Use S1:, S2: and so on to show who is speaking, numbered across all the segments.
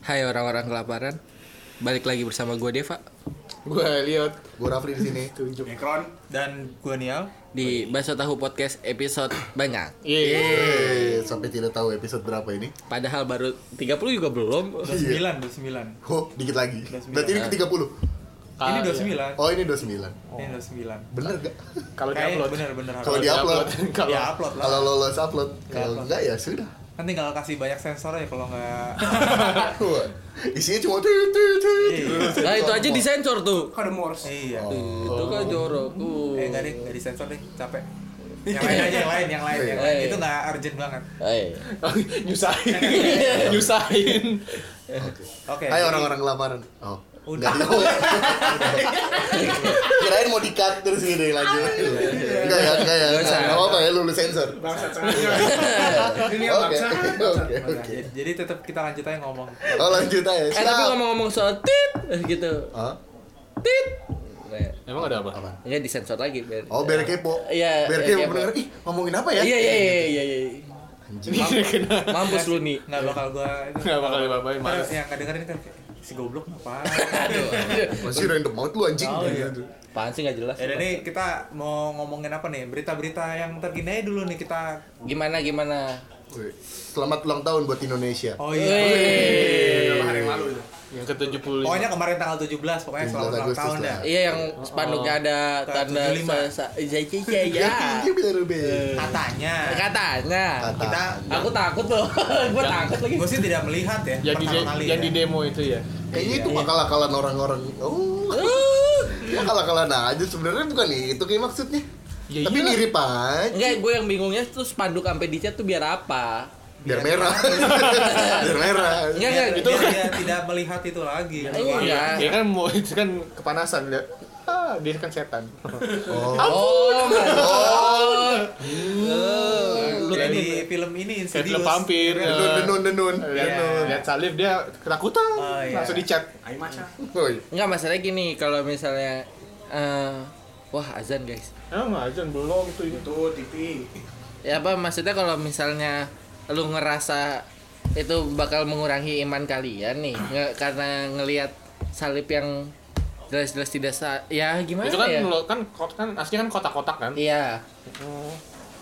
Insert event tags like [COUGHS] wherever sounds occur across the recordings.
S1: Hai orang-orang kelaparan. Balik lagi bersama gue Deva
S2: Gue Elliot.
S3: Gue Rafli di sini.
S4: Mikron dan gua Nial.
S1: di Baso Tahu Podcast episode banyak.
S2: Iya.
S3: Eh, sampai tidak tahu episode berapa ini.
S1: Padahal baru 30 juga belum.
S3: iya.
S4: Udah sembilan, udah sembilan.
S3: Oh, dikit lagi. Berarti ini ke 30.
S4: Ini
S2: Ah,
S4: udah
S2: iya.
S4: sembilan.
S3: Oh, ini 29.
S4: Ini udah sembilan.
S3: Bener gak?
S2: Kalau
S4: Kayak
S2: diupload
S4: bener-bener harus.
S3: Kalau diupload.
S2: Kalau
S4: ya upload lah.
S3: Kalau lolos upload, kalau
S4: upload.
S3: enggak ya sudah.
S4: Kan tinggal kasih banyak sensor ya kalau nggak.
S3: [LAUGHS] Wah, Isinya cuma tit, tit, tit.
S1: Nah itu aja disensor tuh.
S5: kode Morse.
S4: iya.
S3: Oh.
S1: Itu kan jorok. Uh.
S4: Eh nggak deh, nggak disensor deh,
S3: [LAUGHS]
S4: capek. Yang lain aja, yang lain, yang lain, yang lain.
S1: Iya.
S4: Itu nggak urgent banget.
S1: Eh.
S2: nyusahin. nyusahin.
S4: Oke.
S3: Hai orang-orang lamaran. Oh.
S4: Iya. Udah.
S3: Enggak, ya. Kirain mau di-cut terus gitu lanjut. Enggak ya, enggak ya.
S1: Nggak usah.
S3: Enggak apa-apa ya, lulus sensor.
S5: Bangsat sengaja. Ini yang
S3: Oke,
S5: bangsat.
S3: [LAUGHS] Oke,
S4: Udah,
S3: oke.
S4: jadi- Jadi tetap kita lanjut aja ngomong.
S3: Oh, lanjut aja.
S1: Eh tapi
S3: Siap.
S1: ngomong-ngomong soal tit eh, gitu.
S3: Hah?
S1: Tit.
S2: Emang ada apa?
S3: Apaan?
S1: Enggak disensor lagi. biar-
S3: Oh, biar kepo.
S1: Iya,
S3: Biar
S1: biar
S3: kepo
S1: kepo.
S3: bener. Ih, ngomongin apa ya?
S1: Iya iya iya iya iya.
S3: Anjing.
S1: Mampus lu nih.
S4: Nggak bakal gua itu.
S2: Nggak bakal diapa-apain,
S4: Ntar
S2: males.
S4: Yang kedengerin kan kayak, si goblok
S3: [LAUGHS]
S4: apa?
S3: Iya, Masih random banget lu anjing.
S1: ya.
S4: Gitu.
S1: Apaan sih nggak jelas.
S4: Ya nih kita mau ngomongin apa nih? Berita-berita yang terkini aja dulu nih kita.
S1: Gimana gimana?
S3: Wih, Selamat ulang tahun buat Indonesia.
S4: Oh
S1: Wih.
S5: Berapa hari yang lalu itu?
S2: Yang ke-75.
S4: Pokoknya kemarin tanggal 17 pokoknya
S3: 17
S4: selamat ulang
S3: Agustus
S4: tahun
S3: lah.
S4: ya. dah.
S1: Iya yang spanduknya ada tanda
S4: 75.
S1: sa- sa- iya iya iya.
S3: [LAUGHS] Iya bener bener.
S4: Katanya.
S1: Katanya.
S3: Kata.
S4: Kita
S1: Aku takut loh. [LAUGHS] Gua takut lagi.
S4: gue sih tidak melihat ya
S2: Yang di
S4: pertama kali
S2: yang
S4: ya.
S2: di demo itu ya.
S3: Kayaknya itu mah kalah-kalahan orang-orang. Oh,
S1: Uh,
S3: ya kalah-kalahan aja sebenarnya bukan itu kayak maksudnya.
S2: Ya
S3: Tapi
S2: iya.
S3: mirip aja.
S1: Enggak, gue yang bingungnya tuh spanduk sampai dicat tuh biar apa?
S3: Biar merah. Biar merah.
S2: Iya,
S1: Enggak,
S4: Biar-
S1: enggak.
S2: gitu.
S4: biar [LAUGHS] dia Iya, tidak melihat itu lagi.
S1: Enggak.
S4: Iya.
S2: Ya kan mau itu kan kepanasan dia. Ah, dia kan
S4: [LAUGHS]
S2: setan.
S1: Oh, my God.
S4: Lu kayak di film ini
S2: Kayak
S4: Insidious. Iya.
S2: film vampir.
S3: Denun
S2: eh,
S3: denun denun.
S2: Lihat lihat salib dia ketakutan.
S4: Oh, iya.
S2: Langsung dicat.
S5: Ayo maca.
S3: Woi.
S1: Enggak masalahnya gini, kalau misalnya eh wah azan guys.
S2: Emang aja belum itu itu.
S5: Itu TV.
S1: Ya apa maksudnya kalau misalnya lu ngerasa itu bakal mengurangi iman kalian nih nge- karena ngelihat salib yang jelas-jelas tidak sa ya gimana
S2: Itu kan
S4: iya.
S1: ya?
S2: lo- kan kot- kan aslinya kan kotak-kotak kan. Oh,
S1: Iya.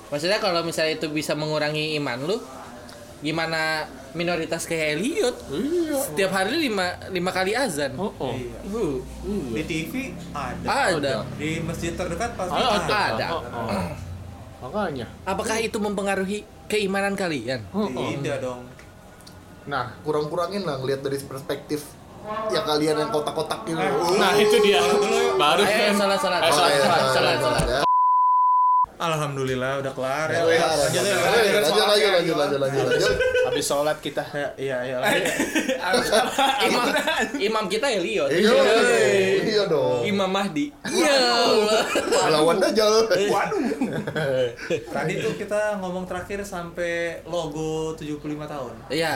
S1: Maksudnya kalau misalnya itu bisa mengurangi iman lu, gimana minoritas kayak Elliot?
S2: Iya.
S1: Setiap hari lima, lima kali azan.
S2: Oh, oh.
S4: Iya.
S1: Uh,
S4: Di TV ada.
S2: Ah.
S1: ada.
S4: Di masjid terdekat pasti
S2: Ayo,
S4: ada.
S1: ada.
S2: Oh, oh. Makanya.
S1: Apakah itu mempengaruhi keimanan kalian?
S2: Oh, oh.
S4: Tidak dong.
S2: Nah, [LAUGHS]
S3: Kurang-kurangin lah ngelihat dari perspektif ya kalian yang kotak-kotak gitu. iya,
S2: nah itu dia.
S4: Iya.
S2: Baru
S1: Eh,
S2: kan.
S1: salah, salah,
S2: Eh,
S1: salah,
S2: salah,
S1: salah, salah, salah,
S4: Alhamdulillah udah kelar ya.
S3: Lanjut
S4: Lanjut ya.
S3: lanjut lanjut lanjut lanjut lanjut lanjut.
S2: habis sholat kita.
S4: Ya, Iya, iya. [LAUGHS] lanjut.
S1: Imam, imam kita Elliot.
S3: Iya,
S1: Yeay.
S3: iya dong.
S1: Imam Mahdi. Ya Allah.
S3: Melawan Dajjal.
S4: Tadi tuh kita ngomong terakhir sampai logo 75 tahun.
S1: Iya.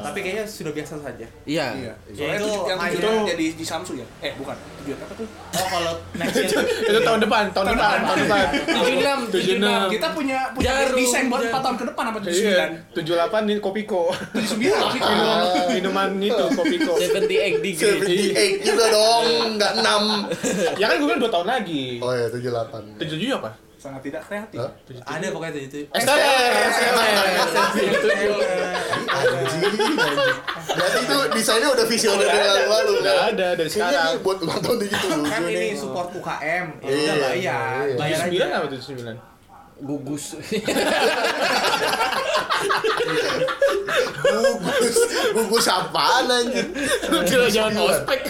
S4: Tapi kayaknya sudah biasa saja.
S1: Iya.
S5: Iya.
S4: Iya,
S5: Soalnya
S4: itu
S5: itu yang
S4: akhirnya-
S5: tujuan jadi di Samsung ya? Eh, bukan. Tujuan apa tuh?
S4: Oh kalau next year
S2: itu tahun depan, tahun depan, tahun depan.
S1: 76,
S2: 76.
S5: Kita punya punya
S1: Jarum,
S5: desain buat
S1: jarum.
S5: 4 tahun ke depan apa 79?
S2: Iya, 78 di Kopiko.
S5: 79 gitu.
S2: Minum, [LAUGHS] minuman itu Kopiko.
S1: 78 degree.
S3: 78 juga dong, nggak 6
S2: ya kan gue bilang 2 tahun lagi.
S3: Oh ya, 78
S2: 77 apa?
S5: Sangat tidak kreatif.
S3: Hah?
S4: ada pokoknya tujuh tujuh.
S2: STR.
S3: Anjing, anjing Berarti itu desainnya udah visioner dari lalu-lalu
S2: Udah ada dari
S3: Kayaknya
S2: sekarang.
S3: ini buat ulang tahun gitu
S4: Kan ini support UKM, ya
S3: Iya,
S4: udah bayar,
S3: iya.
S4: bayar
S2: 79
S4: aja.
S2: apa 79?
S1: Gugus.
S3: Gugus, gugus apaan anjing
S2: Lu kira Iya, jangan ospek.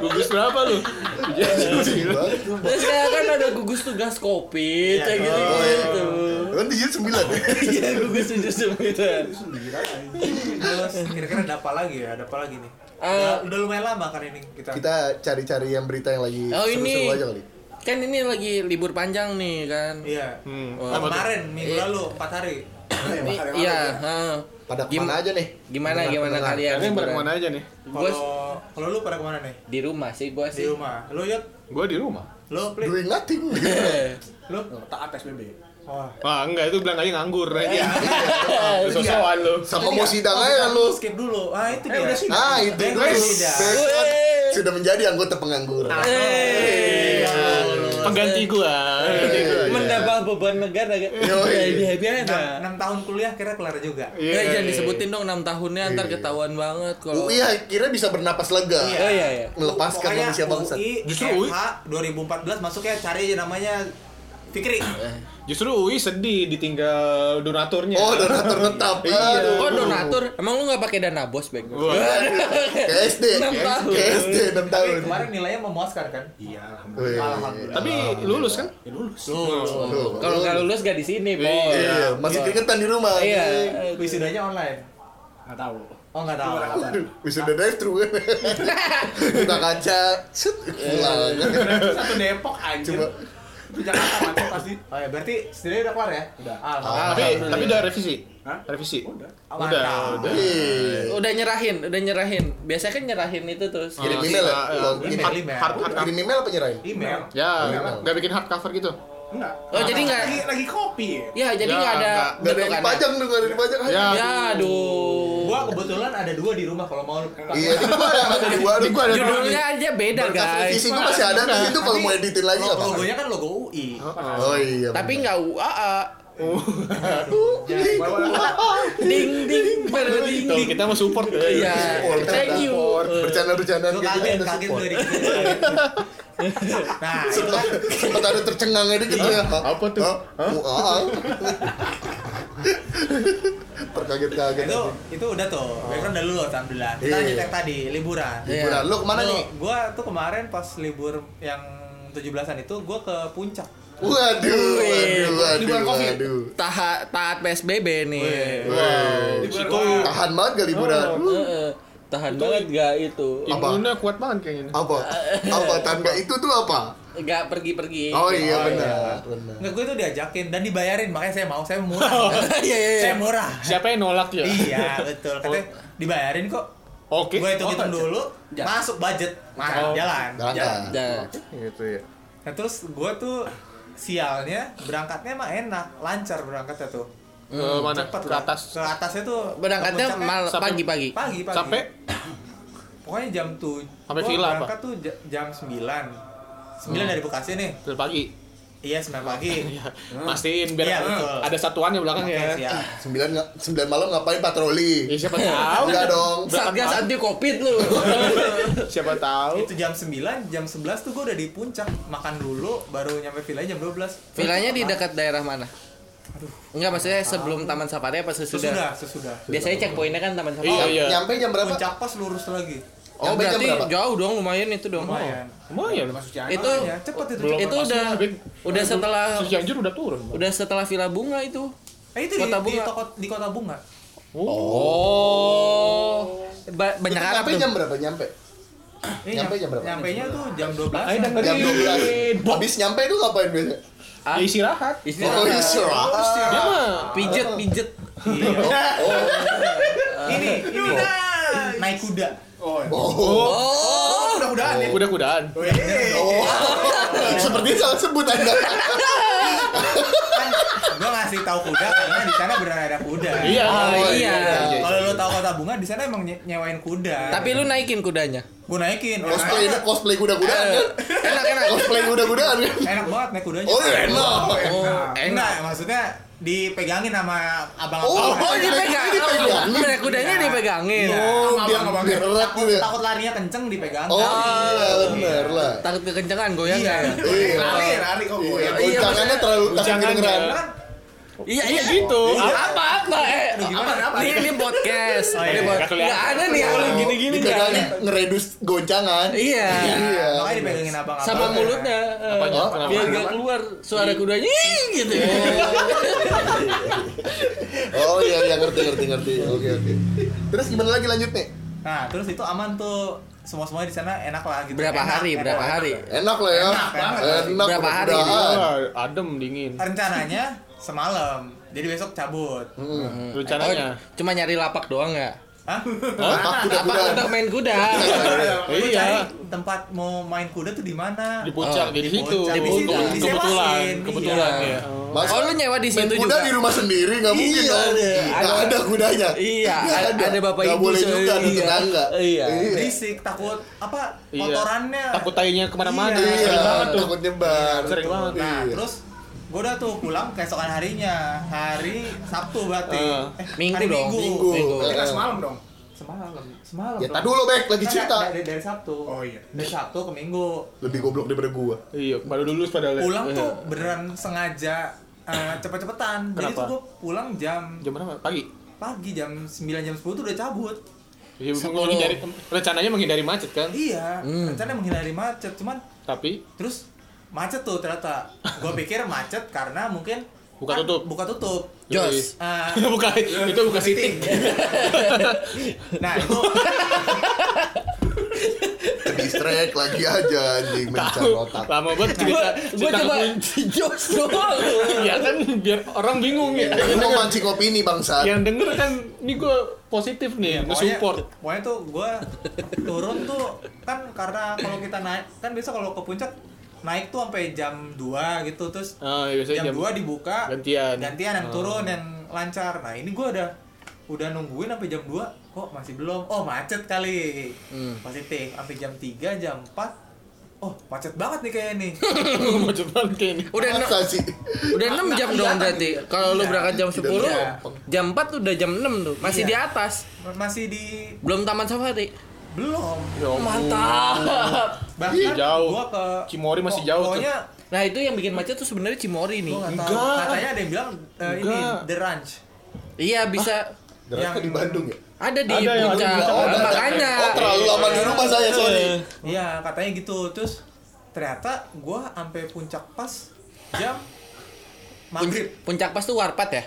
S2: Gugus berapa lu?
S3: Anjing banget.
S1: Terus kayak kan ada gugus tugas kopi, kayak gitu gitu.
S3: Kan 79 ya
S1: Iya, gugus tugas gitu.
S4: Terus kira-kira ada apa lagi ya? Ada apa lagi nih?
S1: Eh,
S4: udah, udah lumayan lama kan ini kita.
S3: Kita cari-cari yang berita yang lagi
S1: Oh,
S3: seru-seru
S1: ini.
S3: aja kali
S1: Kan ini lagi libur panjang nih kan.
S4: Iya.
S2: Hmm.
S1: Wah.
S2: Apa tuh?
S4: Kemarin minggu lalu 4 hari.
S1: I- Iya, heeh.
S3: Pada
S1: Gim-
S3: kemana aja nih?
S1: Gimana gimana
S3: pendengar.
S1: kalian?
S2: Kalian bareng
S1: liburan?
S2: mana aja nih?
S4: Kalau
S1: Gua-
S4: kalau lu pada kemana nih?
S1: [LAUGHS] Di rumah sih gua
S4: Di
S1: sih.
S4: rumah. Lu yuk,
S2: Gue di rumah.
S4: lu play.
S3: Doing nothing
S1: Eh,
S5: Lu taat SBB.
S4: Wah.
S2: Wah, enggak itu bilang aja nganggur aja. Lu Sosokan lu.
S3: Sama mau sidang
S4: Oh,
S3: aja
S4: bukan,
S3: lu.
S4: Skip dulu. Ah, itu
S5: Eh,
S4: dia.
S5: udah sih.
S3: Nah, itu
S4: Bengkel
S3: itu
S4: tidak.
S3: Besok
S1: Weh. Nah,
S3: sudah menjadi anggota pengangguran.
S1: Eh,
S2: Iya.
S6: Iya.
S2: Pengganti gua. Iya.
S1: mendapat Iya, beban negara kan? Iya, kayak
S3: Yoi.
S1: happy aja.
S4: Nah, 6 tahun kuliah kira kelar juga.
S2: Iya.
S1: Eh, jangan disebutin dong 6 tahunnya ntar ketahuan banget kalau.
S3: UI akhirnya bisa bernapas lega.
S1: Oh iya iya.
S3: Melepaskan
S4: Pokoknya
S3: manusia bangsa.
S4: UI,
S2: Justru
S4: FH 2014 masuknya cari aja namanya Fikri.
S2: Justru UI sedih ditinggal donaturnya.
S3: Oh, donatur tetap.
S2: Iya.
S3: Aduh.
S1: Oh donatur, emang lu nggak pakai dana bos bego?
S2: Wah.
S3: Ke
S1: [LAUGHS]
S3: SD.
S1: Enam tahun.
S3: Ke SD 6 tahun.
S4: Tapi Eh, kemarin nilainya memuaskan kan?
S5: Iya, alhamdulillah.
S3: Wih.
S4: Alhamdulillah.
S2: Tapi lulus kan?
S5: Ya lulus.
S1: Oh, Kalau nggak lulus gak di sini, bos.
S3: Iya, masih keringetan di rumah.
S1: Iya.
S4: Eh, Wisudanya online.
S5: Nggak tahu.
S4: Oh, enggak tahu.
S5: Gimana kabar?
S3: Wisuda drive thru kan. [LAUGHS] Buka kaca, set pulang.
S5: Iya. Satu Depok anjir.
S3: Coba.
S5: Itu Jakarta mantap pasti.
S4: Oh ya, berarti setidaknya udah kelar ya?
S5: Udah.
S4: Alhamdulillah.
S2: Tapi tapi udah revisi.
S5: Hah?
S2: Revisi.
S5: Oh, Udah.
S2: Udah,
S4: Mantap.
S2: udah.
S3: Iya.
S1: [LAUGHS] Udah nyerahin, udah nyerahin. Biasanya kan nyerahin itu terus.
S3: Kirim
S2: Ah,
S3: email ya?
S2: ah,
S3: Kalau
S2: ah,
S4: kirim-
S2: hard-
S4: email.
S2: hard- hard-
S3: Kirim email apa nyerahin?
S4: Email.
S2: Ya, nggak bikin hard cover gitu.
S5: Enggak.
S1: Oh, jadi nggak-
S5: lagi, lagi kopi. ya?
S1: Ya, jadi
S2: Ya,
S1: nggak
S2: nggak-
S1: ada
S3: Gak ada yang
S1: bentukannya.
S3: dipajang tuh, gak ada yang dipajang.
S2: Ya.
S1: Ya, aduh.
S4: Gua kebetulan ada dua di rumah kalau mau lu
S3: Iya, di gua ada, di gua ada.
S2: Gua ada
S1: Judulnya aja beda,
S3: Berkas
S1: guys.
S3: revisi gua masih ada tuh, itu kalau mau editin lagi apa?
S4: Logonya kan logo UI.
S3: Oh iya.
S1: Tapi nggak UAA.
S4: Iya,
S5: Bawa- bawa-
S1: Ding
S3: [LAUGHS]
S1: ding berding
S2: Tuh,
S1: ding.
S2: kita mau support.
S1: Iya.
S3: Support,
S1: Thank you.
S3: support, bercanda-bercandaan
S4: Lu
S3: gitu kan
S4: kaget,
S3: ada
S4: kaget
S3: support.
S4: gue dikit. Nah, itu kan
S3: Sempat ada tercengang aja gitu ya.
S2: Apa tuh?
S3: Hah? ah, Wah. Terkaget-kaget.
S4: itu itu udah tuh background udah lulus alhamdulillah kita
S3: Iya.
S4: lanjut yang tadi liburan
S1: Iya.
S3: Liburan lu kemana
S4: Tuh,
S3: nih?
S4: gua tuh kemarin pas libur yang 17-an itu gua ke puncak
S3: Waduh,
S1: Wih,
S3: waduh, waduh,
S2: liburan Covid.
S3: waduh.
S1: Taat taat PSBB nih.
S3: Oh, iya.
S4: Wih.
S3: Wow.
S5: Liburan
S2: Itu
S5: Covid.
S3: Tahan banget gak liburan?
S1: Heeh. Tahan banget gak itu.
S3: Apa?
S2: imunnya kuat banget kayaknya. nih.
S3: Apa? Apa tanpa itu tuh apa?
S1: Gak pergi-pergi.
S3: Oh iya benar, benar.
S4: nggak gue tuh diajakin dan dibayarin makanya saya mau saya
S1: Oh,
S4: murah
S1: [LAUGHS] Iya iya iya.
S4: saya murah
S2: Siapa yang nolak ya?
S4: iya betul katanya dibayarin kok
S2: Oke.
S4: gue hitung hitung
S5: Oh,
S4: dulu
S5: Jalan.
S4: masuk budget Nah,
S2: Oh.
S4: jalan
S3: Berangkat.
S1: Nah,
S2: Gitu ya.
S4: nah terus gue tuh sialnya berangkatnya mah enak lancar berangkatnya tuh
S2: Ke Eh, mana?
S4: Hmm, Cepet
S2: Ke
S4: lah.
S2: atas.
S4: ke atasnya tuh
S1: berangkatnya
S4: ke puncaknya
S1: mal
S2: Sampai-
S1: pagi-pagi.
S4: pagi pagi
S2: Sampai
S4: pokoknya jam tuh
S2: Sampai
S4: gua
S2: villa apa? Hmm.
S4: berangkat tuh ja- jam 9 9 dari Bekasi nih
S2: dari pagi.
S4: iya 9
S2: [LAUGHS]
S4: pagi
S2: Mastiin
S4: Iya,
S2: biar
S4: betul.
S2: ada satuannya belakang
S4: Oke,
S2: ya.
S4: siap.
S3: Sembilan nggak- sembilan malam ngapain patroli?
S2: Ya siapa tahu.
S3: [LAUGHS] Enggak dong.
S1: Satgas anti covid lu.
S2: Siapa tahu.
S4: itu jam 9 jam 11 tuh gue udah di puncak makan dulu baru nyampe villa jam 12
S1: Vilanya di dekat daerah mana? Enggak maksudnya sebelum taman safari apa sesudah?
S4: sesudah sesudah
S1: Biasanya checkpointnya kan taman
S2: Iya,
S1: safari.
S2: iya.
S3: Nyampe jam berapa?
S4: puncak pas lurus lagi
S1: Oh,
S3: Nyampe jam
S1: berarti
S3: berapa?
S1: jauh dong lumayan itu dong.
S4: lumayan
S2: Lumayan.
S5: Masuk Cianjur.
S1: Itu
S4: ya cepet itu
S2: Oh. Belum.
S1: itu
S2: Masih
S1: udah
S2: habis.
S1: udah setelah
S2: Cianjur udah turun. Bang.
S1: udah setelah Villa Bunga itu.
S4: eh itu di,
S1: Kota
S4: di,
S1: Bunga.
S4: toko, di kota bunga
S1: Oh. Ba- banyak Arab
S3: Nyampe
S1: tuh.
S3: jam berapa? Nyampe. Nyampe
S4: Eh, nyam-
S3: jam berapa?
S4: nyampenya tuh jam 12
S2: Ayo dengerin.
S3: Jam 12. Habis nyampe itu ngapain biasa?
S1: Ah,
S2: Ya istirahat.
S3: Oh, iya.
S1: Istirahat.
S3: istirahat.
S2: Ya mah.
S1: Pijet pijet.
S4: ini ini naik kuda
S3: Oh.
S1: Oh.
S5: Mudah-mudahan
S4: Iya.
S5: ya.
S2: Kuda-kudaan.
S3: Oh. [LAUGHS] Seperti salah sebut Anda.
S4: kan gue ngasih tahu kuda karena di sana benar ada kuda
S2: Iya.
S1: Oh, iya.
S4: kalau lo tahu kota bunga di sana emang nye- nyewain kuda
S1: Tapi lu naikin kudanya.
S4: gue naikin
S3: Cosplay
S4: enak,
S3: cosplay kuda-kudaan kan?
S1: Enak enak.
S3: Cosplay kuda-kudaan kan?
S4: enak banget naik kudanya
S3: Oh, enak.
S1: Oh,
S4: Enggak,
S5: Nah,
S1: enak.
S4: maksudnya dipegangin sama abang
S3: Oh,
S1: Oh,
S3: ini
S1: dipegang.
S3: dipegangin.
S1: Bener, Kudanya dipegangin.
S3: Oh, biar biar erat gitu ya.
S4: takut larinya kenceng dipegang
S3: Oh, iya benar lah.
S1: Takut kekencangan goyang
S4: Iya.
S1: ya.
S3: Iya.
S5: Lari, lari kok gue.
S3: Iya,
S1: Iya,
S3: Ucangannya terlalu takut
S2: Ucangannya.
S3: kedengeran.
S4: kan,
S1: Iya iya
S2: gitu.
S1: Apa apa? Eh,
S4: gimana,
S1: apa?
S4: apa?
S1: Ini ini podcast.
S4: Oh, iya.
S1: Ini podcast.
S2: Nggak kelihatan.
S1: Nggak ada nih kalau gini-gini nggak ada.
S3: Dipegangnya ngeredus goncangan.
S1: Iya.
S3: Iya.
S4: makanya dipegangin abang abang
S1: Sama mulutnya. eh,
S2: Apanya? Kenapa?
S1: Biar nggak keluar suara kudanya "Ih," gitu.
S3: Oh iya iya ngerti ngerti ngerti. Oke oke. Terus gimana lagi lanjut nih?
S4: nah terus itu aman tuh semua semuanya di sana enak lah gitu
S1: Berapa
S4: Enak,
S1: hari?
S4: enak.
S1: Berapa hari? Oh,
S3: Enak lah ya.
S4: Enak, enak.
S3: Enak
S1: Berapa hari
S3: mudah-mudahan.
S2: Ah, adem dingin.
S4: rencananya semalam jadi besok cabut
S1: Hmm.
S2: Rencananya.
S1: Oh, cuma nyari lapak doang nggak?
S4: Hah?
S3: Apa?
S1: Apa
S3: Kuda-kuda.
S1: untuk main kuda?
S4: Gua
S1: iya.
S4: cari tempat mau main kuda tuh di mana?
S6: Oh, di
S1: Oh,
S6: puncak di situ
S4: puncak.
S1: Di puncak.
S6: Kebetulan, kebetulan
S4: Disewain,
S6: kebetulan
S1: iya.
S6: ya
S3: Masa
S1: Oh, lu nyewa di
S3: main
S1: situ
S3: kuda
S1: juga?
S3: di rumah sendiri nggak mungkin
S1: Iya,
S3: dong.
S1: ada.
S3: Nggak
S1: Ada-
S3: ada kudanya.
S1: Iya,
S3: Nggak
S1: ada- ada bapak
S3: Nggak
S1: ibu
S3: boleh
S1: saya-
S3: juga ada
S1: iya.
S3: tetangga.
S1: Iya.
S4: Berisik, takut apa
S6: Iya.
S4: kotorannya.
S6: takut tainya kemana-mana
S4: Iya.
S3: Iya,
S6: sering banget tuh
S3: takut nyebar.
S6: Sering banget.
S4: Nah,
S3: Iya.
S4: terus gue udah tuh pulang keesokan harinya, hari Sabtu berarti.
S6: Eh,
S1: Minggu
S4: hari
S1: dong,
S4: Minggu.
S3: Minggu.
S1: Minggu.
S5: Kita semalam dong.
S4: Semalam, semalam.
S3: Ya
S4: dong.
S3: tak dulu, Bek, lagi
S4: Kan
S3: cerita.
S4: Dari, dari Sabtu.
S5: Oh iya.
S4: Dari Sabtu ke Minggu.
S3: Lebih goblok daripada gua.
S6: iya baru dulu padahal
S4: pulang
S6: Iya.
S4: tuh beneran sengaja eh, cepet-cepetan jadi tuh
S6: Kenapa?
S4: gue pulang jam
S6: jam berapa pagi
S4: pagi jam 9 jam 10 tuh udah cabut
S6: Ya, menghindari rencananya menghindari macet kan
S4: iya
S1: Hmm.
S4: rencananya menghindari macet cuman
S6: tapi
S4: terus macet tuh ternyata gue pikir macet karena mungkin
S6: Buka
S4: kan
S6: tutup.
S4: buka tutup
S1: [LAUGHS] Jos.
S6: [LAUGHS]
S4: Eh,
S6: bukan itu bukan siting
S4: [LAUGHS] nah itu
S3: Ke distract lagi aja anjing mencar
S6: tahu
S3: otak.
S6: lama
S1: [LAUGHS]
S6: banget
S1: Gua
S6: cerita
S1: gua
S6: cerita
S1: coba
S6: ke-
S1: jos doang.
S6: ya kan biar orang bingung ya
S1: Iya,
S3: Ini mau mancing opini bangsa.
S6: [LAUGHS] yang denger kan ini gue positif nih
S4: Iya,
S6: gue
S4: pokoknya-
S6: Iya, support
S4: pokoknya tuh gue turun tuh kan karena kalau kita naik kan biasa kalau ke puncak naik tuh sampai jam 2 gitu terus
S6: Ah,
S4: jam,
S6: biasanya jam
S4: 2 dibuka
S6: gantian.
S4: gantian yang
S6: Oh.
S4: turun yang lancar nah ini gua udah udah nungguin sampai jam 2 kok masih belum oh macet kali
S1: Hmm.
S4: positif sampai jam 3 jam 4 oh macet banget nih kayaknya
S6: [LAUGHS]
S4: nih
S6: [LAUGHS] macet banget kayak ini
S1: Udah enam-
S3: Masa sih?
S1: udah 6 jam dong berarti. Kalau lu
S4: Iya.
S1: berangkat jam 10,
S4: Iya.
S1: jam 4 udah jam 6 tuh. Masih
S4: Iya.
S1: di atas.
S4: masih di
S1: Belum taman safari.
S4: belum
S6: Ya ampun.
S1: Mantap.
S4: bahkan
S6: jauh.
S4: gua ke oh,
S6: Cimory masih jauh tuh.
S4: pokoknya
S1: Nah, itu yang bikin macet tuh sebenarnya Cimory nih.
S4: gua nggak tahu
S6: Enggak.
S4: katanya ada yang bilang eh, ini
S6: Enggak.
S4: the ranch
S1: Iya, bisa
S3: Yang di Bandung ya?
S4: Ah.
S1: ada di
S6: Ada yang
S1: puncak.
S6: ada
S3: Oh,
S6: di Bandung.
S1: Iya. Makanya.
S3: Oh, terlalu lama di rumah saya, sorry.
S4: Iya, katanya gitu. Terus ternyata gua sampai puncak pas jam maghrib
S1: Pun- Puncak pas tuh warpat ya?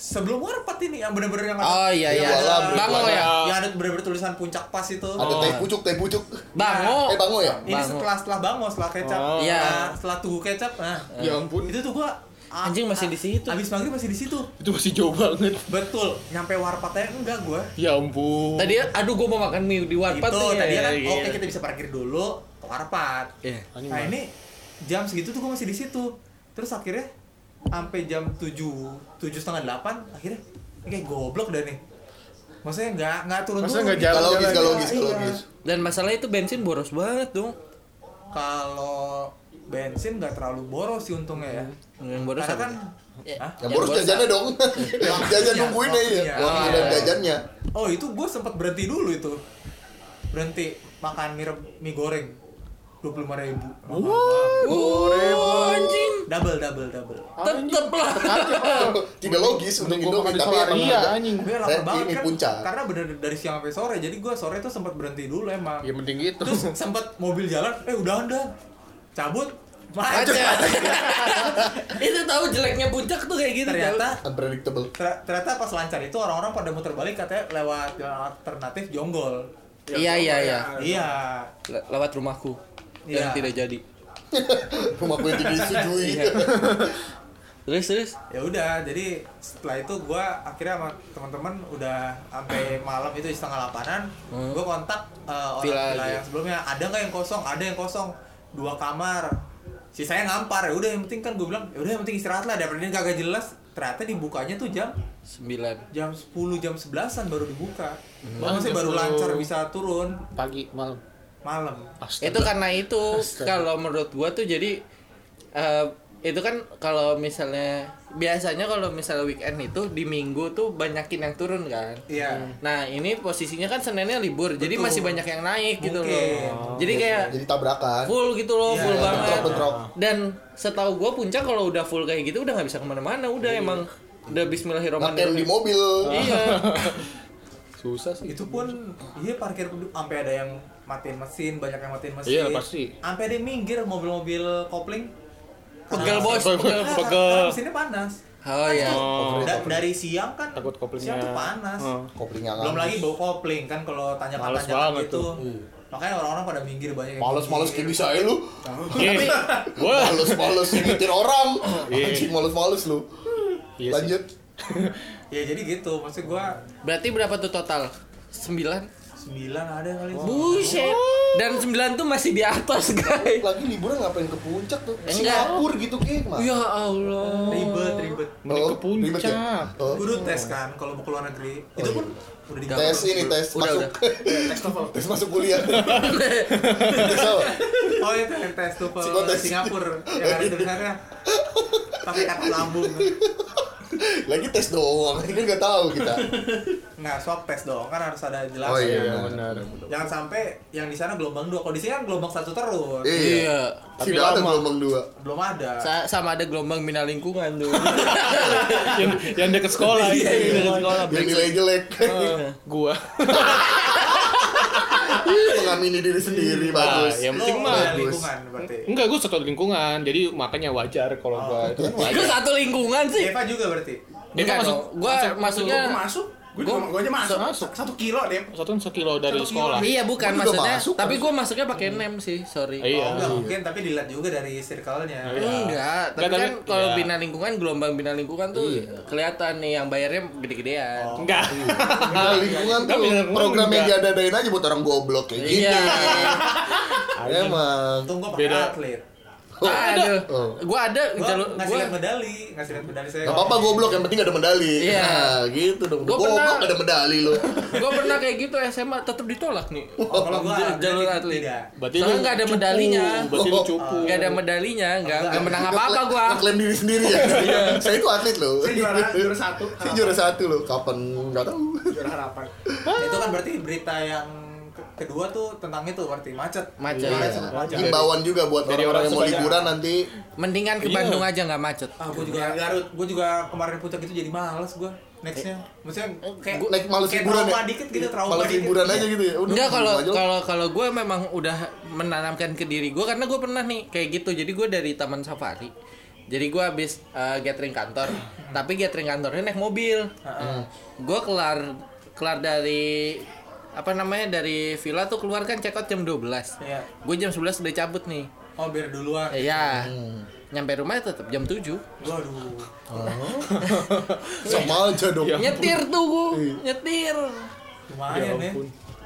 S4: sebelum warpat ini yang bener-bener yang ada,
S6: Ah,
S1: Oh iya
S3: Iya,
S1: iya.
S3: walam,
S1: Bango
S6: walam.
S1: ya.
S4: yang Iya, ada bener-bener tulisan puncak pas itu.
S3: Ada
S1: Oh.
S3: teh pucuk, teh pucuk.
S1: Bango.
S3: Eh, Bango ya?
S4: Ini
S1: Bango.
S4: setelah setelah bango, setelah kecap,
S6: Oh.
S1: Iya.
S4: Nah, setelah tugu kecap, nah
S6: ya ampun
S4: itu tuh gua ah,
S1: Anjing masih
S4: ah,
S1: di situ.
S4: Abis maghrib masih di situ.
S6: itu masih jauh banget
S4: Betul, nyampe warpatnya enggak gua.
S6: ya ampun
S1: Tadi aduh gua mau makan mie di warpat
S4: Itu
S1: tuh. ya.
S4: tadi kan
S6: iya.
S4: oke kita bisa parkir dulu ke warpat.
S1: Iya.
S6: Anjing,
S4: Nah
S6: Bang.
S4: ini jam segitu tuh gue masih di situ. Terus akhirnya sampai jam 7, 7 setengah 8 akhirnya ini kayak goblok dah nih. Maksudnya nggak nggak gitu, turun
S6: Maksudnya nggak
S3: Gak
S6: Jalan-jalan
S3: logis, gak
S6: ya.
S3: logis,
S4: iya.
S3: gak logis.
S1: Dan masalah itu bensin boros banget dong.
S4: Kalau bensin nggak terlalu boros sih untungnya ya.
S1: Yang Hmm. boros
S4: Karena
S1: apa?
S4: kan
S1: Ya.
S4: Hah?
S3: Yang boros jajannya dong. Yang [LAUGHS] jajan
S4: Iya,
S3: nungguin aja.
S4: iya.
S3: Uang ada jajannya.
S4: Oh itu gue sempat berhenti dulu itu Berhenti makan mie, reb- mie goreng 25 ribu
S1: Oh, anjing.
S4: Double double double
S1: Tetep lah.
S3: Tidak logis untuk
S6: Mending gua
S3: Indomie,
S6: makan di
S3: tapi
S6: solar.
S3: emang
S6: Iya,
S3: ada.
S6: anjing.
S4: Gue
S3: Saya
S4: lapar banget
S3: ini
S4: kan
S3: puncak.
S4: Karena bener dari siang sampai sore Jadi gue sore itu sempat berhenti dulu emang
S3: Iya.
S6: ya mending gitu
S4: terus sempat mobil jalan eh udah anda cabut macet
S1: Macet. [LAUGHS] itu tahu jeleknya puncak tuh kayak gitu.
S4: ternyata
S3: Unpredictable. [LAUGHS]
S4: ter- ternyata pas lancar itu orang-orang pada muter balik katanya lewat jalan alternatif jonggol
S1: tahu. Iya iya iya.
S4: iya
S1: Le- Lewat rumahku. Dan
S4: Iya.
S1: tidak jadi.
S3: Rumah gue tidak disetujui.
S1: Terus terus.
S4: ya udah jadi setelah itu gua akhirnya sama teman-teman udah sampai malam itu di setengah delapanan
S1: Hmm.
S4: gua kontak eh, orang
S1: Villa
S4: villa,
S1: lagi.
S4: yang sebelumnya ada nggak yang kosong ada yang kosong dua kamar sisanya ngampar ya udah yang penting kan gua bilang ya udah yang penting istirahat lah daripada ini kagak jelas ternyata dibukanya tuh jam
S1: 9.
S4: jam 10 jam 11-an baru dibuka
S6: Ah,
S1: Hmm.
S4: Gua masih
S6: jam
S4: baru
S6: 10.
S4: lancar bisa turun
S6: pagi malam
S4: malam
S6: Astaga.
S1: Itu karena itu kalau menurut gua tuh jadi eh, itu kan kalau misalnya biasanya kalau misalnya weekend itu di minggu tuh banyakin yang turun kan.
S4: iya
S1: Nah, ini posisinya kan Seninnya libur. Jadi
S4: Betul.
S1: masih banyak yang naik gitu loh.
S4: Mungkin.
S1: Jadi kayak
S3: Jadi tabrakan.
S1: Iya. full gitu loh,
S4: Iya,
S1: full
S4: iya,
S1: banget.
S3: bentrok-bentrok.
S1: Dan setahu gua puncak kalau udah full kayak gitu udah nggak bisa kemana mana udah
S4: Iya.
S1: emang udah
S3: Ngakem di
S1: bismillahirrahmanirrahim.
S3: mobil.
S1: Iya.
S6: susah sih
S4: itu pun iya parkir penduduk, sampai ada yang matiin mesin banyak yang matiin mesin
S6: Iya, pasti.
S4: sampai ada yang minggir mobil-mobil kopling
S1: Pegel
S4: Karena-
S1: bos.
S6: Pegel.
S4: Karena-
S6: Pegel.
S4: karena mesinnya panas
S1: Oh iya.
S6: oh,
S4: Da- dari siang kan
S6: takut koplingnya
S4: siang tuh panas
S6: Oh.
S3: Koplingnya
S4: belum
S3: nggak.
S4: lagi bau kopling kan kalau
S6: Males
S4: tanjakan-tanjakan
S6: banget
S4: gitu
S6: tuh.
S4: makanya orang-orang pada minggir banyak yang
S3: Males-males kayak
S4: minggir.
S3: bisa ya lu.
S6: Iya. Wah.
S3: Males-males ngitir orang.
S6: Iya.
S3: Anjing males-males lu.
S6: Iya sih.
S3: Lanjut.
S4: ya jadi gitu maksud gua
S1: Berarti berapa tuh total? Sembilan
S4: Sembilan ada kali.
S3: Oh.
S1: Buset Dan sembilan tuh masih di atas guys
S3: Lagi liburan ngapain ke puncak tuh?
S1: Enggak.
S3: Singapura gitu Ki, mah.
S1: Ya Allah
S4: Ribet, ribet.
S6: Mending ke
S3: Oh, ribet ya?
S6: puncak.
S3: Oh.
S4: Guru tes kan kalau mau ke luar negeri. itu
S3: iya.
S4: pun udah digawe.
S3: Tes ini tes
S1: Udah,
S3: masuk. tes masuk kuliah. tes apa?
S4: Oh itu yang tes tuh
S3: Psikotes. [LAUGHS] Oh,
S4: Singapura
S3: iya.
S4: yang ada dengarnya pakai kata lambung.
S3: Lagi tes doang. Ini kan nggak tahu kita.
S4: Nggak swab tes dong kan harus ada jelas.
S3: Oh iya.
S6: benar.
S4: Jangan sampai yang di sana gelombang dua. Kalau di sini kan gelombang satu terus.
S3: Iya.
S6: Tapi
S3: Tidak ada
S6: lama.
S3: gelombang dua.
S4: Belum ada.
S1: Sa- sama ada gelombang bina lingkungan tuh
S6: yang, yang deket sekolah
S1: Iya, iya,
S6: itu.
S1: dekat sekolah
S3: Yang nilai jelek.
S1: Nah.
S6: Gua.
S3: Mengamini diri sendiri bagus.
S6: Nah,
S3: Oh,
S6: yang
S4: Lo
S6: penting mah
S4: beda
S3: bagus.
S4: lingkungan berarti.
S6: Enggak, gua satu lingkungan, jadi makanya wajar kalau gua itu kan
S1: Itu
S6: wajar.
S1: satu lingkungan sih
S4: Eva juga berarti.
S1: Enggak
S6: Itu
S1: dong, gua maksudnya
S5: Gua masuk
S1: Iya.
S5: Gue
S1: Gua-
S5: cuma gua aja masuk,
S6: masuk.
S5: Satu kilo deh
S6: Satu kan sekilo dari
S5: Satu kilo.
S6: sekolah.
S1: Iya bukan
S3: Gua juga
S1: maksudnya
S3: masuk,
S1: Tapi gue masuknya pakai nem sih, sorry
S6: Iya.
S4: Oh, nggak mungkin tapi dilihat juga dari circle-nya.
S6: Iya.
S1: Enggak, tapi
S6: Enggak,
S1: kan
S6: tapi-
S1: kalau
S6: iya.
S1: bina lingkungan, gelombang bina lingkungan tuh kelihatan nih yang bayarnya gede-gedean.
S6: Oh, Enggak.
S3: [LAUGHS] Nah, lingkungan tuh
S6: Tapi lingkungan
S3: program yang
S6: juga.
S3: diadain aja buat orang goblok kayak gitu.
S1: Iya.
S3: Emang.
S4: Untung gua pakai
S6: Beda.
S4: atlet.
S1: Aduh.
S3: Oh.
S1: Gua ada
S4: Gua
S1: jalur
S4: ngasih
S1: gua
S4: lihat medali, ngasih lihat medali saya.
S3: Gak apa-apa goblok, yang penting ada medali
S1: Iya.
S3: Nah, gitu dong
S1: Gua
S3: Goblok
S1: pernah-
S3: ada medali lu
S1: gua pernah kayak gitu SMA tetap ditolak nih.
S4: Oh, kalau gua
S1: Jalur- jalur
S4: berarti
S1: atlet.
S4: Tidak.
S6: Berarti
S1: Soalnya
S6: lu
S1: nggak ada
S6: cupu.
S1: medalinya.
S6: Berarti lu cupu.
S1: Gak ada medalinya, gak,
S4: Enggak.
S1: gak menang apa-apa gua. Iya.
S3: Klaim diri sendiri
S1: [LAUGHS]
S3: ya Saya itu atlet loh
S5: Saya juara, juara satu
S3: Saya juara satu loh Kapan? Gak tau
S1: Iya.
S5: Juara harapan
S4: Itu kan berarti berita yang ke- kedua tuh tentang itu berarti macet.
S1: Macet.
S3: Iya.
S1: ya.
S3: Himbauan juga buat orang-orang
S6: Dari orang
S3: yang mau
S6: supaya-
S3: liburan nanti
S1: Mendingan ke
S6: Iya.
S1: Bandung aja nggak macet.
S4: Ah, gua juga Garut. Gua juga kemarin puncak itu jadi males gua. Nextnya, maksudnya kayak
S3: eh, gua- like males
S4: kayak
S3: liburan ya?
S4: trauma dikit gitu, trauma
S3: Malah
S4: dikit.
S3: liburan aja gitu ya Udah,
S1: Enggak kalau
S3: aja.
S1: kalau kalau gue memang udah menanamkan ke diri gue karena gue pernah nih kayak gitu. Jadi gue dari Taman Safari. Jadi gue habis eh, gathering kantor, tapi gathering kantornya naik mobil. Gue kelar kelar dari apa namanya dari villa tuh keluar kan check out jam 12
S4: Iya.
S1: Gue jam 11 udah cabut nih.
S4: Oh, biar duluan.
S1: Iya. Nyampe rumah tetap jam 7
S4: Waduh.
S3: Sama aja dong
S1: Nyetir tuh gue, nyetir.
S4: Lumayan ya.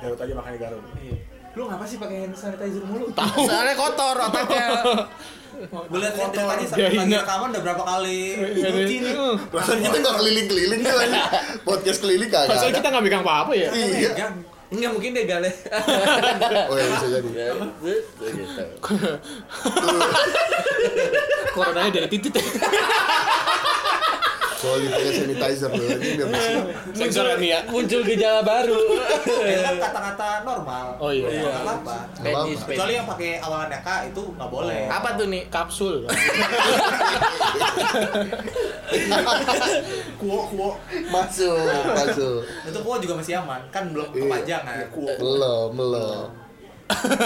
S5: Garut aja makan di Garut
S4: Iya. Lu ngapa sih pakai hand sanitizer mulu?
S1: Soalnya kotor otaknya.
S4: Gue liat liat dari tadi
S6: Ya,
S4: sampai pagi
S6: iya.
S4: rekaman udah berapa kali nyuci nih.
S6: Hmm.
S3: Rasanya kita gak keliling-keliling tuh aja
S1: Iya.
S3: Podcast keliling kagak
S6: Masa
S3: ada
S6: kita nggak megang apa-apa ya?
S3: Iya
S4: Gang.
S1: Enggak mungkin deh gale. Iya.
S3: Oh ya bisa jadi
S6: Coronanya ya. dari titik.
S3: Soalnya pakai sanitizer loh Ini biar bersih
S6: Sensor ya, nih ya.
S1: [LAUGHS] muncul gejala baru.
S4: Itu kan kata-kata normal.
S6: Oh, iya.
S4: Iya. nggak apa-apa.
S1: Medis,
S3: apa-apa.
S4: Kecuali
S1: medis.
S4: yang pakai awalannya K itu nggak boleh.
S1: Apa tuh nih?
S6: Kapsul.
S5: Kuo, kuo
S3: Masuk Masuk
S4: Itu gua juga masih aman, kan belum
S3: Iya.
S4: kepanjangan.
S3: Belum, belum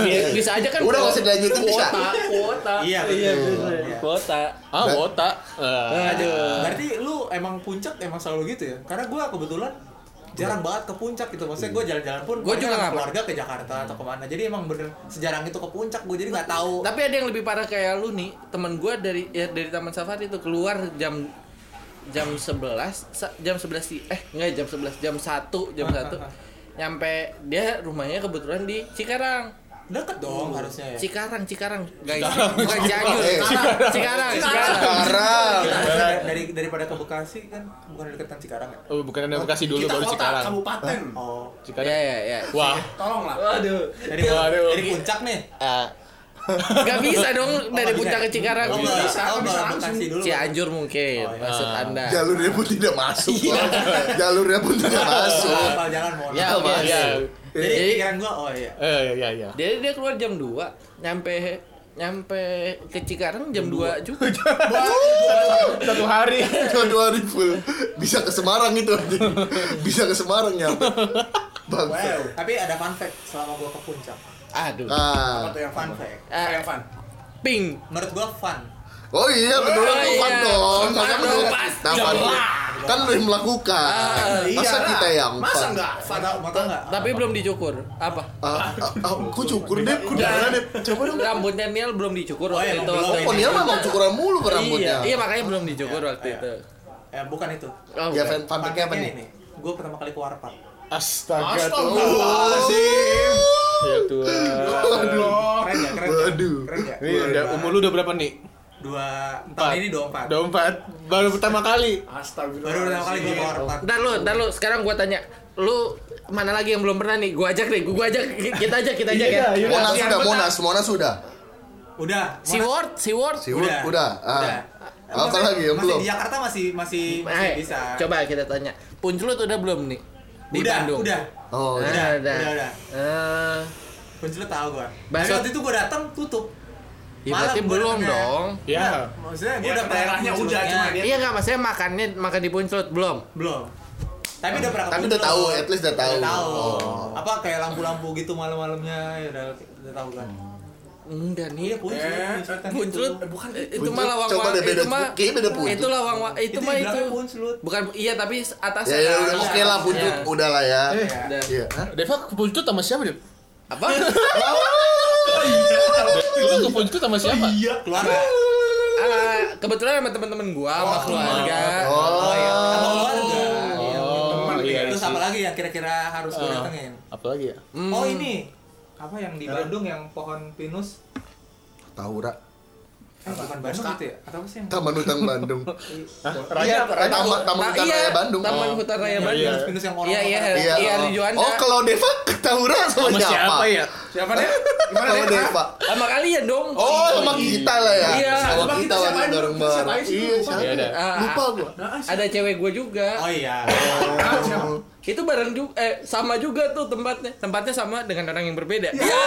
S1: Bi- Bisa aja kan. kuota-
S3: Udah, nggak usah dilanjutin, bisa.
S1: Kuota, kuota.
S4: Iya, betul.
S1: betul.
S4: Iya.
S1: Kuota.
S6: Ah, botak. Eh,
S1: Aduh.
S4: Berarti lu emang puncak emang selalu gitu ya? Karena gua kebetulan jarang banget ke puncak gitu maksudnya gua jalan-jalan pun
S1: Gua
S4: paling
S1: juga
S4: sama
S1: nggak.
S4: keluarga ke Jakarta atau kemana jadi emang bener sejarang itu ke puncak gua jadi nggak tahu
S1: Tapi ada yang lebih parah kayak lu nih, temen gue dari ya, dari Taman Safari itu keluar jam jam 11 sa- jam 11 si- eh enggak jam 11 jam 1 jam 1 [LAUGHS] nyampe dia rumahnya kebetulan di Cikarang
S4: deket dong harusnya ya
S1: Cikarang Iya. Cikarang guys bukan Cianjur
S3: Eh,
S1: Cikarang Cikarang Cikarang
S3: Sekarang
S4: Dari- dari daripada ke Bekasi kan bukan deketan Cikarang ya
S6: Oh, bukan ada Bekasi dulu
S5: Kita
S6: baru
S5: kota,
S6: Cikarang.
S5: kabupaten
S4: oh
S1: ya
S6: Cikarang.
S1: ya ya
S6: Wah,
S5: Tolonglah
S1: Waduh.
S4: dari,
S6: Waduh.
S4: dari puncak nih
S1: Gak bisa dong dari
S4: nggak bisa
S1: puncak
S4: ya?
S1: ke Cikarang.
S4: Oh, nggak bisa,
S5: Oh,
S4: oh,
S5: bisa
S4: bisa
S5: langsung.
S4: Bekasi dulu.
S1: Cianjur mungkin
S4: Oh, iya.
S1: maksud Anda.
S3: Jalurnya pun tidak masuk Bang. Jalurnya pun tidak masuk
S4: Apal Oh, jalan mohon.
S1: Ya,
S4: maaf.
S1: oke.
S6: ya.
S4: Jadi
S1: Jadi-
S4: pikiran gua oh iya.
S6: Eh, ya, ya.
S1: Jadi dia keluar jam 2, nyampe nyampe ke Cikarang jam 2
S4: [LAUGHS]
S1: juga.
S6: Satu hari.
S3: Satu hari full Bisa ke Semarang itu anjing. Bisa ke Semarang ya Bang
S4: Wow. Tapi ada fun fact selama gua ke puncak.
S1: Aduh.
S3: Ah.
S5: Apa tuh yang fun
S4: Fun fact.
S5: Eh, yang fun
S1: Ping.
S4: Menurut gua fun.
S3: Oh iya
S1: Oh,
S3: betul
S1: iya.
S3: Tuhan dong
S1: Tuhan
S3: Masa
S1: dong,
S3: betul
S1: pasti
S3: Kapan
S1: dong.
S3: Kan lu yang melakukan Masa
S5: Iyalah.
S3: kita yang
S5: Iya. Masa
S3: empat?
S5: enggak?
S4: Fun tau mau tau enggak?
S1: Tapi belum dicukur. Apa?
S3: Ah, ah, ah, Kok cukur deh Kudaran deh Coba dong
S1: Rambutnya Niel belum dicukur
S4: Oh,
S1: waktu
S4: iya,
S1: itu.
S4: belum.
S3: Oh, dia memang cukuran mulu ke
S1: Iya,
S3: rambutnya.
S1: iya makanya belum dicukur waktu
S4: Iya.
S1: itu.
S4: Eh bukan itu.
S1: Oh,
S3: Ya,
S1: bukan.
S4: Iya,
S3: fan- fun fact-nya apa nih? Oh,
S4: Gua pertama kali ke Warpat.
S6: Astaga.
S3: Astagfirullahaladzim.
S6: Ya Tuhan.
S5: Aduh.
S4: Keren ya, keren. ya?
S3: Waduh.
S4: Keren ya?
S6: Ini udah umur lu udah berapa nih?
S4: Dua tahun ini dua empat.
S6: Udah empat. Baru pertama kali.
S5: Astagfirullah.
S4: Baru pertama kali gue keluar empat.
S1: Ntar lu, ntar lu. Sekarang gua tanya, lu mana lagi yang belum pernah nih? Gua ajak nih, gua ajak, kita ajak, kita ajak ya.
S5: Iya,
S3: Monas
S5: iya,
S3: sudah,
S5: benar.
S3: Monas, Monas sudah.
S4: Udah.
S1: Si
S4: Monas-
S1: Ward, si Ward.
S3: Si Wud udah. Ah.
S4: Udah.
S3: Apa
S4: Masih-
S3: lagi yang
S4: masih
S3: belum?
S4: Di Jakarta masih masih masih
S1: Eh,
S4: bisa.
S1: coba kita tanya. Puncelut udah belum nih? Di
S4: udah,
S1: Bandung. Ah,
S4: udah.
S3: Oh,
S1: Udah,
S3: udah.
S4: Udah,
S1: udah.
S4: udah, udah.
S1: Eh,
S4: Puncelut tahu gua. Tapi
S1: Bakso-
S4: waktu itu gua datang tutup.
S1: ya berarti
S4: gua
S1: belum
S4: datangnya.
S1: dong.
S6: Ya.
S4: Nah, Maksudnya gua
S5: Ya,
S4: udah pernah
S5: daerahnya
S4: ke
S5: udah, cuma
S4: Puncelutnya.
S5: dia-
S1: Iya nggak maksudnya makannya makan di Puncelut belum?
S4: belum. Tapi udah pernah ke
S3: Tapi udah
S4: Puncelut.
S3: tahu, at least udah tahu.
S4: tahu.
S3: Oh.
S4: Apa kayak lampu-lampu gitu malam-malamnya ya udah udah tahu kan.
S3: Hmm.
S1: Enggak
S4: Iya,
S1: nih.
S4: puncelut. setan itu.
S1: Puncelut
S5: bukan
S1: Eh, itu
S3: Puncelut,
S1: mah lawang
S3: coba deh, beda-
S1: itu mah
S3: kayaknya beda Puncelut.
S1: itu lawang wa- itu,
S4: Itu
S1: mah itu
S4: dibilangnya Puncelut.
S1: bukan iya tapi atasnya
S3: Ya, ya
S1: kan.
S3: udah oke lah puncut
S1: Iya.
S3: udah lah ya.
S4: Eh.
S1: Udah.
S3: Iya. Hah?
S6: Deva ke Punclut sama siapa, Dev?
S1: apa
S6: [LAUGHS] Lu ke Punclut sama siapa?
S5: Iya.
S4: Keluar.
S1: Ah, kebetulan sama teman-teman gua sama keluarga
S3: Oh.
S1: iya.
S4: Sama keluarga.
S6: Oh, iya
S4: Terus
S6: sih.
S4: apa lagi yang kira-kira harus gue datengin?
S6: Apalagi ya?
S1: Oh. Hmm.
S4: Oh ini apa yang di Bandung yang pohon pinus?
S3: Tahu Ra.
S4: Eh, bukan Bandung gitu ya? Atau apa sih yang
S3: Taman Hutan Bandung.
S5: Raya,
S3: Eh, Taman Taman
S1: Ta-
S3: Hutan
S1: iya,
S3: Raya Bandung. Oh.
S1: Taman Hutan Raya
S4: Yang
S1: Bandung.
S6: iya.
S4: pinus-pinus yang orang
S1: Iya, iya.
S4: orang-
S3: Iya.
S1: Iya,
S3: oh.
S1: di Juanda.
S3: Oh, kalau Deva tahu Ra sama
S6: Sama siapa
S3: siapa?
S6: ya?
S5: Siapa dia? Gimana
S3: Sama
S5: dia?
S3: Deva.
S1: Sama kalian dong.
S3: Oh, sama kita lah ya.
S1: Iya.
S3: Sama
S5: Sama
S3: kita
S5: kita
S3: warna
S5: siapa
S3: bareng
S5: aja? Siapa
S3: bareng.
S5: aja sih?
S3: Iya,
S5: Lupa.
S6: Iya,
S3: siapa?
S6: ada.
S1: Ah,
S3: Lupa gua.
S5: Nah,
S1: Ada cewek gua juga.
S4: Oh iya.
S5: siapa? siapa?
S1: Itu bareng juga eh sama juga tuh tempatnya. Tempatnya sama dengan orang yang berbeda. Ya,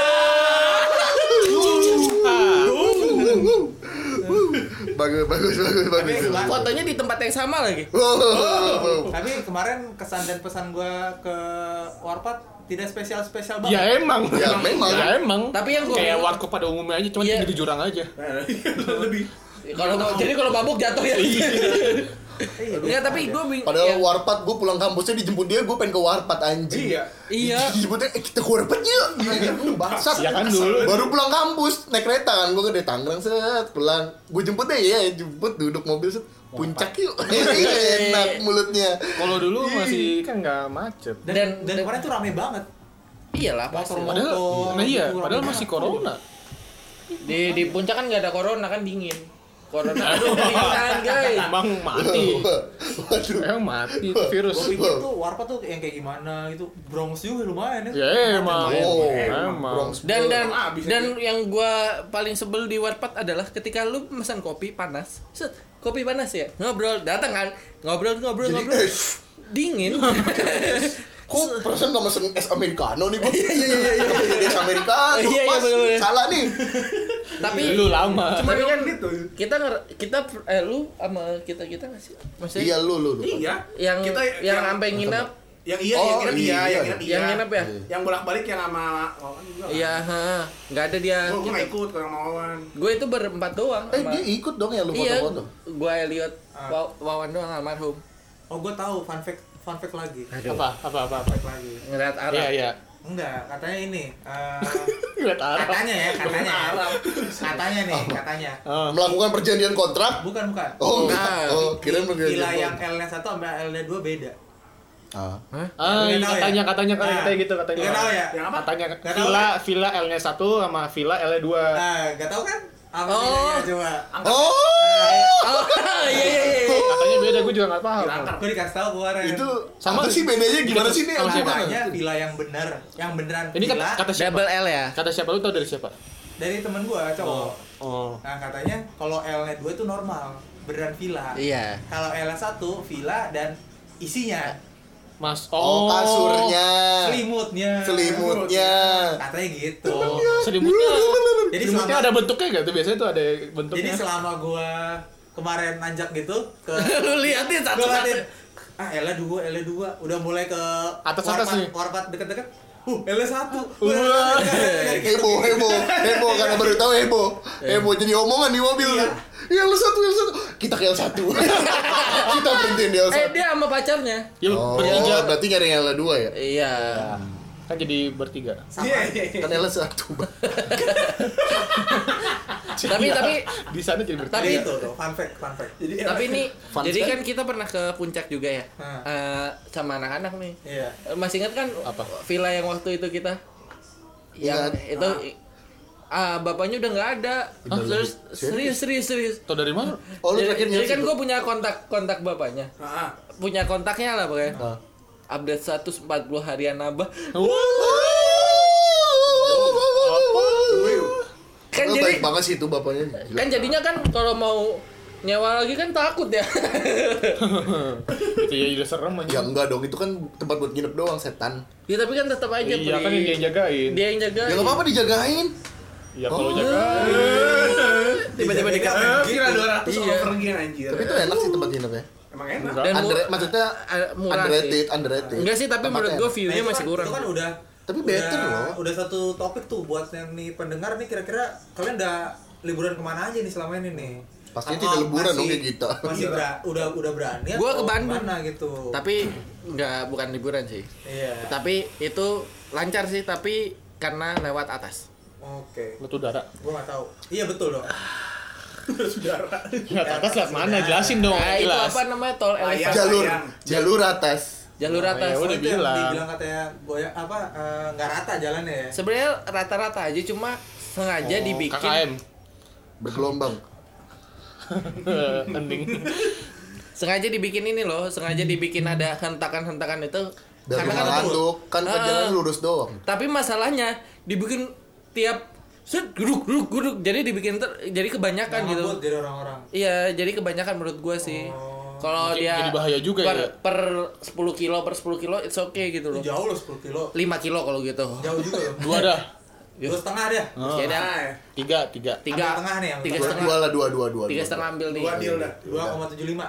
S3: Bagus, bagus, bagus, bagus.
S4: Tapi-
S1: Fotonya di tempat yang sama lagi.
S3: Wow, wow, wow.
S4: Tapi kemarin kesan dan pesan gue ke Warpat tidak spesial-spesial
S1: Iya,
S6: Ya
S1: eh.
S4: banget.
S6: emang.
S3: Ya, memang.
S6: Ya emang.
S1: Tapi yang gua-
S6: kayak warkop pada umumnya aja, cuma
S1: Iya.
S6: tinggi di jurang aja.
S5: Lebih.
S1: Kalau jadi kalau mabuk jatuh ya. [LAUGHS]
S4: Iya.
S1: Enggak, tapi gua bing- ya.
S3: Padahal warpat gue pulang kampusnya dijemput dia, gue pengen ke warpat anjing.
S5: Iya.
S1: Iya.
S3: Dijemputnya, eh kita ke warpat yuk. Iya, lu Bangsat.
S6: Ya kan dulu.
S3: Baru pulang kampus, naik kereta kan gue dari Tangerang set pulang. Gue jemput deh ya, jemput duduk mobil set puncak yuk. [LAUGHS] Iya, Enak mulutnya.
S6: Kalau dulu masih kan nggak macet.
S4: Dan, dan,
S1: Dan- dan-
S4: kemarin tuh rame banget.
S1: Iyalah pasti.
S4: Motor
S6: Padahal,
S4: motor.
S6: nah iya,
S4: gitu, rame
S6: padahal
S4: banget.
S6: masih corona.
S1: Di di puncak kan nggak ada corona kan dingin. Corona aduh dinginan guys.
S4: Iya.
S6: Emang mati.
S3: Waduh.
S6: Emang mati itu virus.
S4: Gue pikir tuh Warpat tuh yang kayak gimana gitu. Bronx juga lumayan
S1: Iya,
S4: ya.
S6: Ya emang.
S3: Oh,
S6: Emang.
S3: Bronx.
S1: Dan dan
S5: Abis
S1: dan yang gua paling sebel di Wattpad adalah ketika lu pesan kopi panas. Set, kopi panas ya. Ngobrol, datang kan. Ngobrol, ngobrol,
S3: Jadi,
S1: ngobrol.
S3: eh,
S1: Dingin.
S3: kok perasaan gak mesen es americano nih gue? Iya, iya, iya. Es americano,
S1: Iya, iya,
S3: mas.
S1: bener-bener.
S3: Salah nih.
S1: Tapi
S6: Lu lama.
S1: Cuman kan
S5: menit tuh.
S1: kita nger- kita eh lu sama kita kita nggak sih? Maksudnya
S3: Iya, lu, lu, lu.
S5: Iya.
S1: yang
S5: Kita
S1: yang sampai nginep,
S5: yang iya,
S3: Oh,
S5: yang nginep
S3: iya,
S5: iya, yang
S3: iya.
S5: nginep iya.
S1: yang nginep ya.
S5: Yang bolak-balik yang sama Wawan juga. lah.
S1: Iya, ha. nggak ada dia.
S5: Gua gua nggak ikut kalau sama Wawan.
S1: Gue itu berempat doang.
S3: Eh,
S1: sama-
S3: dia ikut dong ya lu
S1: iya,
S3: foto-foto.
S1: gue Elliot,
S5: Ah.
S1: Wa- Wawan doang almarhum.
S4: Oh gue tahu fun fact fun fact lagi. Fun
S6: Apa? Apa? Apa? apa?
S4: fact lagi.
S1: Ngeliat arah.
S6: Iya iya.
S4: Enggak, katanya ini. eh,
S6: Lihat arah.
S4: katanya ya, katanya. Katanya nih, katanya.
S6: Oh.
S3: Melakukan perjanjian kontrak.
S4: Bukan, bukan.
S3: Oh, enggak.
S1: Nah,
S3: Oh, kirain perjanjian
S4: Villa yang
S3: kontrak.
S4: L-nya satu sama L-nya dua beda.
S3: Ah.
S6: Ah,
S4: Nggak
S6: iya,
S4: tahu ya?
S6: katanya, katanya, katanya,
S4: Nah,
S6: katanya gitu, katanya.
S4: Nggak tahu ya?
S5: Yang apa?
S6: Katanya,
S4: Nggak tahu ya.
S6: villa, villa L-nya satu sama villa L-nya dua.
S4: Nah, gak tahu kan? Apa
S1: Oh.
S4: bedanya coba?
S3: Oh,
S1: Oh, [LAUGHS] iya iya iya.
S6: Katanya beda, gue juga nggak paham.
S4: Gue dikasih tahu kemarin.
S3: itu
S6: Sama
S3: sama sih bedanya gimana sih nih?
S6: Sama
S3: Apa
S6: siapa?
S3: gimana?
S4: Katanya villa yang benar, yang beneran
S6: Ini kata,
S4: villa
S6: kata siapa?
S1: Double L ya.
S6: Kata siapa? Lu tau dari siapa?
S4: dari temen gua cowok.
S6: Oh.
S4: Nah, katanya kalau L-nya dua itu normal, beneran villa.
S1: Iya.
S4: Kalau L-nya satu villa dan isinya,
S6: Mas.
S3: Oh, kasurnya.
S6: Eh.
S4: selimutnya.
S3: Selimutnya.
S4: Katanya gitu.
S6: oh. Selimutnya.
S4: Jadi
S6: Selimutnya
S4: selama-
S6: ada bentuknya nggak tuh? Biasanya tuh ada
S4: Jadi
S6: bentuknya.
S4: selama gua kemarin nanjak gitu ke
S1: Lu liatin
S4: Gua
S1: satu-satu.
S4: liatin, ah Ella dua Ella dua udah mulai ke
S6: Atas-atas
S4: warpat-
S6: nih.
S4: warpat deket-deket uh Ella satu
S6: Wah.
S3: Heboh, heboh, heboh karena baru tahu heboh. Heboh jadi omongan di mobil. Ya lu satu, lu satu. Kita ke L1. Kita berhentiin di L1.
S1: Eh, dia sama pacarnya.
S6: Ya
S3: Oh,
S6: bertiga.
S3: berarti nyari yang L2 ya?
S1: Iya.
S6: Kan jadi bertiga.
S5: Iya, iya, iya.
S3: kan Ella satu Bang.
S1: tapi tapi
S6: Iya. Di sana jadi bertiga.
S1: Tapi-
S4: Jadi itu tuh, Iya, fun fact, fun fact.
S5: Jadi
S1: tapi ini
S3: Fun
S1: jadi
S3: fact.
S1: kan kita pernah ke puncak juga ya
S5: Ah.
S4: Hah.
S1: Eh, sama anak-anak nih
S4: Iya.
S1: Eh, masih ingat kan
S6: Apa?
S1: villa yang waktu itu kita yang
S3: Ingat.
S1: itu ah, bapaknya udah nggak ada terus
S3: Udah lebih-
S1: serius serius serius
S6: Tau dari mana?
S3: oh lu
S1: jadi,
S3: terakhir
S1: jadi
S3: nyari
S1: kan
S3: situ?
S1: gue punya kontak kontak bapaknya
S5: Ah, ah.
S1: punya kontaknya lah pokoknya
S3: Nah.
S1: update status 40 harian nabah
S3: [LAUGHS]
S1: kan
S3: Lu
S1: jadi
S3: baik banget sih itu bapaknya Gila.
S1: kan jadinya kan kalau mau nyewa lagi kan takut ya [LAUGHS]
S6: itu ya udah serem
S3: ya
S6: aja.
S3: enggak dong itu kan tempat buat nginep doang setan
S1: ya tapi kan tetap aja
S6: Iya
S1: Pri.
S6: kan yang dia yang jagain.
S1: dia yang jaga
S3: ya nggak apa-apa dijagain
S6: Iya kalau jagain.
S4: Tiba-tiba di
S5: Eh, Kira
S4: gitu.
S5: 200
S1: Iya.
S5: over gini anjir.
S3: tapi itu enak sih tempat nginepnya
S5: Emang enak.
S1: dan mu-
S3: Andre, maksudnya
S1: a- Ah, murah
S3: underrated underrated
S1: Enggak sih, tapi
S3: Tempatnya
S1: menurut gue
S3: enak.
S1: view-nya masih kurang.
S4: Itu kan udah
S3: Tapi
S4: udah-
S3: better loh.
S4: Udah satu topik tuh buat yang nih pendengar nih kira-kira kalian udah liburan kemana aja nih selama ini nih?
S3: Pastinya
S4: Atau
S3: tidak liburan dong
S4: masih-
S3: kayak kita.
S4: Masih bera- udah udah berani.
S1: Gua ke
S4: atau
S1: Bandung.
S4: kemana gitu.
S1: Tapi enggak bukan liburan sih.
S4: iya.
S1: Tapi itu lancar sih, tapi karena lewat atas.
S4: Oke.
S6: Letu darah.
S4: Gua nggak tahu. Iya betul loh.
S1: Ah,
S5: [LAUGHS]
S6: Lihat Ya, atas lihat mana? Jelasin dong.
S1: Nah, itu
S6: jelas. iya.
S1: apa namanya? Tol elevan.
S5: Layang.
S3: jalur
S5: Sayang.
S3: jalur atas
S1: Jalur
S6: Nah,
S1: atas.
S6: ya udah.
S4: Itu yang
S6: bilang.
S4: Dibilang katanya goya apa eh, nggak rata jalannya ya.
S1: Sebenarnya rata-rata aja cuma sengaja
S6: Oh,
S1: dibikin
S6: KKM. [LAUGHS]
S3: bergelombang
S6: Ending.
S1: sengaja dibikin ini loh, sengaja dibikin ada hentakan-hentakan itu
S3: dari
S1: karena kan itu.
S3: ngantuk kan
S1: Ah.
S3: perjalanan lurus doang
S1: Tapi masalahnya dibikin tiap set guduk guduk guduk jadi dibikin ter- jadi kebanyakan
S4: Nggak
S1: gitu.
S6: ya?
S4: ngabut jadi orang-orang.
S1: Iya, jadi kebanyakan menurut gua sih. Kalau
S6: Oh. Jadi-
S1: dia
S6: jadi bahaya juga
S1: per,
S6: ya? Iya.
S1: Per 10 kilo per 10 kilo it's okay gitu loh.
S4: Jauh loh 10 kilo.
S1: 5 kilo kalau gitu.
S4: Jauh juga
S1: [LAUGHS]
S4: loh.
S6: Dua dah.
S1: Iya.
S4: Dua setengah dia.
S1: Ya udah,
S5: Nah, ya.
S6: Tiga, tiga.
S1: tiga
S4: Ambil tengah nih, ambil
S1: tiga
S3: dua,
S1: setengah
S3: dua lah dua dua dua
S1: tiga
S3: dua.
S1: setengah ambil nih
S5: Dua deal dah.
S4: 2,75.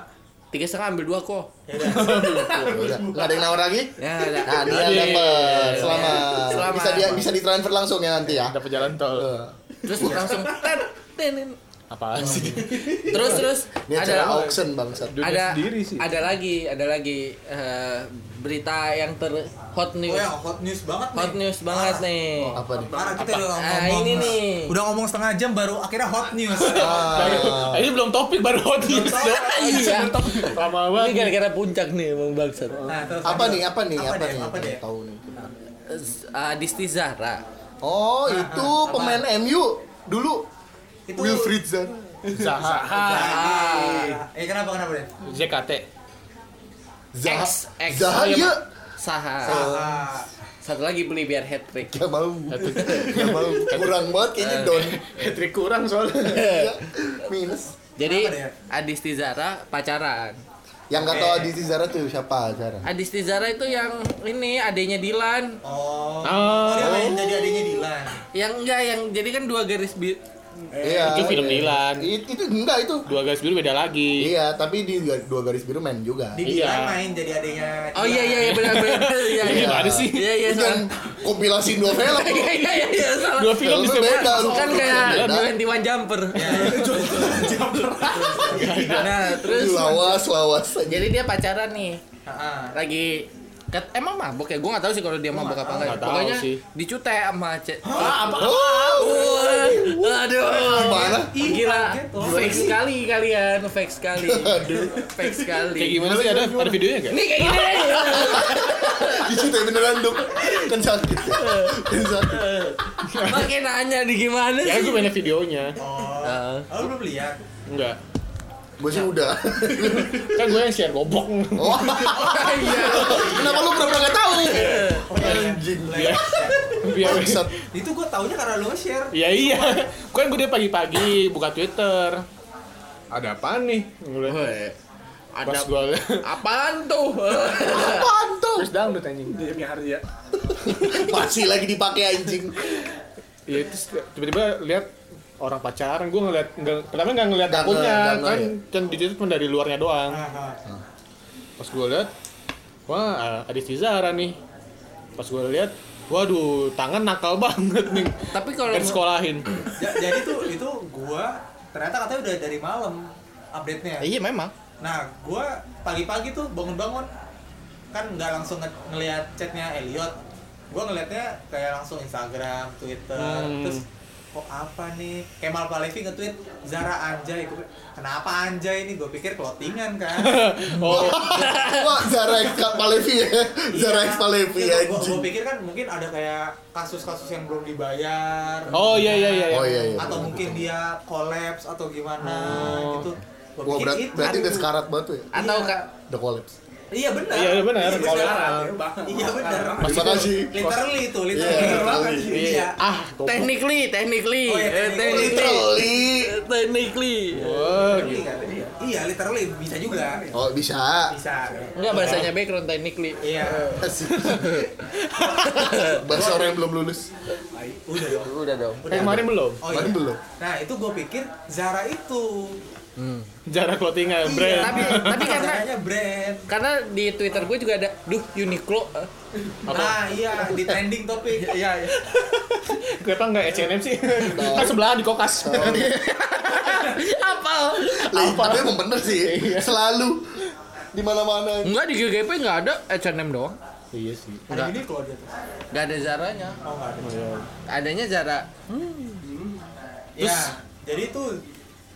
S1: tiga setengah ambil dua kok
S4: Ya udah.
S1: Iya.
S3: Udah. nggak ada yang nawar lagi
S1: [LAUGHS] ya udah.
S3: nah dia
S6: Iya.
S3: dapat selamat.
S1: Selamat.
S3: bisa dia bisa ditransfer langsung ya nanti ya
S6: Dapat jalan tol.
S3: Eh,
S1: terus langsung ten, ten, ten.
S6: Apaan sih?
S1: terus terus
S3: ini acara
S1: ada
S3: auction bangsat
S6: Dunia
S1: ada
S6: sendiri sih.
S1: ada lagi ada lagi eh, berita yang ter hot
S4: Oh
S1: news
S4: ya, hot news banget nih.
S1: hot news banget
S4: Parah.
S1: nih
S3: apa nih
S4: Parah kita udah ngomong.
S1: Ah, ini nih.
S4: Udah ngomong setengah jam baru akhirnya hot news.
S6: Ah, Ini belum topik baru hot news. dong.
S1: iya
S6: Lama
S1: ini
S6: banget.
S1: gara-gara puncak nih emang bangsat
S4: Nah, terus
S3: apa
S4: lanjut.
S3: nih apa nih apa nih
S4: Apa nih?
S3: tahu nih
S1: Eh, Adisti Zahra
S3: oh itu pemain MU dulu
S4: Itu
S3: Wilfried Zaha
S6: Zaha.
S4: Ah, eh kenapa kenapa deh?
S6: JKT.
S3: Zaha
S1: X, X.
S3: Zaha
S1: Oh, iya,
S3: iya
S1: Saha
S4: Ah,
S1: satu lagi beli biar hat trick
S3: Gak mau
S6: Hat-trick.
S3: Gak mau Kurang banget kayaknya Don
S6: Hat-trick kurang soalnya.
S3: Iya. Minus
S1: Jadi
S4: Kenapa dia?
S1: Adisti Zara pacaran.
S3: Yang gak tau Adizi Zara tuh siapa Zara
S1: Adisti Zara itu yang ini adanya Dilan.
S4: oh.
S6: Ah.
S4: Oh, dia main jadi adiknya Dilan.
S1: Yang enggak yang jadi kan dua garis bi-
S3: Iya
S6: itu film
S3: iya.
S6: Dilan.
S3: It- Itu enggak itu
S6: Dua guys biru beda lagi.
S3: Iya tapi di ga- dua garis biru main juga
S4: Di
S6: Iya.
S4: Dilan main jadi adiknya.
S1: Oh iya iya iya benar benar. [LAUGHS] Iya
S6: Ini
S1: iya.
S6: gimana sih?
S1: Iya iya.
S3: Itu
S1: salah.
S3: kan kompilasi dua film
S1: [LAUGHS] Iya iya iya, iya salah.
S6: Dua film di
S3: Filmnya
S6: sebelah.
S3: beda
S1: Kan kayak Twenty Jumper. Nah terus
S3: Lawas lawas aja
S1: [LAUGHS] jadi dia pacaran nih
S4: Heeh.
S1: lagi kat- emang mabok ya gue nggak tahu sih kalau dia mabok apa enggak
S6: Nggak tahu
S1: pokoknya
S6: sih.
S1: dicute sama [GASPS] ce-
S3: Oh,
S1: Wah, aduh oh.
S3: Gimana?
S1: gila
S4: kaget loh.
S1: fake sekali kalian fake
S6: [LAUGHS]
S1: sekali fake sekali
S6: Kayak gimana sih ada ada videonya enggak?
S1: Iya, Nih kayak gini deh.
S3: Dicintai beneran dong Kan sakit ya. Kan sakit
S1: Makin nanya di gimana
S6: Ya
S1: [LAUGHS] sih?
S6: gue mainnya videonya.
S1: Heeh.
S4: Oh, lu belum lihat.
S6: Enggak.
S3: Gue sih udah
S6: Kan gue yang share gobok.
S3: Oh iya Kenapa lu pernah nggak tahu
S6: Iya.
S3: Anjing
S6: Biar biar [LAUGHS]
S3: Bangsat.
S4: Itu gua taunya karena lu share.
S6: Ya iya. Kan gue dia pagi-pagi buka Twitter. Ada apaan nih? Gue liat.
S1: Weh, Ada
S6: Pas gue
S1: apaan tuh? [LAUGHS]
S3: Apaan tuh
S6: terus download anjing.
S5: Jamnya Harja.
S3: Masih lagi dipakai anjing
S6: Ya terus tiba-tiba lihat orang pacaran gue ngeliat nggak pertama nggak ngeliat
S3: Nggak
S6: akunnya
S3: ngeliat, nggak
S6: kan
S3: ngeliat.
S6: kan di Twitter cuma dari luarnya doang.
S4: Ah, ah.
S6: Pas gue lihat, wah ada Zara nih. Pas gue lihat, waduh tangan nakal [LAUGHS] banget nih.
S1: Tapi kalau
S6: Kan sekolahin.
S4: Ja- Jadi tuh itu gua ternyata katanya udah dari malam update-nya.
S1: Iya memang.
S4: Nah, gua pagi-pagi tuh bangun-bangun kan nggak langsung nge- ngelihat chatnya Elliot. gue ngelihatnya kayak langsung Instagram, Twitter,
S6: Hmm.
S4: terus kok apa nih Kemal Palevi nge-tweet Zara anjay Gua, kenapa anjay ini gue pikir clothingan kan
S6: [LAUGHS] Oh,
S3: Wah, Zara X Palevi ya. [LAUGHS] Zara X Palevi
S4: gue
S3: anjing.
S4: Iya, pikir kan mungkin ada kayak kasus-kasus yang belum dibayar
S6: Oh, iya, iya, iya, iya.
S3: Oh, iya, iya,
S4: atau
S3: betul,
S4: mungkin dia collapse atau gimana
S6: Oh.
S4: gitu
S3: Wah,
S4: Gua pikir
S3: berat,
S4: itu.
S3: berarti udah sekarat banget tuh ya.
S1: Atau
S4: Iya.
S1: ka-
S3: Udah collapse.
S4: iya benar
S6: Iya, iya, benar.
S4: Iya,
S6: Collapse.
S4: Iya, benar.
S3: Terima kasih.
S4: literally itu literally
S3: Iya,
S4: Bener banget.
S3: literally.
S4: iya
S6: ah, goblok.
S1: technically, technically,
S4: Oh, iya,
S1: eh,
S4: technically.
S3: Literally.
S1: Eh, technically. Iya.
S6: Oh,
S4: Literally
S6: gitu.
S4: kan tadi ya? iya literally bisa juga
S3: Oh, bisa.
S4: bisa
S1: Enggak bahasanya background technically.
S4: iya
S3: Asik. Bahasa orang yang belum lulus.
S4: udah dong
S1: Udah dong.
S6: Eh, kemarin belum.
S4: oh
S3: Kemarin belum.
S4: nah itu gue pikir Zara itu
S6: Jarak clothingan, brand.
S1: Iya, tapi- tapi karena-
S4: Zaranya brand
S1: Karena di Twitter gue juga ada, duh Uniqlo. [LAUGHS]
S4: nah iya di trending topik
S1: Iya,
S6: Kenapa nggak H&M sih? [LAUGHS] Kan sebelahan di kokas.
S1: Apa?
S3: Lah, tapi emang bener sih.
S4: Iya.
S3: Selalu di mana-mana.
S1: Enggak di GGP enggak ada H&M doang.
S6: Iya sih.
S4: ada ini keluar dia tuh
S1: Enggak ada Zaranya.
S4: oh nggak ada
S1: Adanya Zara
S4: Iya, jadi itu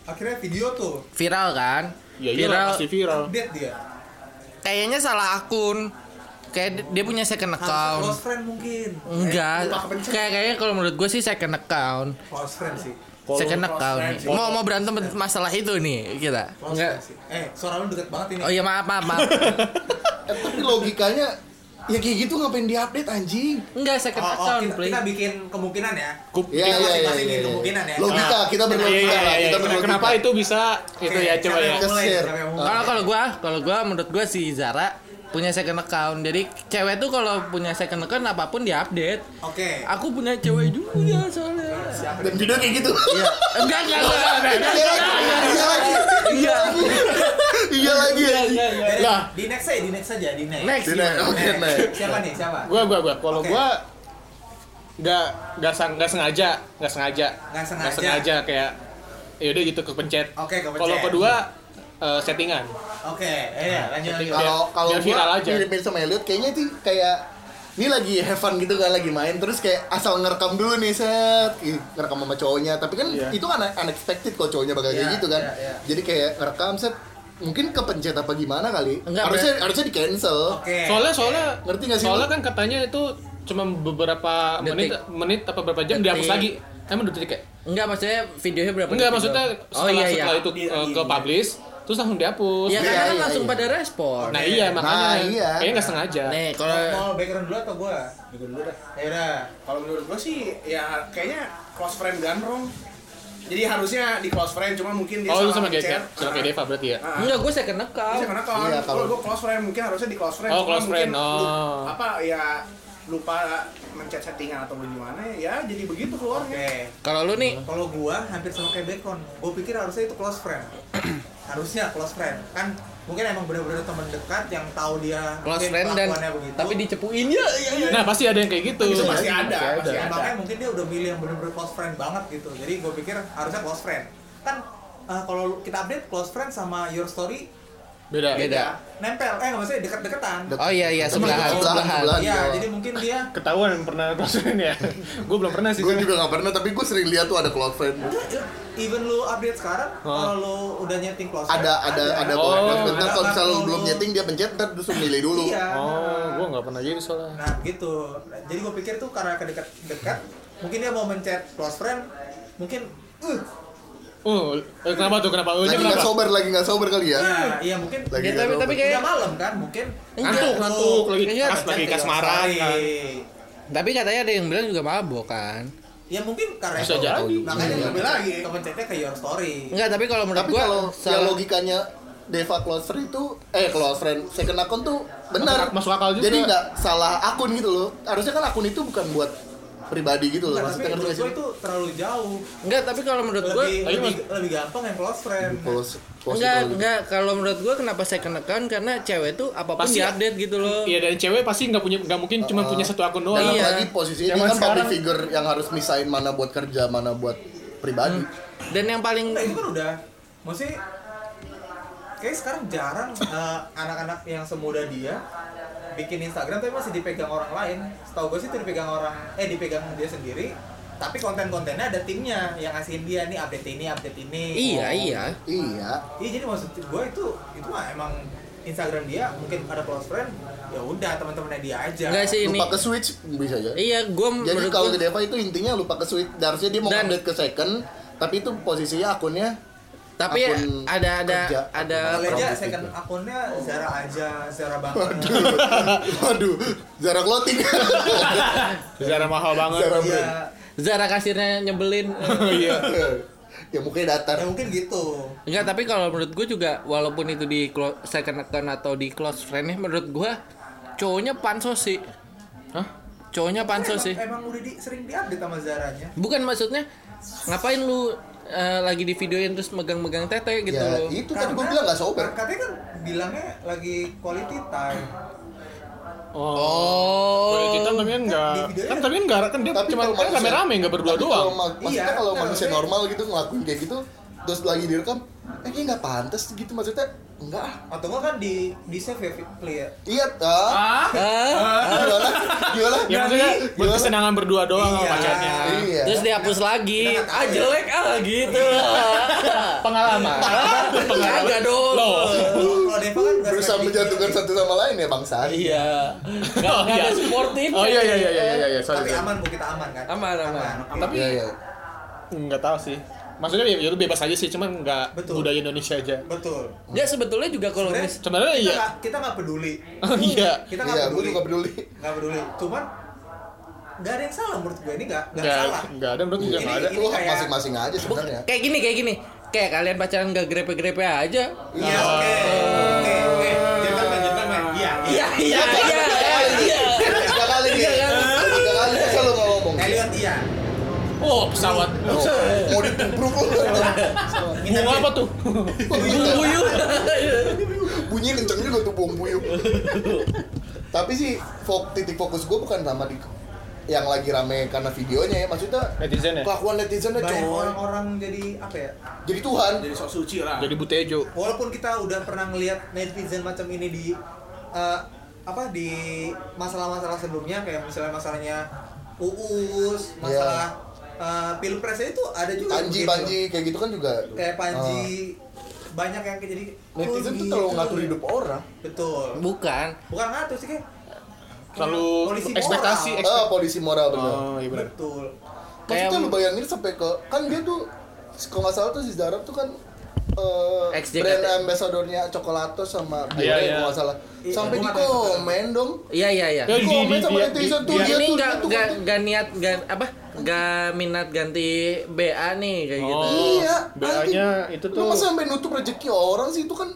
S4: akhirnya video tuh
S1: viral kan?
S6: Ya iya
S1: viral.
S6: pasti viral.
S4: update dia.
S1: Kayaknya salah akun. Kayak di- dia punya second
S4: Harus Eh,
S1: account.
S4: close friend mungkin.
S1: Enggak. Kayak kayaknya kalau menurut gue sih second account.
S4: Close friend sih.
S6: Kalau-
S1: second account.
S4: friend sih.
S1: Mau mau berantem masalah itu nih kita.
S4: Close
S1: Enggak.
S4: friend sih. Eh, suara lu deket banget ini.
S1: Oh iya maaf maaf
S6: [LAUGHS]
S1: maaf.
S3: Eh, tapi logikanya ya kayak gitu ngapain diupdate anjing?
S1: Enggak second
S4: Oh, oh,
S1: account,
S4: kita,
S1: please.
S4: kita bikin kemungkinan ya.
S6: Kup-
S3: Iya,
S4: Kita
S3: iya, iya,
S4: masing-masing
S3: iya,
S4: bikin
S3: iya.
S4: kemungkinan ya.
S3: Logika, kita
S4: Nah,
S6: Iya,
S3: berlogika
S6: iya,
S3: lah,
S6: iya,
S3: kita
S6: iya.
S3: berlogika.
S6: Kenapa itu bisa itu ya coba
S4: Siapa
S6: ya.
S4: yang
S3: Share.
S4: mulai? Siapa yang mulai?
S1: Kalau kalau gua, kalau gua menurut gua si Zara punya second account. Jadi cewek tuh kalau punya second account apapun diupdate.
S4: Oke.
S1: Aku punya cewek juga soalnya.
S3: Dan video kayak gitu. [LAUGHS]
S1: Iya. Enggak enggak enggak. enggak, enggak,
S3: Iya
S1: enggak,
S3: lagi,
S1: enggak,
S3: iya
S1: enggak.
S3: lagi,
S1: Iya.
S3: iya lagi. anjing.
S4: Dari-
S3: Nah,
S4: Di next aja, di next aja, di next.
S1: Next.
S3: Dina, oke,
S4: Next.
S3: nah.
S4: Siapa nih? Siapa?
S6: Gua gua gua kalau
S4: Oke.
S6: gua nggak nggak sang- nggak sengaja nggak sengaja
S4: Nggak sengaja.
S6: sengaja kayak ya udah gitu kepencet.
S4: Oke, kepencet.
S6: Kalau kedua eh, settingan.
S4: Oke, eh lanjut lanjut.
S3: Kalau kalau
S6: Biar viral
S3: gua
S6: aja.
S3: mirip-mirip sama Elliot kayaknya sih kayak ini lagi have fun gitu kan lagi main terus kayak asal ngerekam dulu nih set Ih, ngerekam sama cowoknya tapi kan
S6: Iya.
S3: itu kan unexpected kalau cowoknya bakal kayak
S4: Iya,
S3: gitu kan
S4: iya, iya.
S3: jadi kayak ngerekam set mungkin kepencet apa gimana kali
S1: Enggak,
S3: harusnya harusnya di cancel
S4: Oke.
S6: Soalnya soalnya
S3: Ngerti nggak sih lu?
S6: Soalnya kan katanya itu cuma beberapa menit
S1: Detik.
S6: menit apa berapa jam
S1: Detik.
S6: dihapus lagi. Emang udah detik ya?
S1: Enggak maksudnya videonya berapa?
S6: Enggak
S1: detik
S6: maksudnya
S1: doang?
S6: setelah,
S1: Oh iya iya.
S6: setelah itu
S4: Iya,
S6: eh,
S4: iya,
S6: ke
S4: iya.
S6: publish terus langsung dihapus.
S1: Ya
S3: Iya,
S1: karena kan
S3: iya,
S1: langsung
S3: iya.
S1: pada respon.
S6: Nah iya
S3: Nah,
S6: makanya
S3: iya.
S6: kayaknya nggak sengaja.
S1: Nih kalau
S4: Mau background dulu atau gua?
S5: Juga dulu dah.
S4: Ya udah.
S5: Kalau menurut gua sih ya kayaknya close friend Ganrong. Jadi harusnya di close friend cuma mungkin dia
S6: Oh lu
S5: salah
S6: sama
S5: chat.
S6: kayak sama kayak Deva berarti ya?
S5: Ah, ah.
S1: enggak gue second account.
S5: Bisa karena kalau
S3: Iya, kalau-
S5: kalau gue close friend mungkin harusnya di close friend.
S6: Oh,
S5: Cuma
S6: close friend,
S5: mungkin lu-
S6: oh.
S5: Apa ya lupa mencet settingan atau gimana ya jadi begitu keluarnya.
S4: Oke.
S1: Kalau lu nih
S4: Kalau gua hampir sama kayak Bacon. Gua pikir harusnya itu
S3: [CLEARS THROAT]
S4: close friend. harusnya close friend. Kan mungkin emang bener-bener teman dekat yang tahu dia
S1: close
S4: mungkin
S1: friend dan
S4: kelakuannya begitu.
S1: tapi dicepuin ya. ya,
S4: Iya.
S1: ya.
S6: Nah pasti ada yang kayak gitu.
S5: Itu pasti ada,
S3: Pasti
S5: pasti
S4: Ya,
S5: Iya, ada.
S4: makanya mungkin dia udah milih yang bener-bener close friend banget gitu. Jadi gua pikir harusnya close friend. Kan eh, kalau kita update close friend sama your story
S6: Beda.
S1: Beda.
S4: nempel. Eh nggak maksudnya dekat-dekatan.
S3: Dek-
S1: Oh iya iya sebelahan
S3: Sebelahan,
S1: sebelahan.
S3: sebelahan.
S4: Iya,
S3: Iya.
S4: jadi mungkin dia
S6: Ketahuan yang pernah closein ya? Gue belum pernah sih.
S3: gue juga nggak pernah tapi gue sering lihat tuh ada cloud friend
S4: even lu update sekarang
S6: Oh.
S4: kalau lu udah nyeting close friend,
S3: ada ada ada
S6: Oh,
S3: cloud friend bentar
S4: ada
S3: kalau misalnya lu
S4: kalau
S3: belum
S4: lu-
S3: nyeting dia pencet ntar terus lu milih dulu
S4: Iya.
S6: Oh, gue nggak pernah jadi soalnya.
S4: Nah gitu, jadi gue pikir tuh karena kedekat-dekat, mungkin dia mau mencet close friend, mungkin, uh,
S6: Uh, eh, kenapa tuh kenapa? Lu
S3: lagi nggak
S6: kenapa?
S3: sober lagi nggak sober kali ya
S4: nah iya mungkin
S3: Lagi
S1: Ya, tapi
S3: nggak sober.
S1: tapi
S4: udah
S1: kayak
S4: malam kan, mungkin
S6: Iya, Ngantuk,
S1: Enggak.
S6: ngantuk lagi
S1: Iya,
S6: kas lagi
S4: mencet
S6: kasmaran
S4: your
S6: kan.
S4: story.
S1: tapi katanya ada yang bilang juga mabok kan.
S4: Ya mungkin karena
S6: Bisa
S4: itu,
S6: aja tahu juga.
S4: makanya
S5: Iya.
S4: lebih lagi kepencetnya ke your story.
S1: Enggak, tapi kalau menurut
S3: tapi
S1: gua
S3: kalau yang
S1: salah-
S3: logikanya Deva close friend itu eh close friend second account tuh benar
S6: Masuk- masuk akal juga.
S3: jadi nggak salah akun gitu loh harusnya kan akun itu bukan buat pribadi gitu loh
S4: Enggak, Nah, tapi
S3: maksudnya ngerti nggak sih?
S4: menurut gue itu terlalu jauh,
S1: Enggak, tapi kalau menurut gua
S4: lebih,
S6: Tapi
S4: lebih,
S6: mas-
S4: lebih gampang yang close friend.
S3: close close
S1: enggak,
S3: itu
S1: enggak. Kalau menurut gua kenapa second account karena cewek tuh apapun
S6: Pasti-
S1: diupdate gitu loh.
S6: Iya dan cewek pasti nggak punya nggak mungkin cuma punya satu akun
S3: dan
S6: doang.
S1: Iya.
S3: apalagi posisinya dia
S6: Zaman
S3: kan public
S6: sekarang-
S3: figure yang harus misain mana buat kerja mana buat pribadi
S6: Hmm.
S1: Dan yang paling
S4: Nah, itu kan udah, maksudnya kayak sekarang jarang eh, anak-anak yang semuda dia bikin Instagram tapi masih dipegang orang lain. Setahu gue sih itu dipegang orang eh dipegang dia sendiri. Tapi konten-kontennya ada timnya yang ngasihin dia nih update ini, update ini.
S1: Iya,
S4: Oh.
S1: iya.
S3: Iya.
S4: Iya jadi maksud gue itu itu mah emang Instagram dia mungkin ada close friend ya udah teman-temannya dia aja.
S1: Enggak sih ini.
S3: Lupa ke switch bisa aja.
S1: Iya, gua
S3: Jadi
S1: menurut
S3: kalau
S1: gua-
S3: ke Deva itu intinya lupa ke switch. Harusnya dia mau
S1: Dan-
S3: update ke second, tapi itu posisinya akunnya [LAUGHS]
S1: tapi
S3: akun
S1: ada ada
S3: kerja.
S1: ada
S4: Kalau aja
S3: Promosi
S4: second
S3: juga.
S4: akunnya Zara aja, Zara banget.
S3: Waduh, jarak clothing.
S6: Secara mahal banget.
S3: Zara brand.
S4: Iya.
S1: Zara kasirnya nyebelin. [LAUGHS]
S6: Iya.
S3: [LAUGHS] ya mukanya
S4: Ya
S3: datar.
S4: mungkin gitu.
S1: Enggak, tapi kalau menurut gue juga walaupun itu di clo- second account atau di close friend menurut gue cowoknya pansos sih.
S6: Hah?
S1: Cowoknya pansos sih.
S4: Emang, emang udah di, sering diupdate sama Zaranya.
S1: Bukan maksudnya ngapain lu eh, lagi di videoin terus megang-megang tete gitu
S3: Ya
S1: loh.
S3: itu tadi gue bilang nggak sober.
S4: Katanya kan bilangnya lagi quality time.
S6: Oh.
S1: Oh.
S6: Kita tapi kan enggak
S4: Di videonya-
S6: kan tapi kan enggak kan dia
S3: Tapi
S6: cuma
S3: kalau
S6: kan
S3: manusia-
S6: rame-rame enggak berdua
S3: Tapi
S6: doang.
S3: kalau ma- maksudnya
S4: Iya,
S3: kalau
S4: nah,
S3: manusia
S4: maksudnya-
S3: normal gitu ngelakuin kayak gitu, terus lagi direkam, eh ini nggak pantas gitu maksudnya. Enggak ah.
S4: Atau enggak kan di di save ya Fitli
S3: [LAUGHS]
S4: ya?
S3: Iya, ah.
S1: Hah?
S3: Gimana? Gimana?
S6: Ya maksudnya buat
S3: Gimana?
S6: kesenangan berdua doang sama
S4: Iya.
S6: pacarnya.
S3: Iya.
S1: Terus dihapus lagi.
S4: Kita nggak tahu
S1: Ah
S4: ya.
S1: jelek ah gitu.
S6: Pengalaman.
S1: Enggak dong.
S6: Loh.
S4: Kalau kalau Deva kan nggak
S3: Oh. berusaha
S4: sering
S3: menjatuhkan
S4: di-
S3: satu sama lain ya bangsa.
S1: Iya. Enggak
S6: Oh,
S1: ada
S6: iya.
S1: sportif.
S6: Oh iya iya iya iya iya iya sorry.
S4: Tapi
S6: sorry.
S4: aman bu kita aman kan?
S1: Aman, aman.
S4: oke.
S6: Tapi
S3: Iya, iya.
S6: enggak tahu sih. Maksudnya ya ya lu bebas aja sih, cuman enggak
S4: Betul.
S6: budaya Indonesia aja.
S4: Betul.
S1: Ya sebetulnya juga kalau
S4: Sebenarnya-
S1: mis-
S6: Sebenarnya
S4: Kita
S6: iya.
S4: nggak kita nggak peduli.
S6: Oh, iya.
S4: Kita nggak
S3: Iya, gue
S4: peduli.
S3: juga peduli.
S4: Nggak peduli. Cuman nggak ada yang salah menurut gue ini nggak nggak
S6: Enggak
S4: salah.
S6: enggak ada menurut juga
S3: Iya,
S6: enggak ada.
S4: ini
S3: Lu hak
S4: kayak-
S3: masing-masing aja sebenarnya.
S1: kayak gini kayak gini. Kayak kalian pacaran gak grepe-grepe aja.
S4: Iya oke.
S3: Ah.
S4: Oke oke.
S5: Gentleman, gentleman. Iya, iya.
S1: Iya, iya, iya, iya.
S3: Tiga kali nih. Tiga kali masa lu nggak ngomong.
S4: Iya, kan? Elliot iya.
S6: Oh, pesawat.
S3: Oh, Mau ditubruk lu.
S6: Bunga apa tuh? [LAUGHS]
S1: Buyu.
S3: Bunyi kenceng juga tuh buang buyuk. Tapi sih fok, titik fokus gue bukan sama di yang lagi rame karena videonya ya maksudnya
S6: Netizen ya?
S3: kelakuan netizennya
S4: Banyak
S3: coy
S4: orang-orang jadi apa ya?
S3: jadi Tuhan
S5: Jadi sok suci lah.
S6: Jadi butejo.
S4: walaupun kita udah pernah ngelihat netizen macam ini di eh, apa di masalah-masalah sebelumnya kayak misalnya masalahnya uus masalah eh, pilpres itu ada juga
S3: Iya. Panji
S4: begitu.
S3: Panji kayak gitu kan juga
S4: kayak panji banyak yang jadi
S3: Ah, netizen
S4: "Oh,
S3: tuh
S4: gitu."
S3: terlalu ngatur hidup orang
S4: betul
S1: Bukan.
S4: bukan ngatur sih kayak
S6: Terlalu
S4: Polisi moral.
S6: ekspektasi.
S4: Ex-
S3: ah polisi moral bener
S6: Oh, iya benar.
S4: betul
S3: Maksudnya
S1: Kayak-
S3: lu bayangin sampai ke kan dia tuh kalau nggak salah tuh si Zarab tuh kan eh
S1: Ex-JKT.
S3: brand ambassadornya Chocolato sama
S6: Iya,
S3: Biore
S6: iya.
S3: kalau nggak salah
S4: Iya,
S3: sampai
S4: gua
S3: di
S4: nggak tahu.
S3: komen dong
S1: Iya, iya, iya.
S6: Ya,
S3: Di
S6: di-
S3: komen
S6: di-
S3: sama
S6: dia-
S3: netizen
S6: di-
S3: tuh
S6: dia- kan-
S3: dia
S1: ini
S3: tuh
S1: nggak
S3: dia tuh kan-
S1: nggak
S3: konten.
S1: nggak niat nggak apa nggak minat ganti BA nih kayak gitu
S6: Oh.
S3: iya
S6: BA-nya
S3: anjing.
S6: itu
S3: Lu
S6: tuh-
S3: masa sampai nutup rezeki orang sih itu kan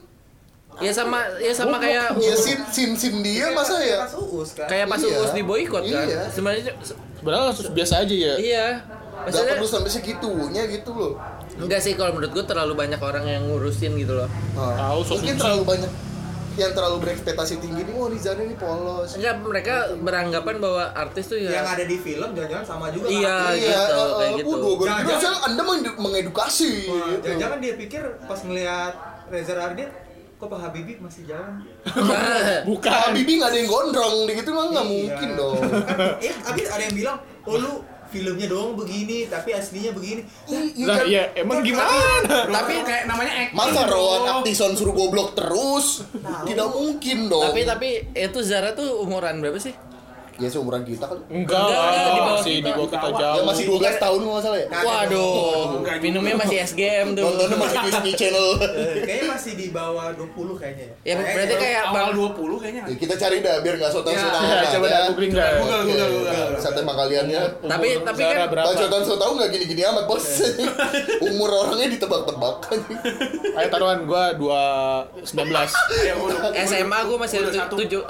S1: ya sama ya sama
S6: Oh,
S1: kayak
S3: ya sin sin sin dia masa
S4: pas-
S3: ya
S4: pas uus kan
S1: kayak pas
S3: Iya.
S1: uus di boykot kan
S3: Iya.
S1: sebenarnya se-
S6: Sebenarnya biasa aja ya.
S1: iya
S3: Gak
S1: maksudnya
S3: perlu sampai segitunya gitu loh
S1: enggak sih kalau menurut gua terlalu banyak orang yang ngurusin gitu loh
S3: Ah,
S6: Tahu, sok
S3: mungkin
S6: suci.
S3: terlalu banyak yang terlalu berekspektasi tinggi nih, oh Rizan ini polos.
S1: enggak mereka beranggapan bahwa artis tuh ya
S4: yang
S1: [LAUGHS]
S4: ada di film jangan-jangan sama juga
S1: Iya.
S4: ngatur.
S1: gitu,
S3: eh, eh,
S1: kayak gitu.
S3: Waduh, gue
S4: Jangan-
S3: kira saya anda meng- mengedukasi.
S1: iya,
S3: gitu.
S4: jangan-jangan dia pikir pas ngelihat Reza Radian kok Pak Habibie masih jalan
S3: Ah,
S6: Bukan.
S3: Bibi nggak ada yang gondrong, di gitu mah nggak
S4: Iya.
S3: mungkin dong.
S4: eh abis ada yang bilang oh lu filmnya doang begini tapi aslinya begini
S3: I- iya
S6: Lah
S3: kan?
S6: ya emang gimana?
S5: Tapi kayak namanya acting.
S3: Masa
S5: bro.
S3: Rowan Aktison suruh goblok terus? Tidak mungkin dong.
S1: tapi tapi itu Zara tuh umuran berapa sih
S3: ya seumuran kita kan.
S6: Enggak
S1: Enggak,
S6: lah,
S1: enggak, di bawah
S6: masih
S1: kita.
S6: di bawah kita
S3: Ya
S6: jauh.
S3: masih 12
S1: Iya.
S3: tahun kalau nggak salah ya.
S1: waduh
S5: Enggak juga.
S1: minumnya masih SGM tuh
S3: Nontonnya masih Disney
S1: [LAUGHS]
S3: Channel.
S4: Eh, kayaknya masih di bawah 20 kayaknya
S1: ya
S4: Kayaknya
S1: berarti
S4: Eh, baru-
S1: kayak
S5: awal
S1: bang
S5: 20 kayaknya.
S3: Ya, kita cari dah biar nggak sotoy sotoy
S6: Ya, coba dah googling dah.
S5: Google, Google, Google.
S3: Sate makaliannya.
S1: Tapi-
S6: Umur
S1: tapi
S6: Zara
S1: kan-
S6: berapa?
S3: Bacotan so tau nggak gini-gini amat bos [LAUGHS] Umur orangnya ditebak-tebak [LAUGHS]
S6: Ayo taruhan gua 2 19.
S5: Ya, gua udah-
S1: SMA gua masih
S5: gua udah satu.
S1: tujuh 18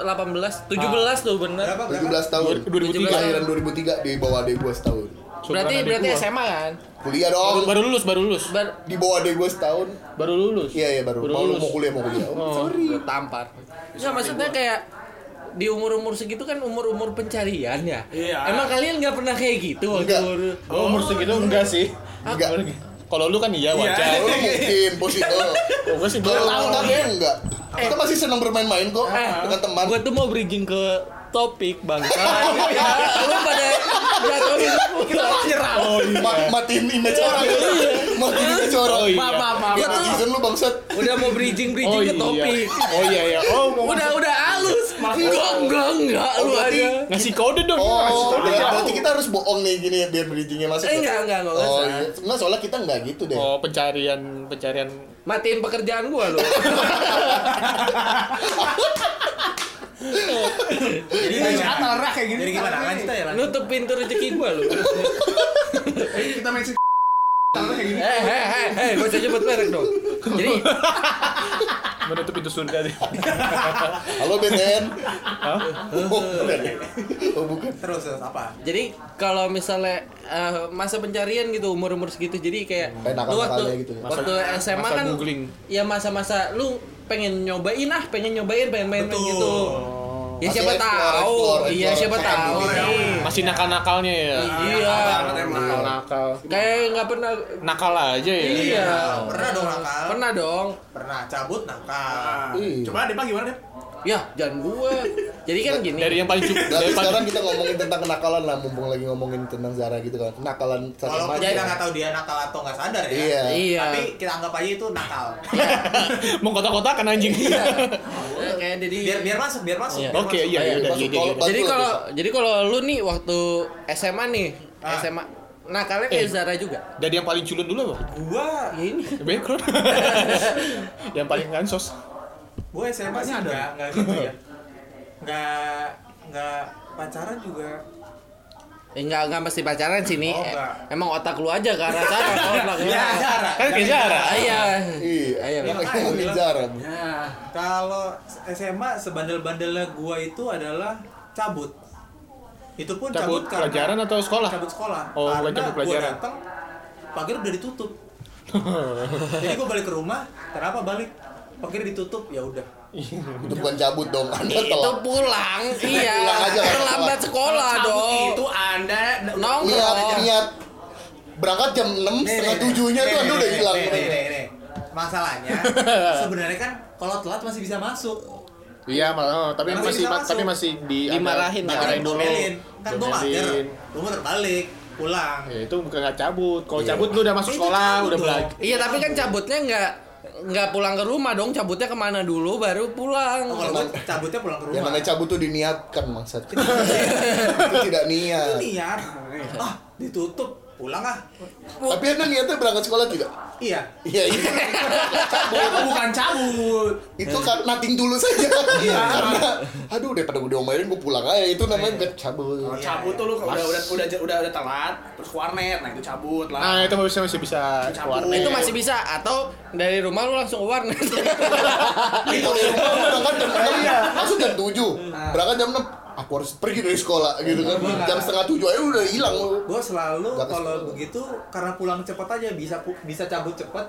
S1: 17 tuh bener
S4: berapa berapa
S3: 17 tahun
S6: Iya, 2003.
S3: Kelahiran 2003 di bawah adek gue setahun
S1: berarti
S6: Seumuran adik
S1: berarti
S6: gua.
S1: SMA kan
S3: Kuliah
S6: Baru,
S3: dong
S6: baru lulus, baru lulus.
S1: Ber-
S3: Di bawah adek gue setahun
S6: Baru lulus.
S3: Iya iya baru
S6: Baru
S3: Mau
S6: lulus.
S3: mau kuliah mau kuliah Oh,
S6: Oh.
S1: Gua tampar. Nggak maksudnya kayak di umur-umur segitu kan umur-umur pencarian ya.
S5: Iya.
S1: Emang kalian nggak pernah kayak gitu waktu
S3: Nggak.
S1: umur-
S6: Oh, umur segitu enggak sih.
S3: Enggak
S6: Kalau lu kan iya
S3: Kalau
S6: wajar.
S3: lu mungkin
S6: [LAUGHS]
S3: possible.
S6: Kalau gue sih
S3: Kalau
S6: belum.
S3: tahu kan ya enggak. Kita masih senang bermain-main kok
S1: Eh.
S3: dengan teman.
S6: Gue tuh mau bridging ke
S1: [LAUGHS]
S6: topik
S1: Oh,
S6: bang.
S1: iya. Lu ya, pada jatuhin
S5: Kita malah nyerang.
S3: Ma- matiin image orang. matiin image orang.
S6: Oh, iya.
S1: Maaf, maaf, maaf.
S3: Ya
S1: maaf.
S3: netizen lu bangsat.
S1: [LAUGHS] Udah mau bridging bridging ke topik.
S6: Oh iya iya. Oh mau
S1: Udah udah halus. Enggak enggak enggak lu aja.
S6: ngasih kode dong.
S3: Oh,
S6: Ngasih kode.
S3: ya, berarti kita harus bohong nih gini biar bridgingnya masuk.
S1: Eh, enggak, enggak, enggak
S3: Oh,
S1: usah.
S3: iya. Enggak, soalnya kita enggak gitu deh.
S6: Oh pencarian pencarian.
S1: Matiin pekerjaan gua lu.
S4: Jadi
S5: Jahat orang Iya. kayak gini.
S4: Jadi gimana? Lanjut aja lanjut.
S1: Nutup pintu rezeki gua lu.
S5: Kita mention orang kayak gini.
S1: [LAUGHS] Eh eh eh eh gua usah nyebut merek [LAUGHS] dong. Jadi
S6: Menutup pintu surga deh.
S3: Halo BTN.
S6: Hah?
S3: [LAUGHS] Oh, bukan. ya? Oh, bukan.
S4: Terus terus apa?
S1: jadi kalau misalnya eh, masa pencarian gitu umur-umur segitu jadi kayak
S3: Kayak nakal-nakalnya
S1: lu waktu
S3: gitu ya.
S1: waktu SMA
S6: masa
S1: kan
S6: googling.
S1: ya masa-masa lu pengen nyobain ah, pengen nyobain pengen main main
S4: Betul.
S1: gitu. Ya
S3: Masih
S1: siapa
S3: explore,
S1: tahu,
S3: explore,
S1: iya
S3: explore, gitu.
S1: siapa
S3: tekan
S1: tahu.
S3: dulu.
S1: nih.
S6: Masih nakal-nakalnya ya.
S1: Iya.
S6: Nakal-nakal.
S1: Kayak nggak pernah
S6: Nakal aja ya.
S1: Iya.
S4: Pernah dong nakal.
S1: pernah dong.
S4: Pernah cabut nakal.
S5: Ah,
S6: Hmm.
S3: Ih.
S5: Coba Depa gimana Dep?
S1: Ya, jangan gua. Jadi kan gini.
S6: Dari yang paling cukup.
S3: Berarti
S6: Dari
S3: sekarang
S6: [LAUGHS] paling
S3: kita ngomongin tentang kenakalan lah, mumpung lagi ngomongin tentang Zara gitu kan. Kenakalan satu
S4: Walaupun
S3: remaja.
S4: kita nggak tahu dia nakal atau nggak sadar ya.
S3: Iya.
S1: Iya.
S4: Tapi kita anggap aja itu nakal.
S6: mau kotak-kotakan anjing.
S1: Eh, kayak jadi
S4: Biar biar masuk, biar masuk.
S1: Iya.
S4: biar
S6: [LAUGHS] Oke
S4: masuk.
S6: iya iya
S3: Ayo,
S6: udah
S3: masuk
S6: iya iya,
S3: kolom.
S6: iya.
S1: Jadi
S3: Bantu lah,
S1: kalau jadi kalau lu nih waktu SMA nih,
S4: Ah.
S1: SMA Nah, kalian kayak
S6: Eh.
S1: Zara juga.
S6: Dari yang paling culun dulu apa?
S4: Gua
S1: Ya ini.
S6: Background. [LAUGHS] yang paling gansos.
S4: gua SMA sih nggak nggak gitu ya. Nggak nggak pacaran juga.
S1: Eh, enggak enggak mesti pacaran sih nih.
S4: Oh,
S1: Eh,
S4: enggak.
S1: Emang otak lu aja ke arah Zara kalau otak lu.
S4: Ya, Zara.
S6: Kan kayak Zara.
S1: Ah, Iya.
S3: Iya,
S1: Ayo.
S3: yang
S4: makanya gua
S3: ngomongin
S4: bilang.
S3: Zara.
S4: Kalau SMA sebandel-bandelnya gua itu adalah cabut. Itu pun
S6: Cabut
S4: cabut, karena-
S6: pelajaran atau sekolah?
S4: cabut sekolah.
S6: Oh,
S4: karena
S6: bukan cabut
S4: gua
S6: pelajaran.
S4: datang pagar udah
S6: [LAUGHS]
S4: ditutup. Jadi gua balik ke rumah, kenapa balik? Pagar ditutup, ya udah.
S3: Itu bukan cabut dong, Anda
S1: Iya, Itu
S3: telat.
S1: pulang, iya.
S3: Pulang aja, kan?
S1: Terlambat sekolah
S5: Cabut
S1: dong.
S5: Itu Anda
S3: Niat,
S1: Nongkrong.
S3: niat. Berangkat jam 6, setengah tujuhnya tuh Anda udah hilang.
S4: Nih, nih, nih, nih.
S6: [LAUGHS]
S4: Masalahnya sebenarnya kan kalau telat masih bisa masuk.
S6: Iya, malah tapi
S4: Masih
S6: masih
S4: bisa masuk.
S6: tapi masih di ada-
S1: Dimarahin,
S6: dimarahin
S1: kan?
S6: dulu.
S4: Domelin. Kan gua mager,
S6: Domelin.
S4: gua muter balik, pulang.
S6: Ya, itu bukan nggak cabut. Kalau cabut lu udah masuk
S4: Itu
S6: sekolah,
S4: cabut
S6: udah
S4: dong.
S6: belajar.
S1: Iya tapi kan cabutnya nggak nggak pulang ke rumah dong cabutnya kemana dulu baru
S6: Iya.
S1: pulang.
S4: Oh, kalau gua cabutnya pulang ke rumah.
S3: Yang namanya cabut tuh diniatkan, maksud. Itu tidak niat.
S4: niat ah ditutup pulang ah
S3: Tapi Anda niatnya berangkat sekolah tidak?
S4: iya
S3: Iya, iya.
S5: bukan cabut.
S3: itu kan nating dulu saja. Karena aduh daripada gue diomelin gue pulang aja itu namanya bukan cabut.
S5: Kalau cabut tuh lu kalau udah udah udah udah udah telat, terus ke warnet, nah itu cabut lah.
S6: Nah, itu masih masih bisa ke
S5: Cabut.
S6: warnet.
S1: Itu masih bisa atau dari rumah lu langsung ke warnet.
S3: Itu dari rumah gua berangkat jam 6, masuk jam 7. Berangkat jam 6, aku harus pergi dari sekolah gitu kan. Jam setengah 7 aja udah hilang.
S4: gue selalu
S3: Gak ke
S4: kalau
S3: sekolah.
S4: begitu karena pulang cepet aja bisa pu- bisa cabut cepet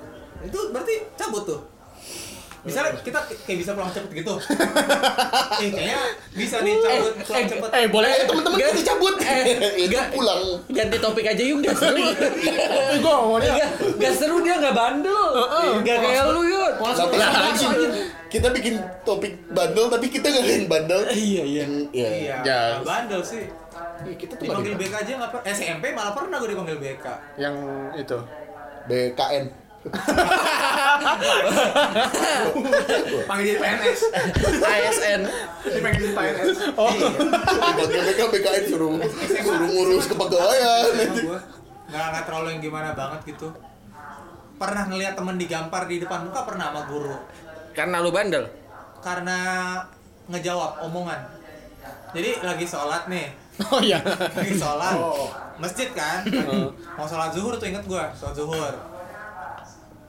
S4: itu berarti cabut tuh misalnya kita kayak bisa pulang cepet gitu [LAUGHS] eh kayaknya bisa nih cabut pulang cepet
S6: Eh,
S1: [LAUGHS]
S6: boleh
S3: Eh teman-teman
S1: Gak-
S3: itu [LAUGHS] cabut.
S1: Eh,
S3: Itu
S1: gak-
S3: pulang.
S1: Ganti topik aja yuk gak seru. Iya.
S6: Eh, gua ngomongnya
S1: Gak, gak seru dia gak bandel. Gak kayak lu yuk.
S3: Nah, lagi kita bikin topik bandel tapi kita gak ada yang bandel.
S1: Iya iya.
S3: Iya.
S4: iya
S6: Ya.
S4: nggak bandel sih
S3: Kita tuh
S4: dipanggil
S3: bandel.
S4: BK aja nggak pernah SMP malah pernah gue dipanggil BK
S6: yang itu. [LAUGHS]
S3: BKN.
S5: Panggil jadi PNS.
S1: ASN.
S5: Dipanggil jadi
S6: [LAUGHS]
S5: PNS.
S6: Oh,
S4: Iya.
S3: Dipanggil mereka BKN suruh suruh ngurus kepegawaian.
S4: gue nggak nggak terlalu yang gimana banget gitu pernah ngelihat temen digampar di depan muka pernah sama guru
S1: Karena lu bandel.
S4: karena ngejawab omongan jadi lagi sholat nih
S6: oh iya.
S4: lagi sholat masjid kan mau sholat zuhur tuh inget gua sholat zuhur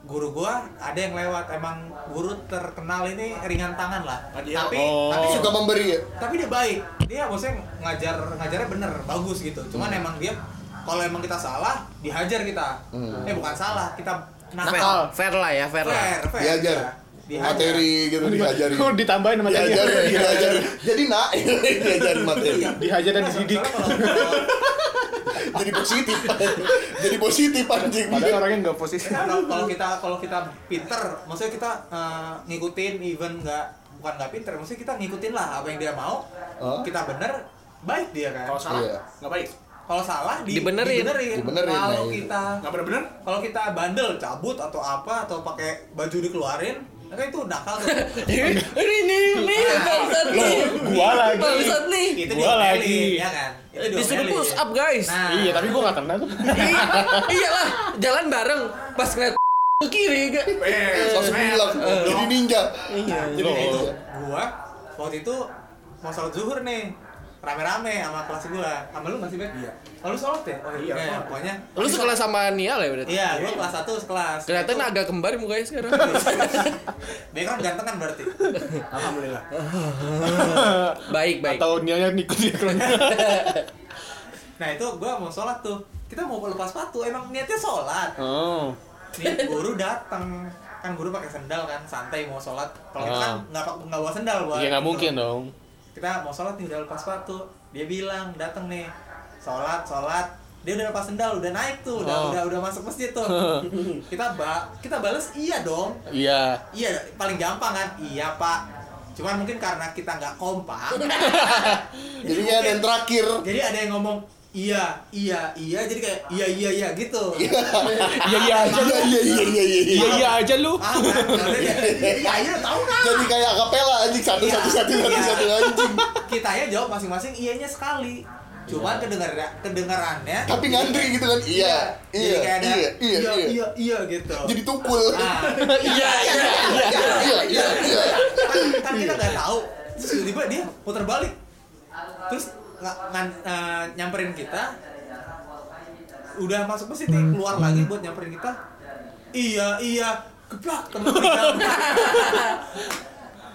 S4: guru gua ada yang lewat emang guru terkenal ini ringan tangan lah tapi
S6: Oh.
S4: tapi
S3: suka memberi ya
S4: tapi dia baik dia maksudnya ngajar ngajarnya bener bagus gitu cuman emang dia kalau emang kita salah dihajar kita eh bukan salah kita
S1: Fair,
S4: nakal
S1: fair lah ya fair lah.
S4: fair fair
S3: diajar
S4: kita. Dihajar.
S3: materi gitu diajarin
S6: Oh, ditambahin sama tadi. [LAUGHS]
S3: diajarin diajarin jadi nak [LAUGHS] diajarin materi
S4: Iya.
S6: Dihajar dan
S4: Nah,
S6: dididik.
S4: soalnya kalau- kalau-
S3: jadi positif jadi positif anjing
S6: kan
S2: Padahal orangnya nggak posisi.
S4: kalau kalau kita kalau kita pinter maksudnya kita eh, ngikutin even nggak bukan nggak pinter maksudnya kita ngikutin lah apa yang dia mau
S3: Oh.
S4: kita bener baik dia kan
S5: Kalau salah,
S3: Iya.
S5: nggak baik.
S4: kalau salah di,
S1: Dibenerin.
S4: dibenerin.
S3: Dibenerin,
S4: kalau
S3: nah, iya.
S4: kita
S5: Nggak bener-bener?
S4: kalau kita bandel cabut atau apa atau pakai baju dikeluarin kan itu nakal tuh
S1: [LAUGHS] [LAUGHS] ini ini ini bangsat nih
S6: gua lagi.
S1: bangsat nih
S4: itu
S6: Gua
S4: diomelin,
S6: lagi.
S4: ya kan itu
S1: disuruh
S4: diomelin.
S1: push up guys
S4: nah
S6: Iya, tapi gua nggak kena tuh.
S1: iya iyalah jalan bareng pas ngeliat ke kiri enggak
S5: Eh,
S3: langsung
S5: sosmed.
S3: bilang jadi ninja
S6: Loh.
S4: ya gitu. gua waktu itu mau sholat zuhur nih rame-rame sama kelas gua sama lu masih bet iya lu sholat ya oh iya,
S5: Iya.
S4: pokoknya
S1: lu sekolah sama Nia lah ya berarti
S4: iya gua kelas satu sekelas
S1: kelihatan
S4: [LAUGHS]
S1: agak kembar mukanya sekarang Iya.
S4: background ganteng kan berarti
S5: Alhamdulillah.
S1: baik baik
S6: Atau dia yang ikut dia
S1: [LAUGHS]
S4: nah itu gua mau sholat tuh kita mau lepas sepatu emang niatnya sholat
S6: Oh.
S4: nih guru datang kan guru pakai sendal kan santai mau sholat kalau kita kan
S6: Ah.
S4: nggak pak- nggak bawa sendal buat
S6: Ya nggak
S4: gitu.
S6: mungkin dong.
S4: kita mau sholat nih udah lepas sepatu dia bilang dateng nih sholat sholat dia udah lepas sendal udah naik tuh udah
S6: Oh.
S4: udah udah masuk masjid
S6: [LAUGHS]
S4: tuh kita ba kita bales iya dong
S6: Iya.
S4: iya paling gampang kan iya pak cuman mungkin karena kita nggak kompak
S3: jadinya
S6: ya
S3: ada yang terakhir
S4: jadi ada yang ngomong iya iya iya jadi kayak iya iya iya gitu
S6: Iya iya aja lu.
S3: iya iya iya iya iya
S6: Iya iya aja lu.
S4: ah kan Maksudnya dia, iya iya iya tahu kan
S3: jadi kayak akapela anjing satu satu satu satu satu anjing
S4: kita ya jawab masing-masing iyanya sekali cuman kedengar kedengarannya
S3: Iya. tapi ngantri gitu kan iya
S4: jadi
S3: iya
S4: kayak ada
S3: iya iya iya
S4: iya iya gitu
S3: jadi tukul [LAUGHS]
S4: Nah,
S1: iya iya
S3: iya iya iya iya
S4: kan, kan kita nggak tahu terus tiba-tiba dia putar balik terus nga- ngan- eh, nyamperin kita udah masuk mesin nih keluar lagi buat nyamperin kita iya iya geblak temen meninggal. [LAUGHS]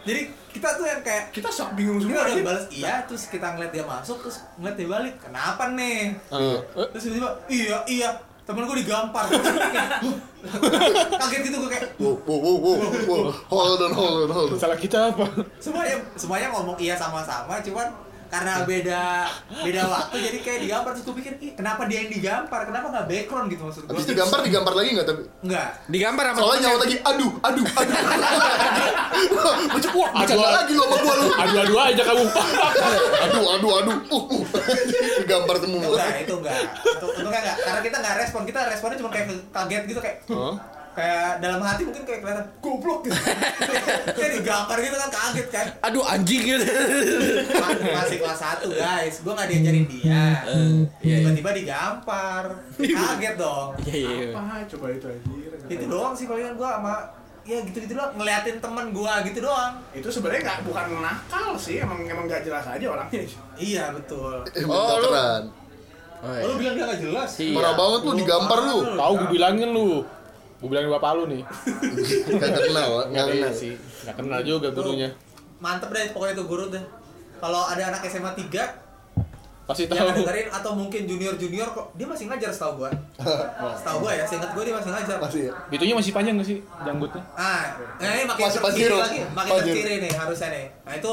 S4: jadi kita tuh yang kayak
S5: Kita sok bingung
S4: kita
S5: semua.
S4: udah
S5: anjing.
S4: balas iya terus kita ngeliat dia masuk terus ngeliat dia balik kenapa nih
S6: Eh, eh,
S4: terus tiba-tiba iya iya temen gue digampar [LAUGHS] kaget gitu gue kayak
S3: wow wow wow wow wow hold on hold on hold on
S6: Salah kita apa?
S4: semuanya semuanya ngomong iya sama-sama cuman karena beda beda waktu jadi kayak digampar terus gue pikir ih kenapa dia yang digampar kenapa nggak background gitu maksud gue
S3: habis digambar digambar lagi nggak tapi
S4: nggak
S1: digambar sama
S3: soalnya nyawa
S1: temennya.
S3: lagi aduh aduh aduh Wah, macam wah bercanda
S6: Aduh.
S3: lagi lo sama gua lu
S6: Adu-adu aja kamu.
S3: aduh aduh aduh uh, uh. digambar
S4: itu
S3: semua
S4: enggak itu enggak itu, itu enggak, enggak karena kita nggak respon kita responnya cuma kayak ke- kaget gitu kayak
S6: Oh.
S4: kayak dalam hati mungkin kayak kelihatan goblok gitu [LAUGHS] kayak digampar gitu kan kaget kan
S1: aduh [LAUGHS] anjing gitu
S4: Ma- masih kelas 1 guys gue nggak diajarin dia
S1: iya, iya.
S4: tiba-tiba digampar kaget dong
S1: iya iya
S5: Apa? Coba itu anjir.
S4: itu Gitu doang sih palingan gua sama ya gitu-gitu doang ngeliatin temen gua gitu doang
S5: Itu sebenarnya nggak bukan nakal sih, emang emang nggak jelas aja orangnya.
S4: iya betul
S3: Eh,
S1: Oh, lu-
S3: keren.
S1: Oh,
S4: lu bilang dia gak jelas
S1: Iya.
S3: Parah banget lu digambar lu.
S6: Tahu gue bilangin lu. Gue bilangin bapak lu nih.
S3: Gak kenal, gak
S6: Iya
S3: kenal.
S6: sih. Gak kenal juga gurunya.
S4: mantep deh pokoknya tuh guru deh kalau ada anak SMA 3
S6: Pasti
S3: Iya,
S4: yang
S3: kan
S6: tahu.
S4: dengerin atau mungkin junior-junior kok dia masih ngajar setahu
S3: [LAUGHS]
S4: gua setahu gua ya seingat gua dia masih ngajar
S3: Masih ya?
S6: Itunya masih panjang gak sih janggutnya?
S4: ah nah ini makin
S3: Masih
S4: ke kiri
S3: Pajero.
S4: lagi makin ke
S3: Pajero.
S4: kiri nih harusnya nih nah itu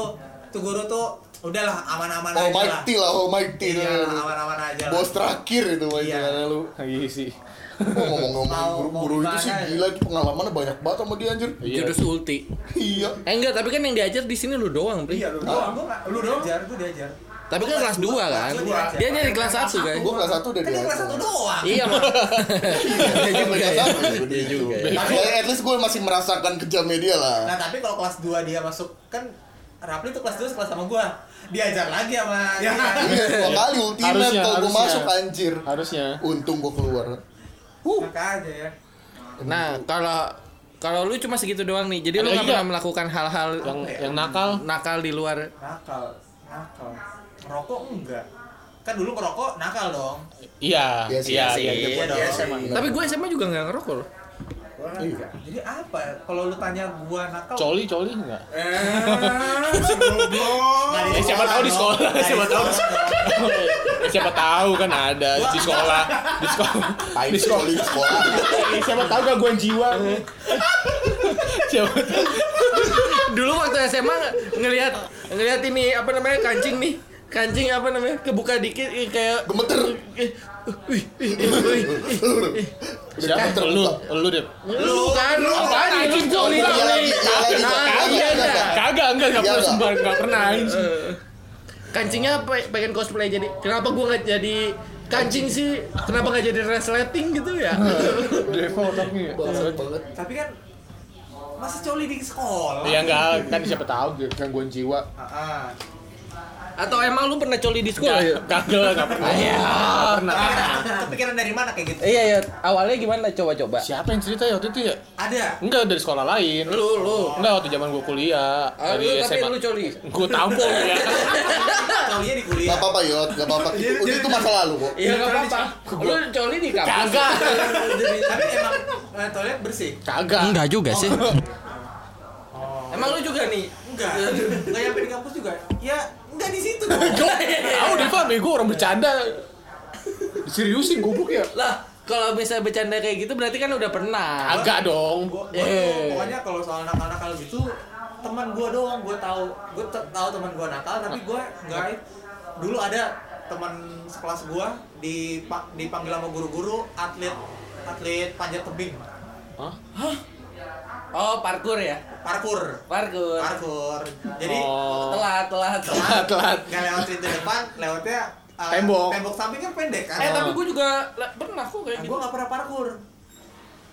S4: tuh guru tuh udahlah aman-aman
S3: Oh
S4: aja lah
S3: Mighty lah, oh Mighty
S4: iya aman-aman aja lah
S3: Bos terakhir itu Mighty
S4: Iya.
S3: karena lu
S6: Iya sih.
S3: Oh, Ngomong-ngomong
S4: Mau-
S3: guru-guru itu
S4: mau
S3: sih
S4: gimana ya?
S3: gila pengalamannya banyak banget sama dia anjir
S6: Iya.
S1: jurus ulti
S3: Iya
S1: eh enggak tapi kan yang diajar di sini lu doang Pri
S5: Iya,
S4: Gua-
S5: lu doang.
S4: gua nggak-
S5: Lu
S4: lu
S5: doang.
S4: diajar gua diajar
S1: tapi kan kelas 2 kan
S4: Gua diajar.
S1: dia dari kelas 1 guys
S3: Gua kelas satu udah
S4: kan dia kelas satu doang
S1: iya mah iya juga
S3: Kelas
S1: ya
S3: satu
S1: iya juga ya.
S3: Tapi at least gue masih merasakan kejamnya dia lah
S4: Nah tapi kalau kelas 2 dia masuk kan Rapli tuh kelas 2 sekelas sama gua Diajar lagi sama dia
S3: Iya, dua kali ultimate
S6: Harusnya,
S3: kalau gue
S6: harusnya.
S3: masuk anjir
S6: Harusnya.
S3: Untung gue keluar
S4: Makanya ya
S1: nah kalau kalau lu cuma segitu doang nih jadi lu
S6: Ada
S1: nggak
S6: lagi
S1: pernah
S6: nggak?
S1: melakukan hal-hal
S6: Yang
S3: ya?
S6: yang nakal.
S1: nakal di luar
S4: Nakal Nakal Ngerokok enggak Kan dulu ngerokok nakal dong
S6: Iya.
S3: Iya
S6: Iya
S3: sih,
S6: iya.
S3: iya sih.
S6: iya.
S4: Iya dong
S1: tapi gue SMA juga nggak ngerokok loh [LAUGHS]
S3: Iya
S4: Jadi apa ya? Kalau lu tanya gua nakal Nah.
S6: Coli coli enggak?
S5: Eh, si goblok.
S4: Nggak di
S6: Eh, siapa
S4: sekolah
S6: tahu di
S3: oh,
S4: dong.
S6: sekolah,
S4: Nggak di
S6: siapa tahu.
S4: sekolah dong.
S6: Eh, siapa tahu kan ada di sekolah di sekolah
S3: Tai
S6: di sekolah
S3: sekolah di sekolah
S6: Eh, siapa tahu gangguan jiwa siapa tahu
S1: dulu waktu SMA ngelihat ngelihat ini apa namanya kancing nih kancing apa namanya kebuka dikit ih, kayak
S3: Gemeter.
S1: Ih, ih, ih, ih, ih, ih.
S6: Siapa? Lu, lu deh.
S1: lu kan lu kan itu
S3: Oh,
S1: joli
S3: iya lagi,
S1: joli
S3: iya lagi.
S1: Nah,
S3: Kagak,
S1: iya
S3: kagak.
S1: dah.
S6: Kagak,
S3: Iya,
S6: enggak, enggak pernah
S3: enggak.
S6: sembar, enggak pernah anjing.
S1: kancingnya apa ya? pengen cosplay jadi kenapa gua nggak jadi kancing sih kenapa nggak jadi resleting gitu ya
S6: Devo tapi.
S3: Bangsat banget.
S4: Tapi kan masih coli di sekolah.
S6: Ya enggak, kan siapa tahu dia gangguan jiwa.
S4: Ah, ah.
S1: [LAUGHS] atau emang lu pernah coli di sekolah ya
S6: Enggak, kagak, enggak pernah. Enggak pernah.
S4: kan Kepikiran dari mana kayak gitu?
S1: iya ya awalnya gimana coba-coba
S6: Siapa yang cerita ya waktu itu ya? [LAUGHS]
S4: Ada.
S6: Enggak dari sekolah lain.
S1: lu lu
S6: Enggak waktu zaman gua kuliah
S1: Ah, lu
S6: dari
S1: tapi
S6: SMA.
S1: lu coli
S6: Gua tampol ya.
S4: Colinya di kuliah.
S3: Gak apa-apa Yot, gak apa-apa. Itu, itu masa lalu kok.
S1: Iya nggak apa-apa. Lu coli di kampus.
S6: Kagak.
S4: Jadi- Tapi emang eh, toilet bersih.
S6: Kagak.
S1: juga sih. Oh. Emang lu juga nih?
S4: Enggak. Enggak nyampe di kampus juga. Ya, enggak di [LAUGHS] situ. dong.
S6: Tahu Deva bego orang bercanda. Seriusin goblok ya?
S1: Lah, kalau bisa bercanda kayak gitu berarti kan udah pernah.
S6: Agak dong.
S4: Gua, gua
S6: Iya.
S4: tuh,
S1: Eh.
S4: pokoknya kalau soal nakal-nakal gitu teman gua doang gua tahu gua te- tahu teman gua nakal tapi gua enggak dulu ada teman sekelas gua di dipanggil sama guru-guru atlet atlet panjat tebing
S1: Oh, parkur ya.
S4: parkur
S1: Parkur.
S4: parkur jadi [LAUGHS]
S6: Oh.
S1: Telat, telat, telat.
S6: Telat.
S4: nggak lewat pintu depan lewatnya uh,
S6: Tembok.
S4: tembok samping kan pendek kan
S1: Eh, tapi gue juga lah, pernah kok kayak
S4: Nah,
S1: gitu.
S4: gua nggak pernah parkur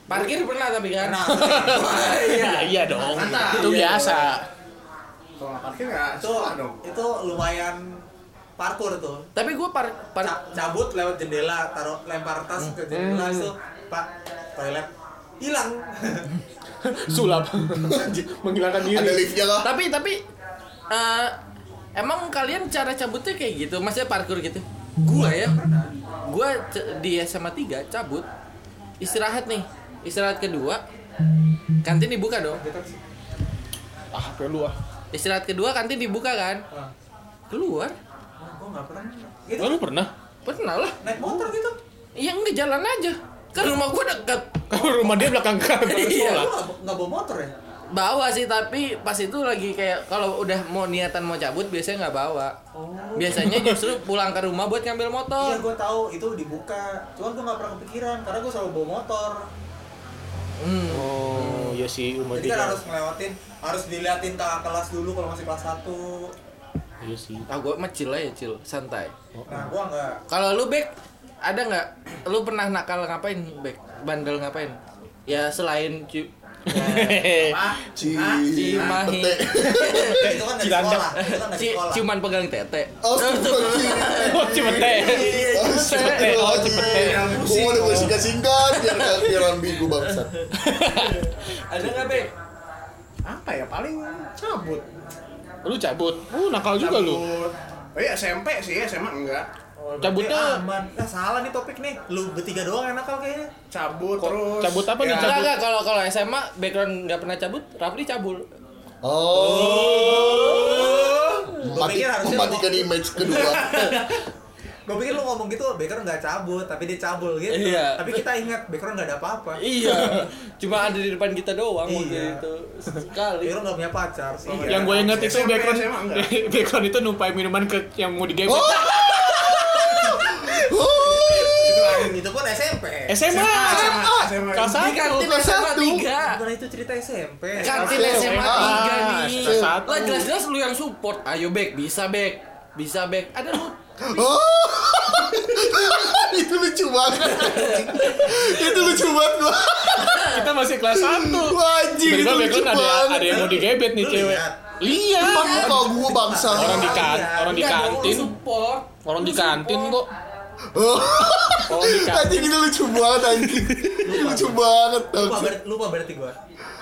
S1: Parkir pernah tapi kan.
S4: Nah,
S1: [LAUGHS] Wah, iya.
S6: Ya, iya dong.
S1: Mantap.
S6: Itu biasa.
S5: Kalau nggak parkir nggak
S4: itu
S5: sekolah dong.
S4: itu lumayan parkur tuh
S1: Tapi gue par, par Hmm.
S4: Ca- cabut lewat jendela taruh lempar tas ke jendela itu pak toilet hilang
S6: Sulap. Menghilangkan
S3: Ada
S6: diri.
S3: liftnya lah.
S1: tapi tapi eh, emang kalian cara cabutnya kayak gitu maksudnya parkur gitu gua ya gua c- di SMA 3 cabut istirahat nih istirahat kedua kantin dibuka dong
S6: Ah, perlu ah.
S1: istirahat kedua kantin dibuka kan keluar
S4: gue nggak pernah gitu
S6: Lu pernah?
S1: pernah lah
S4: naik motor gitu
S1: yang nggak jalan aja kan rumah gua dekat
S6: Kalau rumah dia belakang kan belakang
S1: Iya.
S6: sekolah.
S4: lu nggak nggak bawa motor ya
S1: bawa sih tapi pas itu lagi kayak kalau udah mau niatan mau cabut biasanya nggak bawa biasanya justru pulang ke rumah buat ngambil motor
S4: iya gue tahu itu dibuka cuman gue nggak pernah kepikiran karena gue selalu bawa motor
S1: Hmm.
S6: Oh, iya sih rumah
S4: jadi
S6: dia.
S4: kan harus ngelewatin harus diliatin kakak kelas dulu kalau masih kelas 1
S6: Iya sih.
S1: Ah gue mecil aja cil, santai.
S4: nah gue nggak
S1: Kalau lu back ada nggak? Lu pernah nakal ngapain back? Bandel ngapain? Ya selain cu- ya,
S3: Ci,
S1: Cimahi.
S3: bete.
S4: itu kan dari
S6: Cilandak.
S4: sekolah itu kan
S1: Eh,
S4: dari
S1: Ci-
S4: sekolah
S1: cuman pegang tete.
S3: Oh,
S6: [LAUGHS] Iya,
S3: Ci.
S6: Oh, cipete.
S3: Oh,
S6: Cipete.
S3: Ci.
S6: Oh, cipete.
S3: Gua udah mulai singkat-singkat biar biar ambil gua bangsat.
S1: Ada nggak back?
S5: Apa ya paling cabut.
S6: Lu cabut. Lu nakal juga lu.
S5: Cabut. Oh iya SMP sih, SMA enggak.
S4: Oh, berarti
S6: cabutnya-
S4: aman nah salah nih topik nih lu bertiga doang yang nakal kayaknya
S5: Cabut terus.
S6: cabut apa nih?
S5: Ya,
S1: Enggak enggak kalau kalau SMA background nggak pernah cabut, Rafli cabul.
S3: Oh.
S4: Gua
S3: Mati,
S4: pikir harusnya
S3: mematikan image kedua. [LAUGHS]
S4: Gue pikir lu ngomong gitu, Baker nggak cabut, tapi dia cabul gitu.
S1: Iya.
S4: Tapi kita ingat, Baker nggak ada apa-apa.
S1: Iya. [LAUGHS] Cuma ada di depan kita doang waktu
S4: Iya.
S1: itu. Sekali.
S4: Baker nggak punya pacar. selama
S5: Iya.
S4: dia
S6: Yang gue inget itu
S5: SMA,
S6: background
S5: SMA, enggak.
S6: [LAUGHS] background itu numpain minuman ke yang mau digebet.
S3: Oh.
S5: Itu lain.
S4: cabul. Itu pun SMP.
S6: SMA.
S5: SMA, SMA.
S6: Kelas
S1: Di
S6: satu.
S1: kantin
S3: Kelas
S1: SMA
S3: satu.
S1: tiga.
S4: Bukan itu cerita SMP.
S1: Kantin
S6: Kelas
S1: SMA tiga
S6: SMA.
S1: nih.
S6: Kelas Ah, satu.
S1: Lah jelas-jelas lu yang support. Ayo back, bisa back. Bisa back. Ada lu
S3: Oh. itu lucu
S6: [LAUGHS]
S3: banget. itu lucu banget gua.
S6: Kita masih kelas 1.
S3: Wah, anjing itu
S6: Tiba-tiba
S3: lucu
S6: background ada ada yang
S3: banget.
S6: mau digebet nih
S4: Lu
S6: cewek.
S4: lihat.
S6: Lihat.
S3: Empat muka gua bangsa.
S6: Orang di kan,
S4: Iya.
S6: orang di
S1: Enggak dong,
S6: kantin.
S1: lu support.
S6: Orang
S1: Lu
S6: di kantin
S1: support.
S6: kok.
S3: Oh.
S6: Orang di kan- kantin.
S3: Anjing itu lucu banget anjing. lucu banget.
S4: Lupa,
S3: anjing.
S4: ber- lupa berarti gue.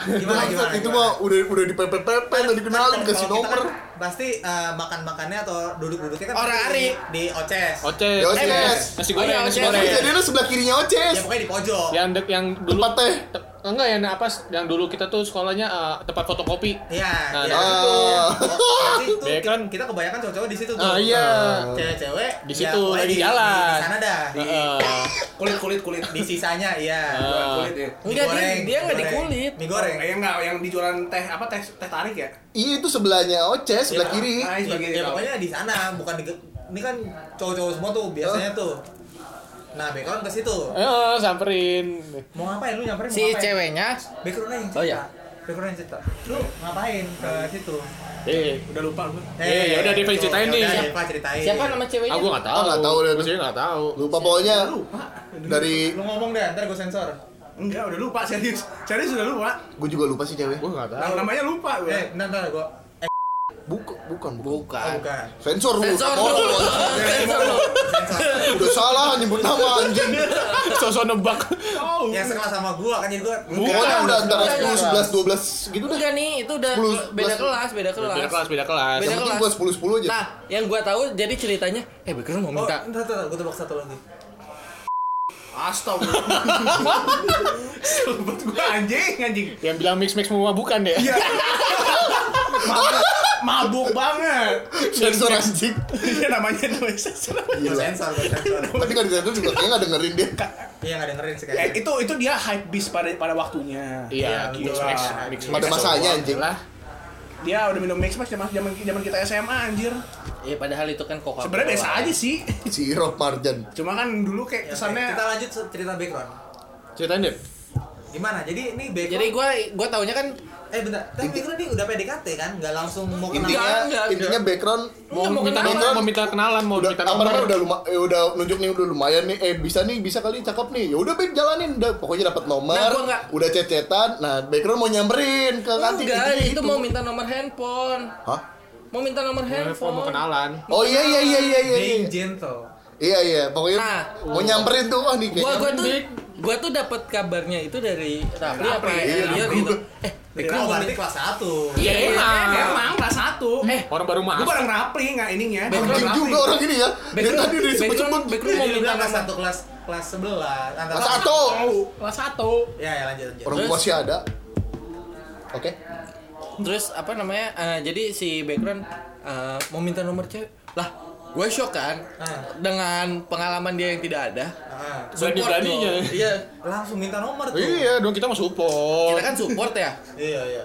S4: Gimana gimana?
S3: itu
S4: gimana?
S3: mah udah udah di pepe udah dikenalin
S4: Kalau
S3: kasih
S4: kita kan
S3: nomor.
S4: Pasti eh, makan-makannya atau duduk-duduknya kan
S1: Orang
S4: di,
S1: Ari.
S4: di oces.
S6: Oces.
S3: Ya, oces.
S6: Eh, Nasi goreng,
S1: Oh, iya,
S6: nasi
S1: oces.
S6: goreng.
S3: Jadi lu sebelah kirinya
S4: Ya
S3: Oces.
S4: pokoknya di pojok.
S6: Yang dek yang dulu
S3: Tempat teh.
S6: enggak ya nah, apa yang dulu kita tuh sekolahnya eh, tempat fotokopi
S4: Iya,
S6: Nah,
S4: iya.
S6: nah.
S3: [LAUGHS]
S4: Itu,
S3: Ah.
S4: berarti itu
S6: Iya kan?
S4: kita kebanyakan cowok-cowok di situ tuh.
S6: Ah, iya.
S4: Cewek-cewek
S6: Di
S4: ya,
S6: situ,
S4: pokoknya
S6: lagi
S4: di- di-
S6: jalan.
S4: Di sana dah. Di,
S6: Heeh.
S5: kulit kulit kulit
S4: di sisanya iya.
S6: Ah.
S5: kulit ya
S1: Enggak, dia-
S4: Digoreng,
S1: dia nggak di
S4: digoreng.
S1: kulit.
S4: Mie goreng.
S5: Eh, enggak yang di jualan teh apa teh teh tarik ya
S3: Iya itu sebelahnya Oces, sebelah
S4: Iya,
S3: kiri.
S5: Nah, sebagai
S4: Ya pokoknya di sana, bukan di ini kan cowok-cowok semua tuh biasanya tuh. Nah, background ke situ.
S6: Ayo samperin.
S4: Mau ngapain lu nyamperin? mau
S1: si
S4: ngapain?
S1: ceweknya
S4: Backgroundnya yang cerita.
S1: Oh, iya.
S4: Backgroundnya yang cerita. Lu ngapain ke situ?
S6: Eh,
S5: udah lupa gue
S6: Eh, ya udah, Devin,
S4: gitu.
S6: ceritain
S4: Ya
S6: nih.
S4: udah, Deva ceritain.
S1: Eh. siapa nama ceweknya
S6: aku nggak tahu.
S3: Ah, nggak tahu deh.
S6: Gua sih nggak tahu.
S3: Lupa pokoknya
S5: Iya.
S3: dari
S4: Lu ngomong deh, ntar gue sensor.
S5: enggak udah lupa serius serius udah lupa
S3: gue juga lupa sih cewek.
S6: Gua nggak tahu.
S5: Nama- namanya lupa gue
S4: Eh, ntar ntar gue. Eh,
S3: Bukan, bukan, bukan.
S4: oh,
S1: bukan
S4: bukan.
S3: Sensor lu.
S1: Sensor
S3: Oh,
S1: lu.
S4: Sensor lu. Sensor.
S3: Udah salah nyebut nama anjing.
S6: Sosok nebak.
S5: oh [LAUGHS]
S4: Yang sekelas sama gue kan jadi gue.
S3: Pokoknya udah antara
S1: Bukan. Iya,
S3: 10, 11, 12 gitu dah.
S1: udah nih itu udah
S3: Sepuluh,
S1: beda
S3: sebelas.
S1: kelas beda kelas
S6: Beda kelas, beda kelas.
S1: Beda
S3: Yang penting
S1: kelas.
S3: gua 10, 10 aja.
S1: nah yang gua tahu jadi ceritanya eh background mau
S4: Oh,
S1: minta
S4: ntar ntar gue tebak satu lagi.
S5: astagfirullah Sobat gue anjing anjing
S6: Yang bilang mix mix semua bukan ya?
S5: Iya. Mabuk, mabuk banget.
S3: Sensor anjing.
S5: Iya namanya namanya sensor.
S3: Gila.
S4: Gue iya, sensor, gue sensor.
S3: Tapi nggak disensor juga kayaknya nggak dengerin dia.
S4: Iya nggak dengerin sih
S5: Ya,
S4: kayaknya.
S5: itu itu dia hype beast pada pada waktunya.
S6: Iya,
S4: betul
S6: mix
S4: lah.
S6: mix mix mix.
S3: Pada masanya anjing.
S5: Dia udah minum mix mas zaman zaman zaman kita SMA anjir.
S1: ya padahal itu kan kok
S5: Sebenarnya biasa aja sih.
S3: Si Rob Marjan.
S5: Cuma kan dulu
S4: Ya,
S5: kayak kesannya
S4: Kita lanjut cerita background.
S6: Ceritain deh.
S4: Gimana? Jadi ini background.
S1: jadi gua gua taunya kan
S4: eh bentar, tapi background ini udah PDKT kan? Nggak langsung mau
S3: Intinya
S4: kenalan.
S1: enggak,
S3: intinya background
S6: Mau
S1: mau
S6: minta
S1: kenalan.
S6: nomor, Kan mau minta kenalan, mau
S3: udah
S6: minta
S3: apa namanya
S6: nomor.
S3: udah luma, eh, udah nunjuk nih udah lumayan nih eh bisa nih bisa kali cakep nih ya udah baik jalanin udah pokoknya dapat nomor
S1: Nah, gua nggak-
S3: udah cecetan nah background mau nyamperin ke kantin
S1: enggak
S3: intinya
S1: itu mau minta nomor handphone
S3: hah
S1: mau minta nomor handphone
S6: Eh, Mau kenalan.
S3: oh iya iya iya iya iya
S4: Being
S3: iya
S4: gentle.
S3: iya iya pokoknya
S1: Nah.
S3: mau nyamperin tuh wah
S1: gua
S3: nih kayaknya
S1: gua tuh gua tuh dapat kabarnya itu dari Rafli apa
S5: Rafli,
S1: ya,
S3: iya,
S1: Elio
S3: gua-
S1: gitu eh
S4: Background
S1: background mau
S4: Oh, berarti
S1: minta
S4: kelas 1.
S1: iya
S5: emang
S1: emang
S5: emang Ya, kelas satu.
S1: Eh,
S6: Orang baru
S5: gue
S6: masuk.
S5: bareng rapli nggak ininya.
S3: anjing juga orang ini ya dia
S1: background
S3: tadi udah disebut-sebut
S1: background background mau
S4: Jadi
S1: minta
S4: udah kelas
S1: nomor
S4: 1 kelas kelas 11 antara
S3: Kelas satu
S5: Kelas satu.
S4: Ya ya lanjut lanjut.
S3: orang
S1: Terus?
S3: gua masih ada oke
S1: terus apa namanya eh, jadi si background eh, mau minta nomor cewek lah gue shock kan
S4: Ah.
S1: dengan pengalaman dia yang tidak ada
S4: Ah,
S1: Support
S6: Berani-beraninya.
S1: dong. iya
S4: langsung minta nomor tuh.
S6: Iya, dong kita mau support.
S1: kita kan support ya
S4: Iya iya.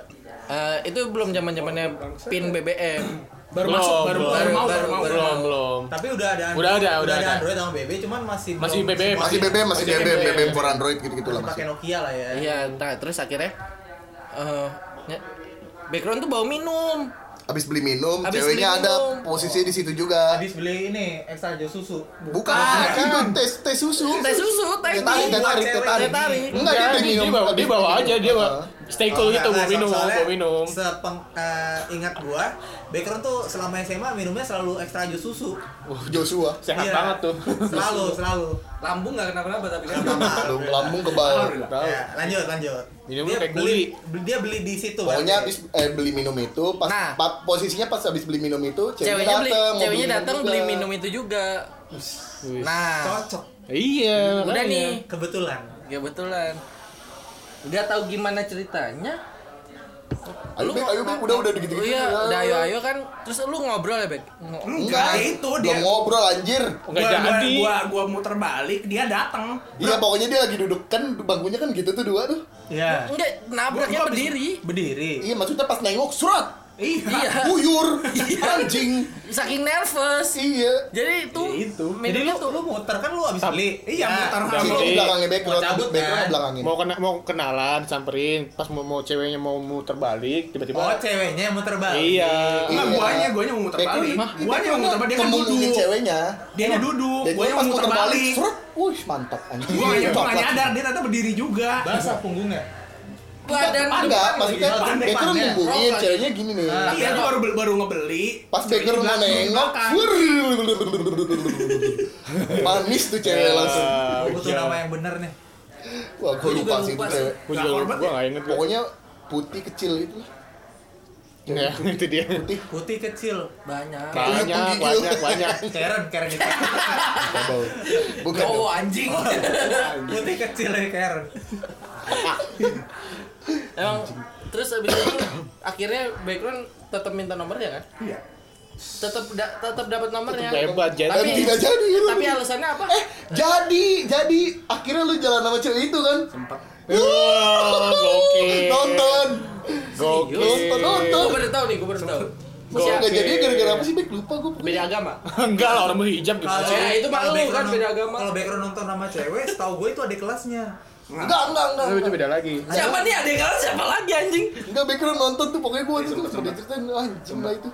S1: Eh, itu belum zaman zamannya pin BBM
S5: Baru
S6: Belum,
S5: masuk, baru
S6: belum.
S5: baru mau, baru mau.
S1: Baru
S6: belum
S1: mau.
S6: belum.
S4: Tapi udah ada
S6: Udah ada,
S4: ada
S6: udah ada.
S4: Android sama BB cuman masih
S6: Masih
S4: belum
S6: BB,
S4: semua-
S1: Iya.
S3: masih BBM masih
S6: Masih
S3: BBM
S6: BBM.
S3: BBM for Android gitu gitu lah
S4: masih
S3: masih
S4: pakai Nokia lah ya.
S1: iya nah terus akhirnya eh, ny- background tuh bawa minum
S3: abis beli minum
S1: Abis beli
S3: ceweknya ada
S1: minum.
S3: posisinya di situ juga
S4: Habis beli ini extra jus susu.
S3: bukan itu tes tes susu
S1: Ah. teh susu teh
S3: Teh tarik, teh tarik, teh
S1: teh
S3: tarik.
S1: tarik
S3: Enggak, dia
S6: Jadi,
S3: beli
S6: dia
S3: minum. Oh, Ah.
S6: bawa, dia bawa aja, dia bawa
S3: Heeh.
S6: stay
S4: Oh,
S6: cool gitu, mau minum, mau minum.
S4: Sepeng, eh, ingat gua, background tuh selama SMA minumnya selalu extra jus susu.
S3: Joshua.
S6: Sehat
S4: Iya.
S6: banget
S4: [LAUGHS]
S6: tuh.
S4: Selalu, selalu.
S1: lambung nggak kenapa-napa
S6: [LAUGHS]
S1: tapi
S3: Lambung, lambung kebal.
S4: Ya, lanjut, lanjut.
S6: Minumnya kayak
S4: beli, beli- dia beli di situ.
S3: Pokoknya
S4: berarti.
S3: abis eh, beli minum itu, pas
S1: Nah.
S3: pa- posisinya pas abis beli minum itu, ceweknya,
S1: ceweknya beli
S3: dateng, mau
S1: ceweknya datang beli
S3: juga.
S1: minum itu juga
S6: Wih.
S1: nah
S4: cocok,
S1: udah
S6: Iya. makanya.
S1: nih
S4: kebetulan.
S1: kebetulan Ya, nggak tahu gimana ceritanya
S3: Ayo Bek, ayo Bek, udah udah gitu gitu.
S1: iya udah ayo ayo kan terus lu ngobrol ya bek Ngo-
S6: Nah,
S5: Enggak itu dia.
S3: Belum ngobrol anjir.
S6: Enggak
S5: Gua- gua-
S6: jadi.
S5: Gua gua muter balik, dia datang.
S3: Iya pokoknya dia lagi duduk kan bangkunya kan gitu tuh dua tuh.
S4: Iya.
S1: enggak nabraknya
S5: Gua- gua
S1: berdiri
S4: Berdiri.
S3: Iya maksudnya pas nengok surat
S1: [LAUGHS]
S5: Iya.
S1: iya
S3: buyur iya, anjing.
S1: saking nervous
S3: Iya.
S1: jadi itu
S5: Ya, itu.
S4: Jadi
S1: minumnya
S4: lu,
S1: tuh
S4: lu muter kan lu abis beli.
S5: Iya,
S3: Itu
S5: muter habis.
S6: Jadi,
S3: belakangnya background,
S4: mau cabut,
S3: background
S4: kan?
S3: belakangin.
S6: mau kena mau kenalan samperin pas mau, mau ceweknya mau muter
S4: Oh,
S6: balik tiba-tiba
S4: ceweknya yang muter balik.
S6: iya
S5: Enggak,
S3: Iya.
S5: guanya, guanya mau muter
S3: Background-
S5: balik.
S3: Hah?
S5: Guanya mau muter balik, dia kan
S3: Kembungin
S5: duduk.
S3: ceweknya.
S5: Dia nya duduk,
S3: Dan
S5: guanya
S3: pas
S5: mau muter balik.
S3: Surat, wih mantap anjing.
S5: Gua nggak gua nggak
S3: Coklat.
S5: nyadar, dia ternyata berdiri juga.
S4: Basah punggungnya.
S1: badan
S3: enggak, maksudnya
S5: Pandai,
S3: Baker
S5: pandai.
S3: nungguin
S1: Rock
S3: ceweknya gini nih.
S4: Ah.
S5: Iya, gua baru baru ngebeli.
S3: Pas Baker
S5: Ceweknya
S3: mau
S5: bilang,
S3: nengok,
S5: "Makan."
S3: wur. manis tuh
S6: Iya.
S3: cewek Iya, langsung.
S4: Gua butuh nama yang bener nih.
S3: Wah, gue lupa sih itu cewek.
S6: gue juga
S5: Nggak
S6: gue nggak inget gua.
S3: Pokoknya putih kecil itu lah.
S6: ya [LAUGHS] itu dia
S3: Putih.
S4: Putih kecil.
S1: banyak
S6: banyak
S3: Penggigil.
S6: banyak banyak
S4: Karen, Karen itu.
S6: Iya.
S3: Bau. Bukan.
S1: oh anjing
S5: ya,
S4: Putih kecil dari Karen.
S1: [LAUGHS] Emang terus abis itu akhirnya background tetap minta nomornya kan?
S5: Iya.
S1: Tetap da- tetap dapat nomornya.
S6: Hebat
S3: Dan
S1: Tapi-
S6: jadi.
S3: tidak jadi lu.
S1: Tapi alasannya apa?
S3: eh jadi jadi akhirnya lu jalan sama cewek itu kan
S5: Sempat.
S6: Wah, gokil.
S3: nonton
S6: Gokil.
S3: Nonton, nonton.
S1: Gue baru tahu nih, gue baru tahu.
S3: Masih
S1: Siapa?
S3: nggak jadi gara-gara apa sih Bek? lupa gue
S1: Beda agama.
S6: [LAUGHS] Enggak lah orang berhijab gitu.
S4: [LAUGHS]
S1: Kalau- Ya, itu mah
S4: kalau
S1: lu
S4: background
S1: kan,
S4: nong-
S1: beda agama.
S4: Kalau background nonton sama cewek, setahu gue itu ada kelasnya.
S3: enggak enggak enggak
S2: Tapi itu beda lagi.
S1: Siapa nih adik kalian siapa lagi anjing?
S3: enggak background nonton tuh pokoknya gue itu tuh udah ceritain "Ah, anjing lah itu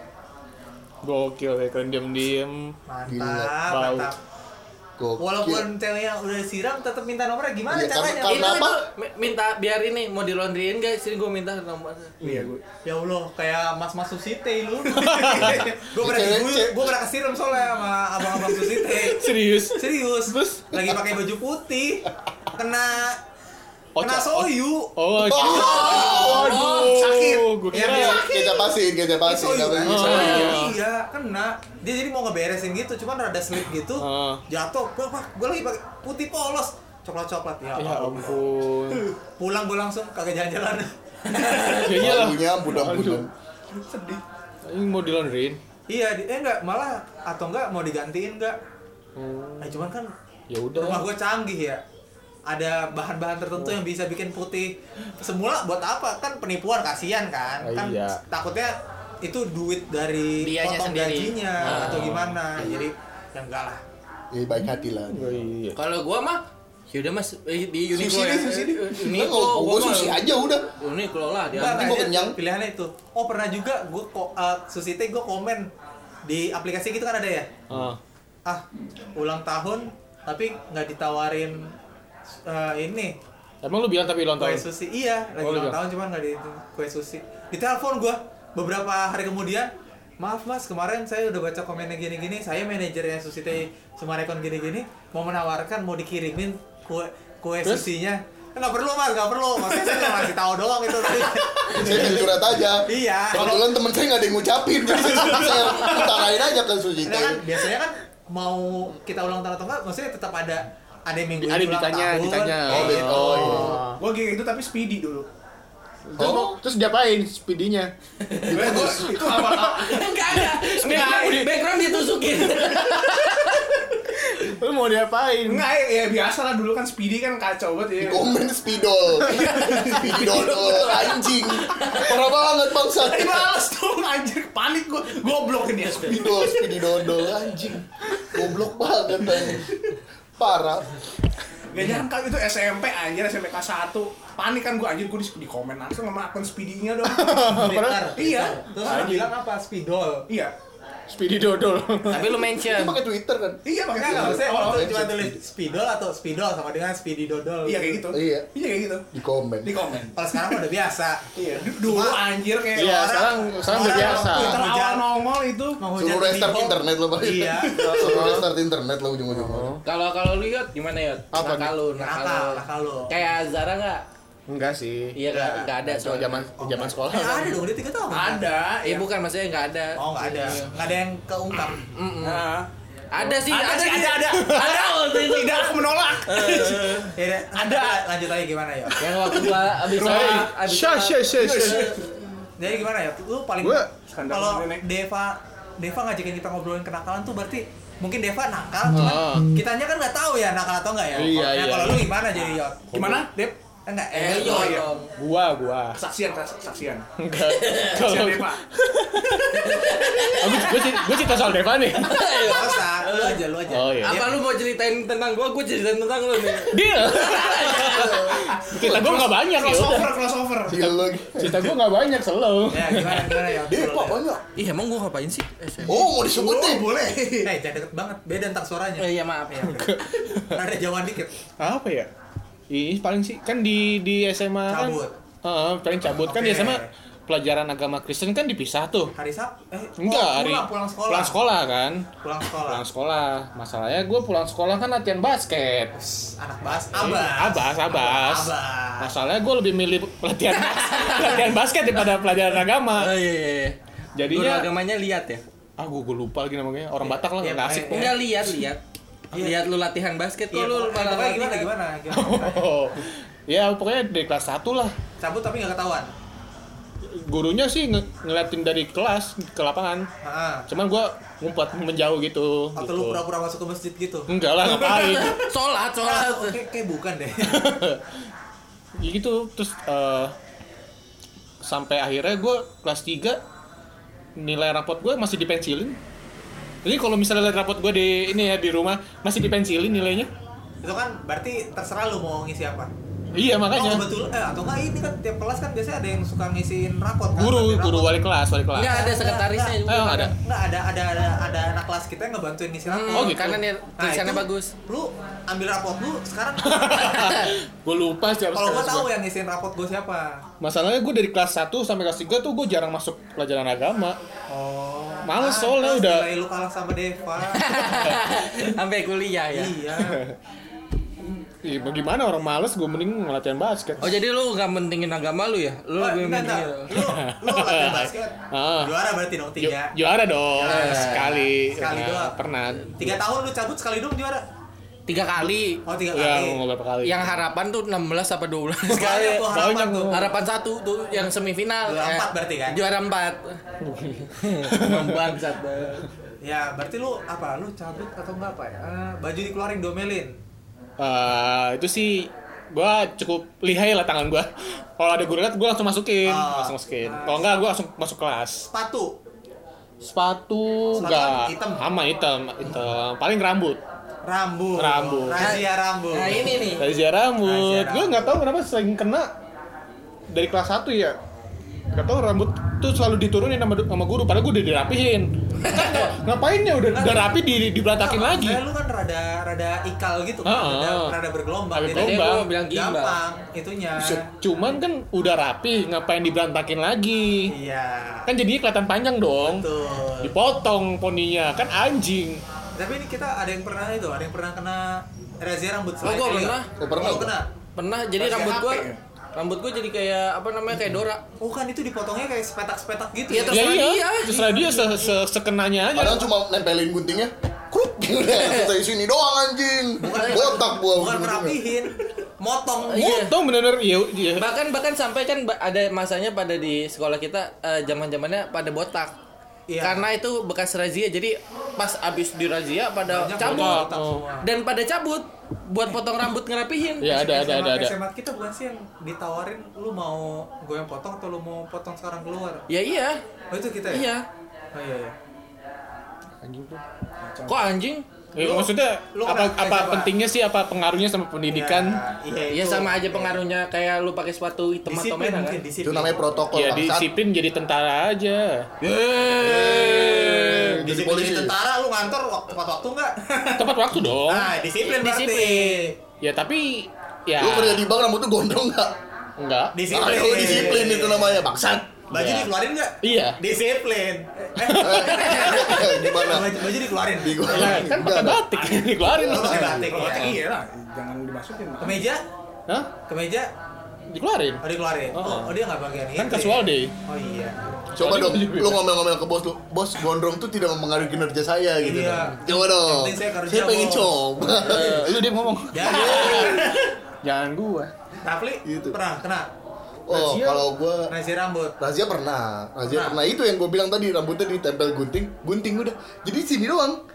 S6: Gokil ya keren diam-diam.
S4: Mantap,
S3: Gila,
S6: bau.
S4: mantap.
S3: Gokil.
S4: Walaupun ceweknya udah siram, tetap minta nomornya gimana
S3: Iya,
S4: caranya?
S3: karena-
S1: Itu
S3: Kenapa?
S1: itu mi- minta biar ini mau di laundryin guys, sini gue minta nomornya.
S5: Iya gue.
S4: Ya Allah, kayak mas-mas Susite
S3: [LAUGHS]
S4: lu. gue pernah
S3: Cewek-
S4: diguyur,
S3: cewek-
S4: gue pernah kesiram soalnya sama abang-abang Susite.
S6: Serius.
S4: Serius, lagi pakai baju putih, kena kena
S6: Oca-
S4: soyu.
S6: Oh, gitu. Waduh,
S5: sakit.
S6: Gue
S4: Ya,
S6: kira.
S4: dia
S3: kita pasin kita pasin
S4: Soyu
S3: nggak
S4: kan?
S3: bisa
S6: Oh.
S4: Iya, kena. Dia jadi mau ngeberesin gitu, cuman rada slip gitu.
S6: Ah.
S4: Jatuh, gue gue lagi pakai putih polos, coklat-coklat ya.
S6: Ya ampun.
S4: Pulang gue langsung kagak jalan-jalan. [LAUGHS]
S6: Ya iyalah.
S3: Lagunya ampun-ampunan.
S4: Sedih.
S6: Ini mau di laundryin.
S4: Iya, di- eh enggak malah atau enggak mau digantiin enggak?
S6: Hmm.
S4: Nah, cuman kan
S6: Ya
S4: rumah
S6: udah.
S4: gue canggih ya. Ada bahan-bahan tertentu yang bisa bikin putih. Semula buat apa? Kan penipuan kasihan kan.
S6: Ah,
S4: Kan
S6: iya.
S4: takutnya itu duit dari
S1: Dianya
S4: potong
S1: sendiri.
S4: gajinya
S1: Ah.
S4: atau gimana. Jadi ya enggak lah.
S3: ya baik hati lah
S6: Oh, iya.
S1: Kalau gua mah yaudah mas eh, di Uniqlo
S3: sushi deh
S1: ya.
S3: sushi deh
S1: Uniqlo, gua
S3: gue
S1: mah-
S3: sushi aja udah
S1: Uniqlo lah dia.
S4: Enggak,
S3: penting
S4: nah,
S3: gua
S4: dia
S3: kenyang.
S4: Pilihannya itu. Oh, pernah juga gue kok uh, Susite gue komen di aplikasi gitu kan ada ya?
S6: Ah.
S4: ah ulang tahun tapi nggak ditawarin eh, ini
S6: Emang lu bilang tapi ulang
S4: kue
S6: tahun?
S4: sushi iya lagi
S6: Oh,
S4: ulang
S6: iya.
S4: tahun cuman nggak di kue sushi ditelepon gua beberapa hari kemudian maaf mas kemarin saya udah baca komennya gini-gini saya manajernya sushi teh Sumarekon gini-gini mau menawarkan mau dikirimin kue kue
S6: Terus?
S4: sushinya nggak perlu mas nggak perlu maksudnya saya cuma ngasih tahu doang itu tadi [LAUGHS]
S3: saya kan curhat aja
S4: iya
S3: kebetulan temen saya nggak ada yang [LAUGHS] ngucapin jadi saya utarain aja ke sushi
S4: Nah, kan biasanya kan mau kita ulang tahun atau enggak maksudnya tetap ada ada yang minggu
S6: Ada
S4: ini ulang
S6: ditanya,
S4: tahun. gitu.
S6: ditanya.
S3: oh bet- oh iya
S5: Gue kayak gitu tapi speedy dulu.
S2: Terus, mau- terus diapain speedinya?
S5: itu apa?
S1: Enggak ada. Enggak ada. Background
S6: [LAUGHS]
S1: ditusukin.
S2: Lu mau diapain?
S5: Enggak ya, ya biasa lah dulu kan speedy kan kacau banget ya.
S3: Di
S5: [LAUGHS]
S3: komen spidol spidol dol, anjing parah banget bangsat
S5: Tadi males dong anjir panik gue goblok ini ya,
S3: spidol spidol dol, anjing goblok banget anjing parah
S5: Gak nyangka itu SMP anjir SMP kelas 1 Panik kan gue anjir gue di, di komen langsung sama akun speedinya dong
S4: Blitar,
S5: Iya.
S4: Terus dia bilang apa? Spidol.
S5: Iya
S6: Speedy dodol.
S1: Tapi lu mention.
S3: itu pakai twitter kan
S5: Iya
S4: Enggak
S5: makanya
S4: enggak, maksudnya
S5: awal-awal.
S4: waktu cuma tulis spidol atau spidol sama dengan speedy dodol.
S5: oh. Iya kayak gitu
S3: Iya.
S5: Iya kayak gitu
S3: di komen
S5: Di komen
S4: Kalau sekarang udah biasa.
S5: Iya Du- Dulu anjir kayak
S6: Iya,
S5: orang-
S6: sekarang sekarang udah
S5: orang
S6: biasa.
S5: Twitter awal
S4: Hujan.
S5: nongol itu
S4: Mau hujan
S3: suruh restart
S4: Spidol.
S3: internet lo Pak. [LAUGHS]
S4: Iya.
S3: suruh restart internet lo ujung-ujungnya
S1: Kalau kalau lu yot gimana yot?
S2: Apa
S1: nakal lu, nakal.
S4: Nakal, nakal lu.
S1: Kayak Zara enggak?
S2: Enggak sih.
S1: Iya enggak enggak ada
S2: Kalau
S1: soalnya.
S2: zaman zaman sekolah.
S4: Eh, ada dong dia 3 tahun.
S5: Ada ya.
S1: Iya bukan maksudnya enggak ada.
S4: Oh, enggak ada. Enggak ada yang keungkap.
S1: Mm-mm.
S5: Nah.
S1: Iya, Ada sih,
S5: Ada sih,
S1: di-
S5: ada,
S1: [LAUGHS]
S5: ada.
S1: Ada waktu itu.
S5: Tidak aku menolak
S4: Ya, deh,
S5: Ada.
S4: Lanjut lagi gimana ya?
S1: Yang waktu gua abis
S6: Hey,
S1: sholat, abis
S6: sya
S1: sholat.
S6: sya sya sya.
S4: Jadi gimana ya? Lu paling
S6: Iya. Gua-
S4: kalau
S5: Skandal nenek.
S4: Deva Deva ngajakin kita ngobrolin kenakalan tuh berarti mungkin Deva nakal, cuman
S6: Ah.
S4: kitanya kan nggak tahu ya nakal atau enggak ya.
S6: Iya,
S4: Nah,
S6: iya.
S4: Kalau lu gimana jadi Yot?
S5: Gimana?
S4: Dep? Enggak, eh,
S1: Eh,
S4: Yot.
S1: yot dong.
S6: Gua gua.
S5: Saksian, saksian
S6: Enggak.
S5: Saksian
S6: Kalau Iya.
S5: deh pak
S6: Aku gua cerita, gua cerita soal Deva nih.
S4: Gak usah, lu
S1: Eh,
S4: aja, lu aja.
S6: Oh, iya.
S1: Apa lu mau ceritain tentang gua? Gua ceritain tentang lu nih.
S6: [LAUGHS] Deal. Cerita gua enggak banyak ya. udah.
S5: Crossover, crossover
S3: Gila lu lagi.
S6: Cerita gua enggak banyak selalu.
S4: Ya, gimana, gimana ya?
S3: Dia pak banyak.
S1: Ih, emang gua ngapain sih?
S3: Oh mau disebut nih.
S5: boleh
S4: Eh, jangan deket banget, beda ntar suaranya.
S1: Eh, iya maaf ya.
S4: Rada jauhan dikit.
S6: Apa ya? Ih, paling sih kan di di SMA kan.
S4: Cabut.
S6: Heeh, paling cabut kan di
S4: Oke.
S6: SMA pelajaran agama Kristen kan dipisah tuh.
S4: Hari Sabtu, eh,
S6: Enggak,
S4: pulang,
S6: hari
S4: pulang sekolah.
S6: Pulang sekolah kan?
S4: Pulang sekolah.
S6: Pulang sekolah. Masalahnya gua pulang sekolah kan latihan basket.
S4: Anak bahas, abas.
S6: Iya, Abas, abas.
S4: Abas.
S6: Masalahnya gue lebih milih pelatihan [LAUGHS] pelatihan basket daripada pelajaran agama.
S1: Oh iya iya. iya.
S6: Jadinya-
S1: Guru agamanya lihat ya.
S6: Ah, gue, lupa lagi namanya. Orang Batak lah,
S4: iya,
S6: nggak asik. [LAUGHS]
S4: iya.
S1: Enggak lihat lihat.
S4: Iya.
S1: Lihat lu latihan basket kok
S4: Iya,
S1: lu [LAUGHS]
S4: pokoknya
S1: malah
S4: gimana,
S1: latihan.
S4: gimana, gimana?
S6: Oh. Ya, pokoknya dari kelas 1 lah.
S4: cabut tapi nggak ketahuan
S6: gurunya sih nge- ngeliatin dari kelas ke lapangan
S4: Heeh.
S6: cuman gua ngumpet menjauh gitu
S4: atau
S6: gitu.
S4: lu pura-pura masuk ke masjid gitu
S6: enggak lah ngapain [LAUGHS]
S1: sholat sholat
S4: Oh, kayak, kayak bukan deh
S6: Ya gitu terus eh, sampai akhirnya gua kelas 3 nilai rapot gua masih dipensilin jadi kalau misalnya lihat rapot gua di ini ya di rumah masih dipensilin nilainya
S4: itu kan berarti terserah lu mau ngisi apa
S6: iya
S4: Oh,
S6: makanya
S4: kebetulan eh, atau enggak ini kan tiap kelas kan biasanya ada yang suka ngisiin rapot kan?
S6: guru
S4: Rapot.
S6: guru wali kelas wali kelas
S4: Iya.
S6: [LAUGHS]
S1: Enggak ada sekretarisnya juga.
S6: Eh, oh, ada
S4: Enggak ada ada ada ada anak kelas kita yang ngebantuin ngisi rapot.
S1: Hmm,
S6: Oh, gitu.
S1: Karena nih
S4: Nah,
S1: tulisannya
S4: itu [LAUGHS]
S1: bagus.
S4: Lu ambil rapot lu sekarang
S6: gue lupa siapa
S4: kalau gua
S6: sekelas
S4: tahu ya.
S6: gua.
S4: yang ngisiin rapot gua siapa.
S6: masalahnya gue dari kelas 1 sampai kelas 3 tuh gue jarang masuk pelajaran agama
S4: Oh.
S6: Males soalnya udah.
S4: Nilai lu kalah sama Deva.
S1: Sampai kuliah ya.
S4: [LAUGHS] iya.
S6: Ih, Iya, gimana orang males gue mending ngelatihan basket
S1: Oh jadi lu nggak mentingin agama lu ya? Lu
S4: Oh,
S1: lebih
S4: enggak, enggak.
S1: mentingin-
S4: Lu lu latihan basket.
S6: Ah.
S4: Juara berarti dong
S6: Ju-
S4: tiga.
S6: juara dong sekali
S4: Sekali
S6: Ya,
S4: doang.
S6: pernah
S4: Tiga tahun lu cabut sekali dong juara.
S1: tiga kali.
S4: Oh, tiga
S6: ya
S4: kali.
S6: mau berapa kali
S1: Yang harapan tuh 16 apa 12 [LAUGHS] sekali.
S4: Banyak tuh harapan
S6: Banyak
S4: tuh.
S6: tuh.
S1: Harapan satu tuh yang semifinal.
S4: Juara
S1: Eh,
S4: empat berarti kan?
S1: Juara empat. Membangsat.
S4: Ya, berarti lu apa? Lu cabut atau enggak apa ya? Eh, baju dikeluarin domelin.
S6: Eh, itu sih gua cukup lihai lah tangan gua [LAUGHS] kalau ada guru lihat gua langsung masukin
S4: Ah.
S6: langsung masukin kalau enggak gua langsung masuk kelas
S4: Sepatu.
S6: sepatu
S4: Sepatu
S6: enggak
S4: hitam.
S6: sama hitam hitam paling rambut
S4: Rambut.
S6: Rambut.
S4: Razia rambut.
S1: Nah ini nih.
S6: Dari ziarah rambut.
S4: Razia
S6: Gue nggak tahu kenapa sering kena dari kelas 1 ya. Gak tahu rambut tuh selalu diturunin sama, sama guru padahal gue udah dirapihin.
S4: [LAUGHS]
S6: Kan nggak- ngapain ya udah udah rapi di diberantakin
S4: Nah,
S6: lagi.
S4: maksudnya Lu kan rada rada ikal gitu kan,
S6: Heeh.
S4: rada, rada bergelombang.
S6: Rada
S4: Jadi
S1: Tadi
S6: Gombang.
S1: gua mau bilang gimba.
S4: gampang itunya.
S6: Cuman kan udah rapi, ngapain diberantakin lagi?
S4: Iya.
S6: Kan jadinya kelihatan panjang dong.
S4: Betul.
S6: Dipotong poninya, kan anjing.
S4: Tapi ini kita ada yang pernah itu, ada yang pernah kena razia rambut
S1: Oh, gua pernah.
S3: Oh, pernah.
S4: Lu kena.
S1: Pernah jadi
S5: Masih
S1: rambut
S5: HP
S1: gua
S5: ya?
S1: rambut gua jadi kayak apa namanya kayak Dora.
S4: Oh kan itu dipotongnya kayak sepetak-sepetak gitu
S1: Iya,
S4: ya.
S1: terus-
S6: Ya
S1: Terserah
S6: iya,
S1: dia.
S6: terserah dia se- se- sekenanya aja.
S3: Padahal cuma nempelin guntingnya. Kruk. Selesai sini doang anjing. Botak gua.
S4: Bukan merapihin, motong.
S1: Iya.
S6: Motong bener-bener ya, ya.
S1: Bahkan bahkan sampai kan ba- ada masanya pada di sekolah kita eh, zaman-zamannya pada botak.
S4: Iya.
S1: Karena itu bekas razia. Jadi pas abis dirazia pada
S4: Banyak
S1: cabut.
S4: botak
S6: Oh.
S4: semua.
S1: Dan pada cabut buat potong rambut ngerapihin.
S6: Ya ada ada ada ada.
S4: SMA kita bukan sih yang ditawarin lu mau gue yang potong atau lu mau potong sekarang keluar?
S1: Ya iya.
S4: Oh itu kita ya?
S1: Iya.
S4: Oh iya iya.
S1: Kok anjing?
S6: Ya,
S4: Lu-
S6: maksudnya
S4: lu
S6: apa
S4: kenapa
S6: apa
S4: coba?
S6: pentingnya sih apa pengaruhnya sama pendidikan?
S4: Ya,
S1: Ya
S4: Iya itu.
S1: sama aja pengaruhnya kayak lu pakai sepatu hitam atau
S4: Disiplin
S1: merah kan.
S4: mungkin
S3: Itu
S4: disiplin. Eh,
S3: namanya protokol
S6: Ya
S3: bangsat.
S6: disiplin jadi tentara aja.
S3: Eh, Jadi
S4: Disiplin
S3: polisi.
S4: jadi tentara lu ngantor waktu tepat waktu enggak?
S6: Tepat waktu dong.
S4: nah, disiplin berarti.
S1: Disiplin.
S6: Ya tapi ya
S3: Lu kerja di bank rambut tuh gondrong enggak?
S6: enggak.
S4: Disiplin.
S3: Ayo Ah, oh, disiplin itu namanya
S6: [LAUGHS]
S3: bangsat.
S4: Baju
S6: Iya.
S4: dikeluarin enggak?
S6: Iya.
S4: Disiplin. Eh,
S3: [LAUGHS] Eh, Gimana?
S4: baju, baju dikeluarin.
S3: Di gua.
S6: Lah, kan pakai batik [LAUGHS] dikeluarin.
S4: Pakai batik.
S5: Kalau
S4: iya.
S5: batik iya lah, jangan dimasukin.
S4: Kemeja?
S6: Hah?
S4: Kemeja?
S6: Dikeluarin.
S4: Oh dikeluarin. Oh,
S6: Oh.
S4: oh dia enggak bagian
S6: Kan
S4: itu
S6: kasual
S4: ya?
S6: deh.
S4: Oh iya.
S3: Coba dong, lu ngomel-ngomel ke bos lu, bos gondrong tuh tidak mempengaruhi kinerja saya gitu.
S4: Iya.
S3: dong. Coba dong,
S4: penting saya kerja,
S3: saya pengen
S4: Bos.
S3: coba.
S6: Eh, lu dia ngomong.
S4: Jadi,
S6: Jangan gua.
S4: Rafli
S3: Gitu.
S4: pernah kena
S3: [LAUGHS] Oh, kalau gua
S4: razia rambut.
S3: Razia pernah, Razia pernah. itu yang gue bilang tadi rambutnya ditempel gunting, gunting udah. Jadi sini doang.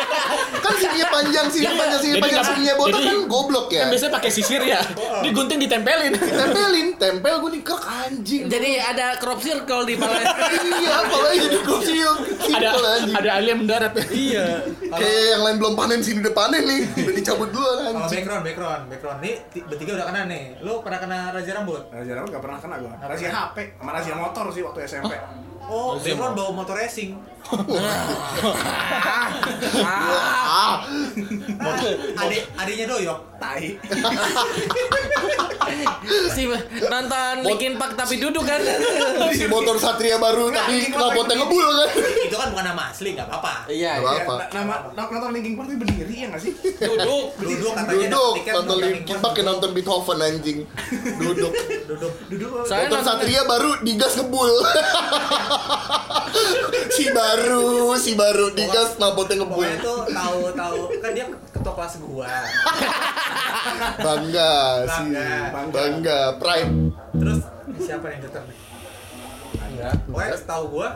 S6: [LAUGHS]
S3: kan sininya panjang, sininya panjang, sininya
S6: Iya, jadi
S3: panjang,
S6: nggak-
S3: sininya botak
S6: jadi-
S3: kan goblok ya.
S6: Kan biasanya pakai sisir ya. Digunting ditempelin.
S3: Tempelin, tempel gunting kerk anjing.
S1: kan? Jadi ada crop circle di
S3: [LAUGHS]
S1: kepala.
S3: iya, kalau jadi kecil,
S6: ada
S3: kecil anjing.
S6: ada alien mendarat. Iya.
S3: Kayak yang lain belum panen, sini udah panen nih, udah dicabut duluan
S4: Kalau
S3: anjing.
S4: background, background, background nih ti- bertiga udah kena nih. Lu pernah kena razia rambut?
S5: Razia rambut gak pernah kena gua. Razia HP sama razia motor sih waktu SMP.
S4: Oh, background bawa motor racing.
S3: Ah,
S4: [LAUGHS] Adik adiknya doyok.
S5: Tai.
S1: si nonton Linkin Park tapi duduk kan.
S3: si motor Satria baru tapi knalpotnya ngebul kan.
S4: [LAUGHS] Itu kan bukan nama asli, nggak apa-apa.
S1: Iya. iya.
S3: Gak apa-apa.
S5: Ya, Nama nama- nonton Linkin Park itu berdiri ya nggak sih?
S1: Duduk.
S4: Duduk katanya
S3: Duduk,
S4: tiket
S3: nonton
S4: bukan
S3: Linkin Park kayak nonton Beethoven anjing. Duduk.
S4: Duduk.
S5: Duduk
S1: Soalnya
S3: Motor
S1: nonton-
S3: Satria baru digas ngebul. [LAUGHS] si baru si baru digas nabotnya ngebul
S4: Pokoknya tuh tahu-tahu kan dia ketua kelas gua.
S3: bangga si
S4: Bangga.
S3: bangga pride
S4: Terus siapa yang determine? Ada. Pokoknya tahu gua.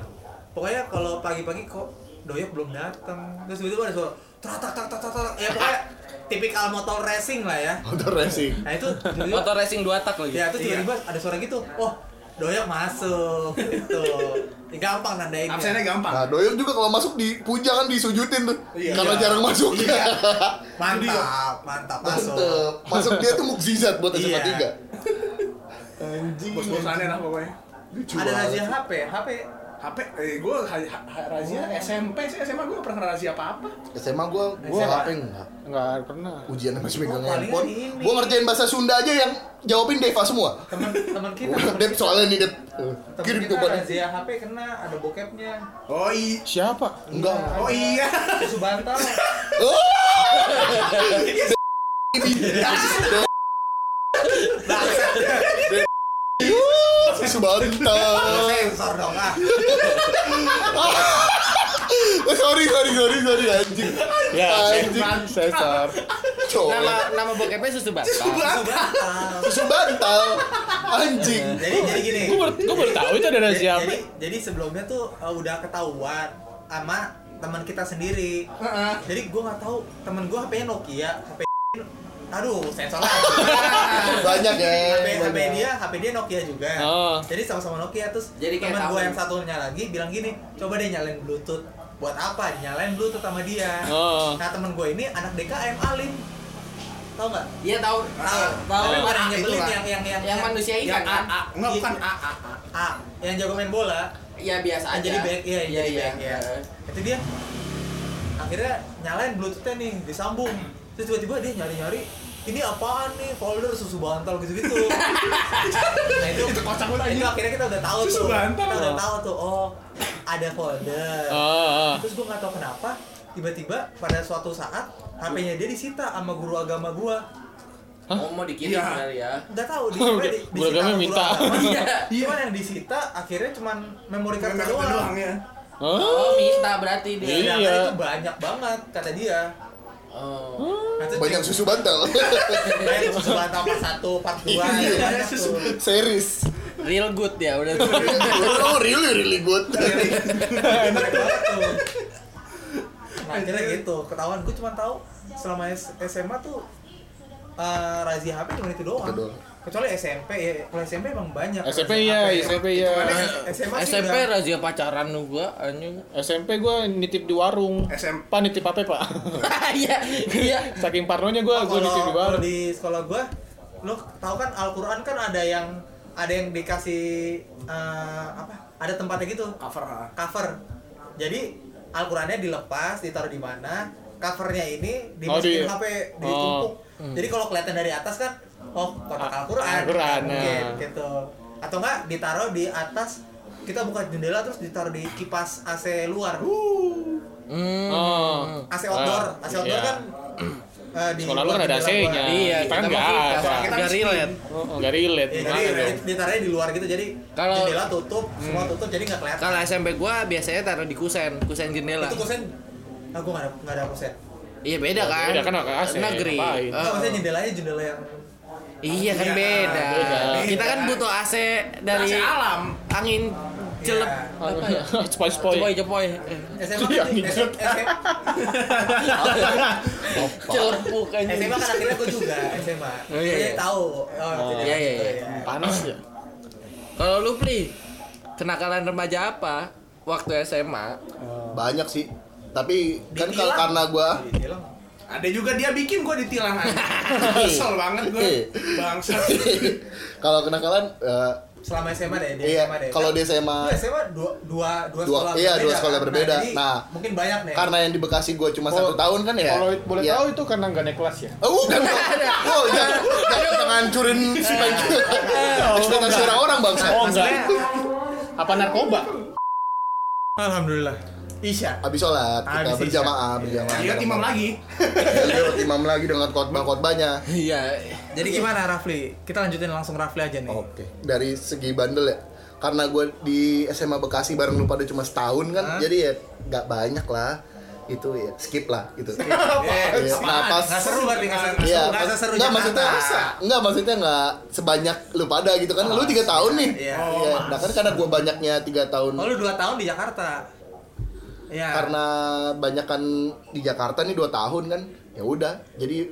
S4: Pokoknya kalau pagi-pagi kok doyok belum datang. Terus tiba-tiba ada suara trak trak trak trak trak, trak. Ya pokoknya tipikal motor racing lah ya.
S3: motor racing
S4: Nah itu tiba-tiba-
S1: Motor racing dua tak lagi.
S4: Ya itu tiba-tiba ada suara gitu. Oh, doyok masuk gitu. Gampang nandainnya.
S5: Absennya gampang.
S3: nah doyok juga kalau masuk di puja kan disujudin tuh
S5: Iya.
S3: karena jarang masuk [LAUGHS]
S4: Mantap, mantap Iya. masuk.
S3: Mantep. masuk dia tuh mukjizat buat SMA
S4: Iya.
S3: 3 anjing
S5: Bos-bosannya lah pokoknya.
S3: Lucu
S4: Ada
S3: banget.
S4: razia HP, HP
S5: HP, eh, gue razia SMP sih SMA gue pernah kena razia apa-apa
S3: SMA gua gua
S4: SMA.
S3: apa enggak
S6: Nggak pernah.
S3: ujian masih megang
S4: palingan
S3: handphone
S4: Oh, ini.
S3: gua ngerjain bahasa Sunda aja yang jawabin Deva semua
S4: teman teman kita.
S3: [LAUGHS] Dep soalnya nih Dep Eh,
S4: Temen
S3: kirim
S4: kita
S3: coba
S4: razia HP kena ada bokepnya.
S5: Oh iya
S6: Siapa?
S3: enggak Oh!
S5: Oh iya
S4: Susu bantal. [LAUGHS]
S3: susu bantal
S4: Sensor dong ah.
S3: Oh, sorry sorry sorry sorry anjing
S6: Ya,
S3: anjing
S6: sensor.
S3: coba
S1: Nama nama bokepnya susu bantal.
S4: Susu
S3: [LAUGHS]
S4: bantal.
S3: susu bantal anjing
S4: Jadi jadi gini.
S6: Gue baru, gua baru tahu itu ada
S4: Jadi-
S6: razia
S4: Jadi,
S6: apa.
S4: jadi sebelumnya tuh uh, udah ketahuan sama teman kita sendiri. Jadi gua nggak tahu temen gua HP-nya Nokia, HP Aduh, sensor lagi.
S3: banyak ya
S4: HP, HP
S3: banyak.
S4: dia, HP dia Nokia juga.
S6: Oh.
S4: Jadi sama-sama Nokia terus
S1: Jadi kayak
S4: teman
S1: tahu.
S4: gue yang satunya lagi bilang gini, coba deh nyalain Bluetooth. Buat apa? Nyalain Bluetooth sama dia.
S6: Oh.
S4: Nah teman gue ini anak DKM Alim, tau nggak?
S1: Iya tahu.
S4: Tahu, tahu.
S1: Yang
S4: Ada yang
S1: A
S4: nyebelin
S1: itu, kan?
S4: yang yang yang
S1: Yang manusia ikan kan?
S5: Nggak bukan ya, A A A
S4: A, yang jago main bola,
S1: Iya biasa aja.
S4: yang jadi back, iya, yang
S1: iya.
S4: jadi
S1: iya.
S4: back, ya. Itu dia. Akhirnya nyalain Bluetoothnya nih, disambung. Terus tiba-tiba dia nyari-nyari, ini apaan nih folder susu bantal gitu-gitu. nah itu
S5: Itu kocak banget
S4: itu
S5: aja
S4: akhirnya kita udah tahu
S5: Susu
S4: tuh
S5: bantal.
S4: kita udah tahu tuh oh ada folder
S6: Oh, oh.
S4: terus gue nggak tahu kenapa tiba-tiba pada suatu saat HP-nya dia disita sama guru agama gua
S1: Oh mau dikirim
S5: Iya.
S1: kali ya.
S4: nggak tahu di, sebenarnya di-
S6: Guru
S4: disita
S6: agama
S4: sama
S6: minta.
S4: agama.
S1: Iya.
S4: cuman yang disita akhirnya cuman memori
S5: Nggak
S4: card
S5: ngerti
S4: doang
S5: doang ya
S1: Oh
S6: Oh.
S1: minta berarti dia.
S6: Iya.
S4: Sedangkan itu banyak banget kata dia
S1: Oh.
S4: Nah, terus
S3: banyak
S4: cek-
S3: susu bantal
S4: banyak susu bantal part satu part dua gitu kan.
S3: Iya.
S4: banyak susu
S3: series
S1: Real good ya udah.
S3: oh really really good
S4: Bener banget tuh. Nah, akhirnya gitu ketahuan gue cuma tahu selama S- SMA tuh eh, razia HP cuma itu doang.
S3: Itu doang.
S4: Kecuali SMP ya, kalau SMP emang banyak. razia
S6: SMP ya,
S4: HP.
S6: SMP ya.
S4: kan SMA sih
S1: SMP
S4: udah-
S1: razia pacaran lu gua anjing.
S6: SMP gue nitip di warung.
S5: SM.
S6: Pak nitip apa ya, pak?
S1: Iya. Iya.
S6: Saking parnonya gue,
S4: Oh,
S6: gue nitip
S4: kalau
S6: di
S4: kalau
S6: warung.
S4: di sekolah gue, lo tahu kan Al-Qur'an kan ada yang ada yang dikasih eh, apa? Ada tempatnya gitu.
S5: Cover
S6: Iya.
S5: ah.
S4: cover. Jadi Al-Qur'annya dilepas, ditaruh di mana? Covernya ini dimasukin
S6: Oh, di-
S4: HP
S6: oh.
S4: ditumpuk. Jadi kalau kelihatan dari atas kan oh kotak
S6: Ah,
S4: Al-Qur'an.
S6: Al-Qur'an,
S4: mungkin,
S6: nah.
S4: gitu. Atau enggak ditaruh di atas kita buka jendela terus ditaruh di kipas AC luar.
S1: Hmm.
S6: Oh.
S4: AC outdoor,
S6: Ah,
S4: AC outdoor
S6: iya. [CLEARS THROAT]
S4: kan eh, di
S6: Sekolah lu kan
S4: luar
S6: ada
S4: jendela
S6: AC-nya.
S4: luar.
S1: Iya,
S6: Kita kan
S1: kita
S6: nggak
S1: mah full
S6: ada.
S1: cover.
S5: Kita
S1: Nggak
S5: miskin.
S1: relate.
S6: Oh, oh, nggak relate.
S4: Ya,
S6: Gimana
S4: jadi
S6: dong? [LAUGHS]
S4: di- ditaruh di luar gitu jadi
S1: Kalau-
S4: jendela tutup, semua
S6: Hmm.
S4: tutup jadi nggak kelihatan.
S1: Kalau SMP gua biasanya taruh di kusen, kusen jendela.
S4: Itu kusen aku nggak ada nggak ada kusen.
S1: Iya beda
S6: Ya,
S1: kan?
S6: beda kan, nggak AC,
S1: Negeri.
S6: ngapain?
S1: Eh,
S4: Nggak, maksudnya jendelanya jendela yang
S1: Iya kan
S5: Iya,
S1: beda.
S6: beda.
S1: Kita kan butuh AC dari
S5: AC alam
S1: angin celep
S4: Iya.
S1: apa ya?
S6: Sepoi-sepoi.
S1: Cepoy cepoy.
S4: SMA
S6: Iya,
S4: kan
S6: gitu.
S1: Celepuk anjing.
S4: SMA kan akhirnya gue juga SMA.
S1: Iya, Oh, iya,
S4: Jadi
S1: iya.
S4: tahu. Oh, gitu
S1: Iya, iya,
S4: gitu,
S1: iya.
S6: Panas ya.
S1: Kalau lu Pli, kenakalan remaja apa waktu SMA?
S3: banyak sih tapi kan kalau
S4: Ditilang.
S3: karena gua
S4: Ditilang.
S5: Ada juga dia bikin gue ditilang
S6: [LAUGHS]
S5: aja Kesel banget gue
S6: Iya.
S5: Bangsat
S3: kalau kenakalan eh,
S4: Selama SMA deh, di
S3: iya
S4: SMA deh.
S3: kalau di
S4: Lu
S3: SMA
S4: SMA dua dua
S3: Dua-
S4: dua sekolah
S3: iya,
S4: berbeda,
S3: dua sekolah
S4: kan?
S3: berbeda.
S4: jadi
S3: Nah,
S4: mungkin banyak nih.
S3: karena yang di Bekasi gua cuma
S6: Kalau-
S3: satu tahun kan ya
S6: Kalau boleh
S3: ya.
S6: tahu itu karena nggak naik kelas ya.
S3: Oh, bukan Bang. Oh, jangan, jangan jangan hancurin si Panji. Ekspektasi orang-orang bangsa.
S6: Oh enggak. Apa narkoba?
S4: Alhamdulillah. Isya.
S3: Habis sholat kita
S4: Habis iya. isya.
S3: berjamaah, berjamaah.
S5: Dia imam lagi
S3: Lihat imam lagi dengan khotbah-khotbahnya.
S1: Iya.
S4: Jadi gimana Rafli? Kita lanjutin langsung Rafli aja nih.
S3: Oke. Dari segi bandel ya. karena gue di SMA Bekasi bareng lu pada cuma setahun kan jadi ya nggak banyak lah itu ya skip lah
S4: [LAUGHS]
S3: gitu Iya, napas
S4: Nggak seru berarti nggak seru.
S3: Iya,
S4: Nggak
S3: mas-
S4: seseru
S3: nggak,
S4: Jakarta.
S3: maksudnya nggak maksudnya nggak sebanyak lu pada gitu kan lu tiga tahun nih
S4: iya.
S3: Iya, nah kan karena gue banyaknya tiga tahun
S4: Oh, lu 2 tahun di Jakarta. Iya.
S3: karena banyakan di Jakarta nih dua tahun kan ya udah jadi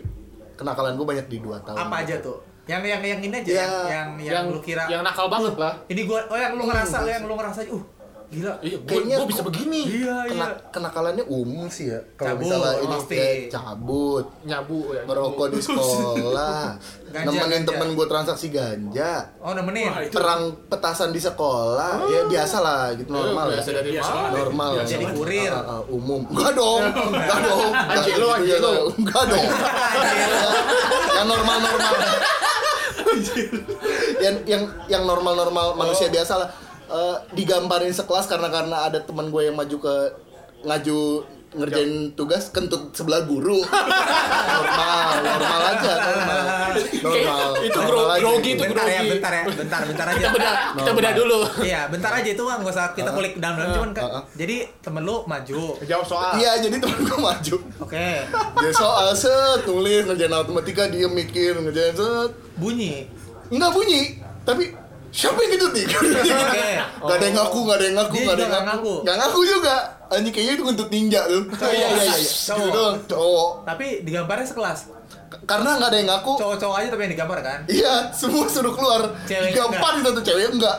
S3: kenakalan gue banyak di dua tahun
S4: apa aja tuh? Yang yang yang ini aja
S3: Iya,
S4: yang, yang yang lu kira
S6: yang nakal banget lah
S4: ini gua oh yang lu
S3: Iya,
S4: ngerasa yang lu ngerasa uh gila.
S6: iya gua,
S3: kayaknya
S6: gua bisa begini
S4: Iya, iya.
S3: kena- kenakalannya umum sih ya kalau
S4: Cabut,
S3: misalnya ini
S4: pasti.
S3: ya, cabut
S6: nyabu ya
S3: merokok
S4: [LAUGHS]
S3: di sekolah
S4: Ganja,
S3: nemenin
S4: ganja.
S3: temen gue transaksi ganja
S4: Oh, nemenin.
S3: perang petasan di sekolah ya biasa lah gitu normal ya
S6: biasa dari
S5: Iya,
S6: mana?
S3: normal
S6: Biasa
S4: Ah. Jadi
S3: Ah,
S4: kurir.
S3: ah, ah, umum enggak dong
S4: [LAUGHS]
S3: enggak dong
S6: Anjing lu, anjing lu.
S3: enggak dong
S4: Ah, iya.
S3: yang normal normal yang yang yang normal normal
S6: Oh.
S3: manusia biasa lah Eh, digambarin sekelas karena karena ada teman gue yang maju ke ngaju ngerjain tugas kentut sebelah guru normal normal aja normal normal
S6: itu
S3: normal
S6: gro-
S3: aja. gitu.
S6: grogi itu.
S4: Bentar ya,
S6: grogi.
S4: bentar ya, bentar, bentar aja.
S6: kita beda kita beda dulu
S4: Iya, bentar aja itu mah nggak usah kita kulik dalam dalam cuman kan.
S3: ah, ah.
S4: Jadi temen lu maju.
S2: Jawab soal.
S3: iya jadi temen gue maju
S4: Oke,
S3: dia soal set nulis ngerjain matematika dia mikir ngerjain set
S4: bunyi.
S3: nggak bunyi tapi siapa yang gitu nih [LAUGHS] nggak ada yang ngaku nggak ada yang ngaku
S4: Oh.
S3: nggak
S4: Dia
S3: ada yang
S4: juga nggak
S3: ngaku
S4: ngaku. Oh,
S3: nggak ngaku juga anjing kayaknya itu untuk ninja
S4: [LAUGHS]
S3: tuh iya iya iya
S4: Cowok.
S3: gitu doang cowok
S4: Tapi digambarnya sekelas.
S3: K- karena nggak ada yang ngaku
S4: Cowok-cowok aja tapi yang digambar kan.
S3: iya semua suruh keluar
S4: Cewek
S3: digampar di satu cewek enggak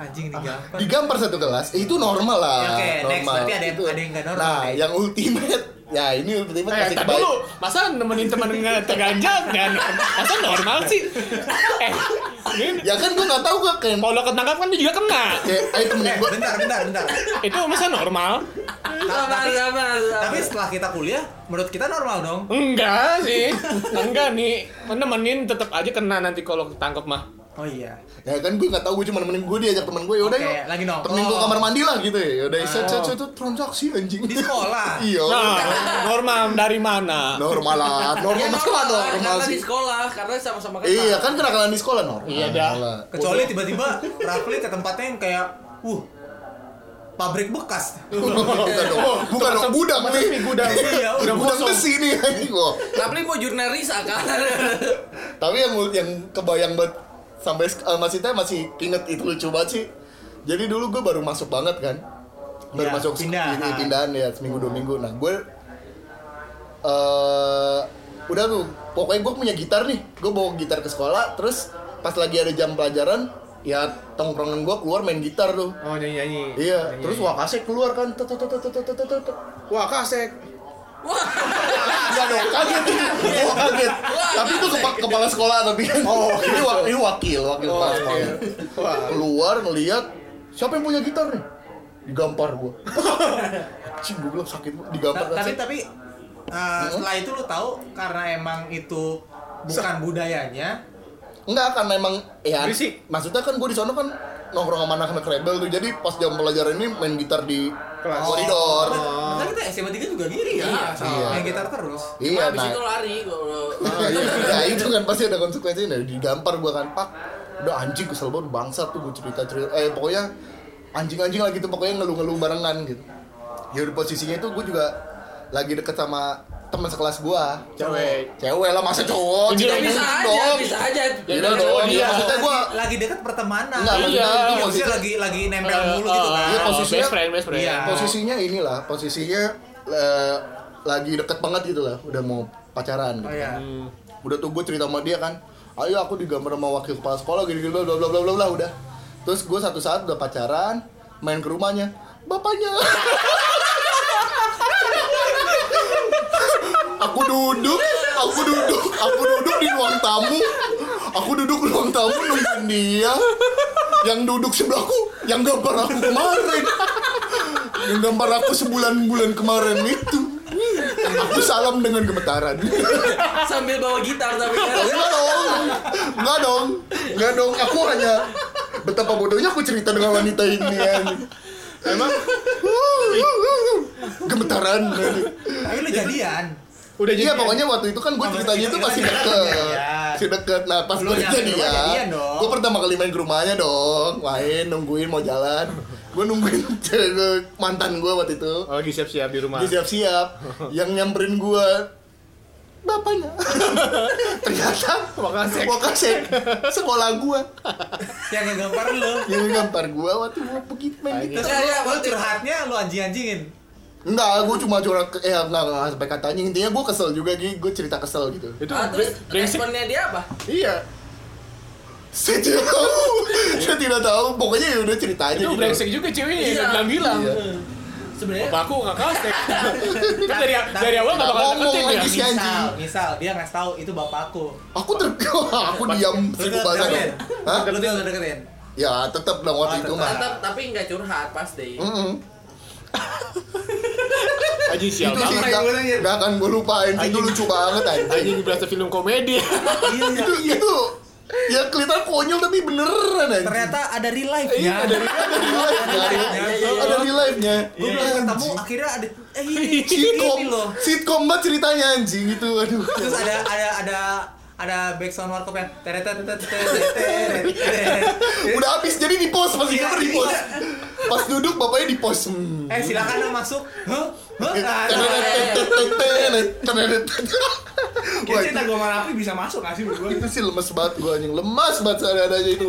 S4: Anjing digambar.
S3: digampar satu kelas eh, itu normal lah
S4: Ya, oke, next.
S3: Ah, normal
S4: Berarti ada yang-
S3: Itu.
S4: ada yang nggak normal
S3: nah
S4: nih.
S3: yang ultimate ya ini ultimate
S6: Eh,
S3: masih
S6: tar
S3: baik
S6: dulu. Masa nemenin temen ngeteganja dan masa normal sih? Eh, ini
S3: ya kan gua nggak tahu gua kayak
S6: kalau ketangkap kan dia juga kena.
S3: kayak ayo temen
S4: Eh,
S3: gua
S4: bentar, bentar, bentar.
S6: Itu masa normal?
S4: tapi, tapi setelah kita kuliah, menurut kita normal dong.
S6: Enggak sih. Enggak nih. Nemenin tetap aja kena nanti kalau ketangkep mah.
S4: Oh iya.
S3: ya kan gue nggak tahu gue cuma nemenin gue diajak temen gue yaudah
S4: Oke,
S3: yuk
S4: lagi nongkrong.
S3: temenin gue kamar mandi lah gitu ya yaudah set set set set, transaksi anjing
S4: Di sekolah.
S3: [LAUGHS] iya
S6: Nah, [LAUGHS] Ya, normal dari mana?
S3: normal lah normal
S1: Ya,
S3: normal
S1: normal,
S3: dong normal
S1: karena di
S3: sih
S1: sekolah karena sama-sama kenal.
S3: iya kan kenakalan di sekolah normal
S6: Iya, dah.
S3: lah.
S4: Kecuali tiba-tiba Rafli ke tempatnya yang kayak, uh, pabrik bekas.
S3: bukan dong bukan dong gudang nih gudang
S4: Iya, udah
S3: gudang
S4: kosong.
S3: besi nih anjing kok
S1: Tapi mau jurnalis kan.
S3: tapi yang yang kebayang banget sampai sek- eh, masih teh masih inget itu lucu banget sih jadi dulu gue baru masuk banget kan baru
S4: Ya,
S3: masuk sek-
S4: pindah.
S3: ini pindahan ya seminggu dua minggu nah gue eh udah tuh pokoknya gue punya gitar nih gue bawa gitar ke sekolah terus pas lagi ada jam pelajaran ya tongkrongan gue keluar main gitar tuh
S2: Oh nyanyi nyanyi.
S3: iya terus wakasek keluar kan tut, tut, tut, tut, tut, tut, tut, tut.
S2: Wah kasek.
S3: Enggak dong, kaget Oh, kaget Tapi itu kepa- kepala sekolah tapi kan Oh, ini, wa- ini wakil, wakil kepala sekolah Keluar ngeliat Siapa yang punya gitar nih? Digampar gua Cing, gua bilang sakit banget. Digampar
S4: Ta- Nah, tapi
S3: kan
S4: tapi eh,
S3: Hmm?
S4: setelah itu lu tahu karena emang itu bukan budayanya.
S3: Enggak, karena emang Ya,
S2: Berisik.
S3: maksudnya kan gua di sana kan Nongkrong sama anak-anak rebel tuh Jadi pas jam pelajaran ini main gitar di
S2: Kelas.
S3: koridor
S4: Kan kita SMA 3 juga gini ya.
S3: Oh. Iya.
S4: Main gitar terus.
S3: Iya,
S1: Habis
S3: nah
S1: itu lari kalau
S3: Iya, ya itu kan pasti ada konsekuensinya digampar gua kan pak udah anjing kesel banget bangsa tuh gua cerita cerita eh pokoknya anjing-anjing lagi tuh pokoknya ngeluh-ngeluh barengan gitu ya di posisinya itu gua juga lagi deket sama teman sekelas gua
S2: Cewek.
S3: cewek lah masa cowok
S6: Iya,
S3: Cita
S1: Ya, bisa
S3: mungkin
S1: aja,
S3: dong
S1: bisa aja.
S3: Iya dong,
S6: Iya.
S3: iya maksudnya gua
S4: Lagi, lagi dekat pertemanan.
S3: Enggak,
S4: Iya,
S3: maksudnya itu
S4: maksudnya
S3: posisi-
S4: lagi lagi nempel mulu gitu kan.
S3: Iya,
S6: Iya,
S3: posisinya-
S6: best friend, best friend.
S4: Iya.
S3: posisinya inilah posisinya eh, lagi deket banget gitu lah udah mau pacaran gitu
S4: Oh iya.
S3: udah tuh gue cerita sama dia kan ayo aku digambar sama wakil kepala sekolah gini gini bla bla bla bla bla bla udah terus gue satu saat udah pacaran main ke rumahnya bapaknya [LAUGHS] aku duduk aku duduk aku duduk di ruang tamu aku duduk di ruang tamu nungguin dia yang duduk sebelahku yang gambar aku kemarin yang gambar aku sebulan-bulan kemarin itu aku salam dengan gemetaran
S1: sambil bawa gitar tapi kan.
S3: Enggak dong. Enggak dong. Enggak dong. Aku hanya betapa bodohnya aku cerita dengan wanita ini anjing. Emang gemetaran.
S4: Tapi lu jadian.
S3: Udah iya pokoknya waktu itu kan gue ceritanya itu masih deket.
S5: dekat.
S3: si deket nah pas
S5: Lu
S3: gue
S5: nyampe rumah jadian
S3: jadian
S5: dong.
S3: gue pertama kali main ke rumahnya dong main nungguin mau jalan gue nungguin [LAUGHS] cewek gua- mantan gue waktu itu
S2: Oh, lagi siap-siap di rumah.
S3: dia
S6: [LAUGHS]
S3: siap-siap yang nyamperin gue
S6: [LAUGHS]
S3: bapaknya ternyata
S2: Wakasek.
S3: wakasek sekolah gue
S4: yang ngegampar lu
S3: yang gampar gue waktu gue pergi main
S1: Iya,
S3: gitu
S4: terus ya, lu curhatnya lu anjing-anjingin
S3: enggak gue cuma curhat ke- eh enggak enggak sampai katanya intinya gue kesel juga gitu gue cerita kesel gitu
S2: Itu
S1: Ah, terus responnya dia apa?
S3: Iya. Saya tidak tahu. Saya tidak tahu. Pokoknya ya udah cerita aja
S6: Itu
S3: gitu.
S6: brengsek juga ceweknya
S1: Iya.
S6: yang bilang-bilang.
S3: Iya.
S1: Sebenarnya
S6: Bapak aku nggak kastek.
S3: [LAUGHS]
S6: Kan dari dari awal nggak
S3: Nggak
S6: bakal
S3: ngomong
S6: deketin ya.
S3: lagi si anjing.
S4: misal misal dia ngasih tahu itu bapakku
S3: Aku ter [LAUGHS] aku diam
S4: lu
S3: sibuk banget.
S4: deketin
S3: Hah?
S4: lu dia udah deketin
S3: Ya, tetap dong waktu
S4: Ah,
S3: itu
S4: tetep.
S3: mah.
S1: tetap tapi nggak curhat pasti.
S3: Mm-mm.
S6: Aji sial
S3: Itu sih
S6: banget.
S3: nggak-
S5: gue nanya.
S3: nggak akan gue lupain sih. Itu
S6: Anjing.
S3: lucu banget anjing.
S6: Anjing berasa film komedi.
S4: iya
S3: Itu itu ya kelihatan konyol tapi beneran anjing.
S4: ternyata ada real life
S3: Iya,
S4: nya
S3: ada Iya, ada di live-nya. Ada di live-nya.
S4: gue
S3: iya,
S4: belum ketemu akhirnya ada eh ini,
S3: Sitcom,
S4: ini loh
S3: sitcom banget ceritanya anjing itu. Aduh.
S4: terus ada ada ada ada background warkop yang teret teret teret teret teret teret.
S3: Udah habis jadi di pos pas di
S4: Iya,
S3: kamar di pos. Pas duduk bapaknya di pos. Hmm.
S4: eh silakan dong masuk huh huh Ah,
S3: Wah,
S5: Kayaknya cerita gue merapi bisa masuk gak sih menurut gue?
S3: itu, itu sih lemes banget gue anjing lemas banget seadanya itu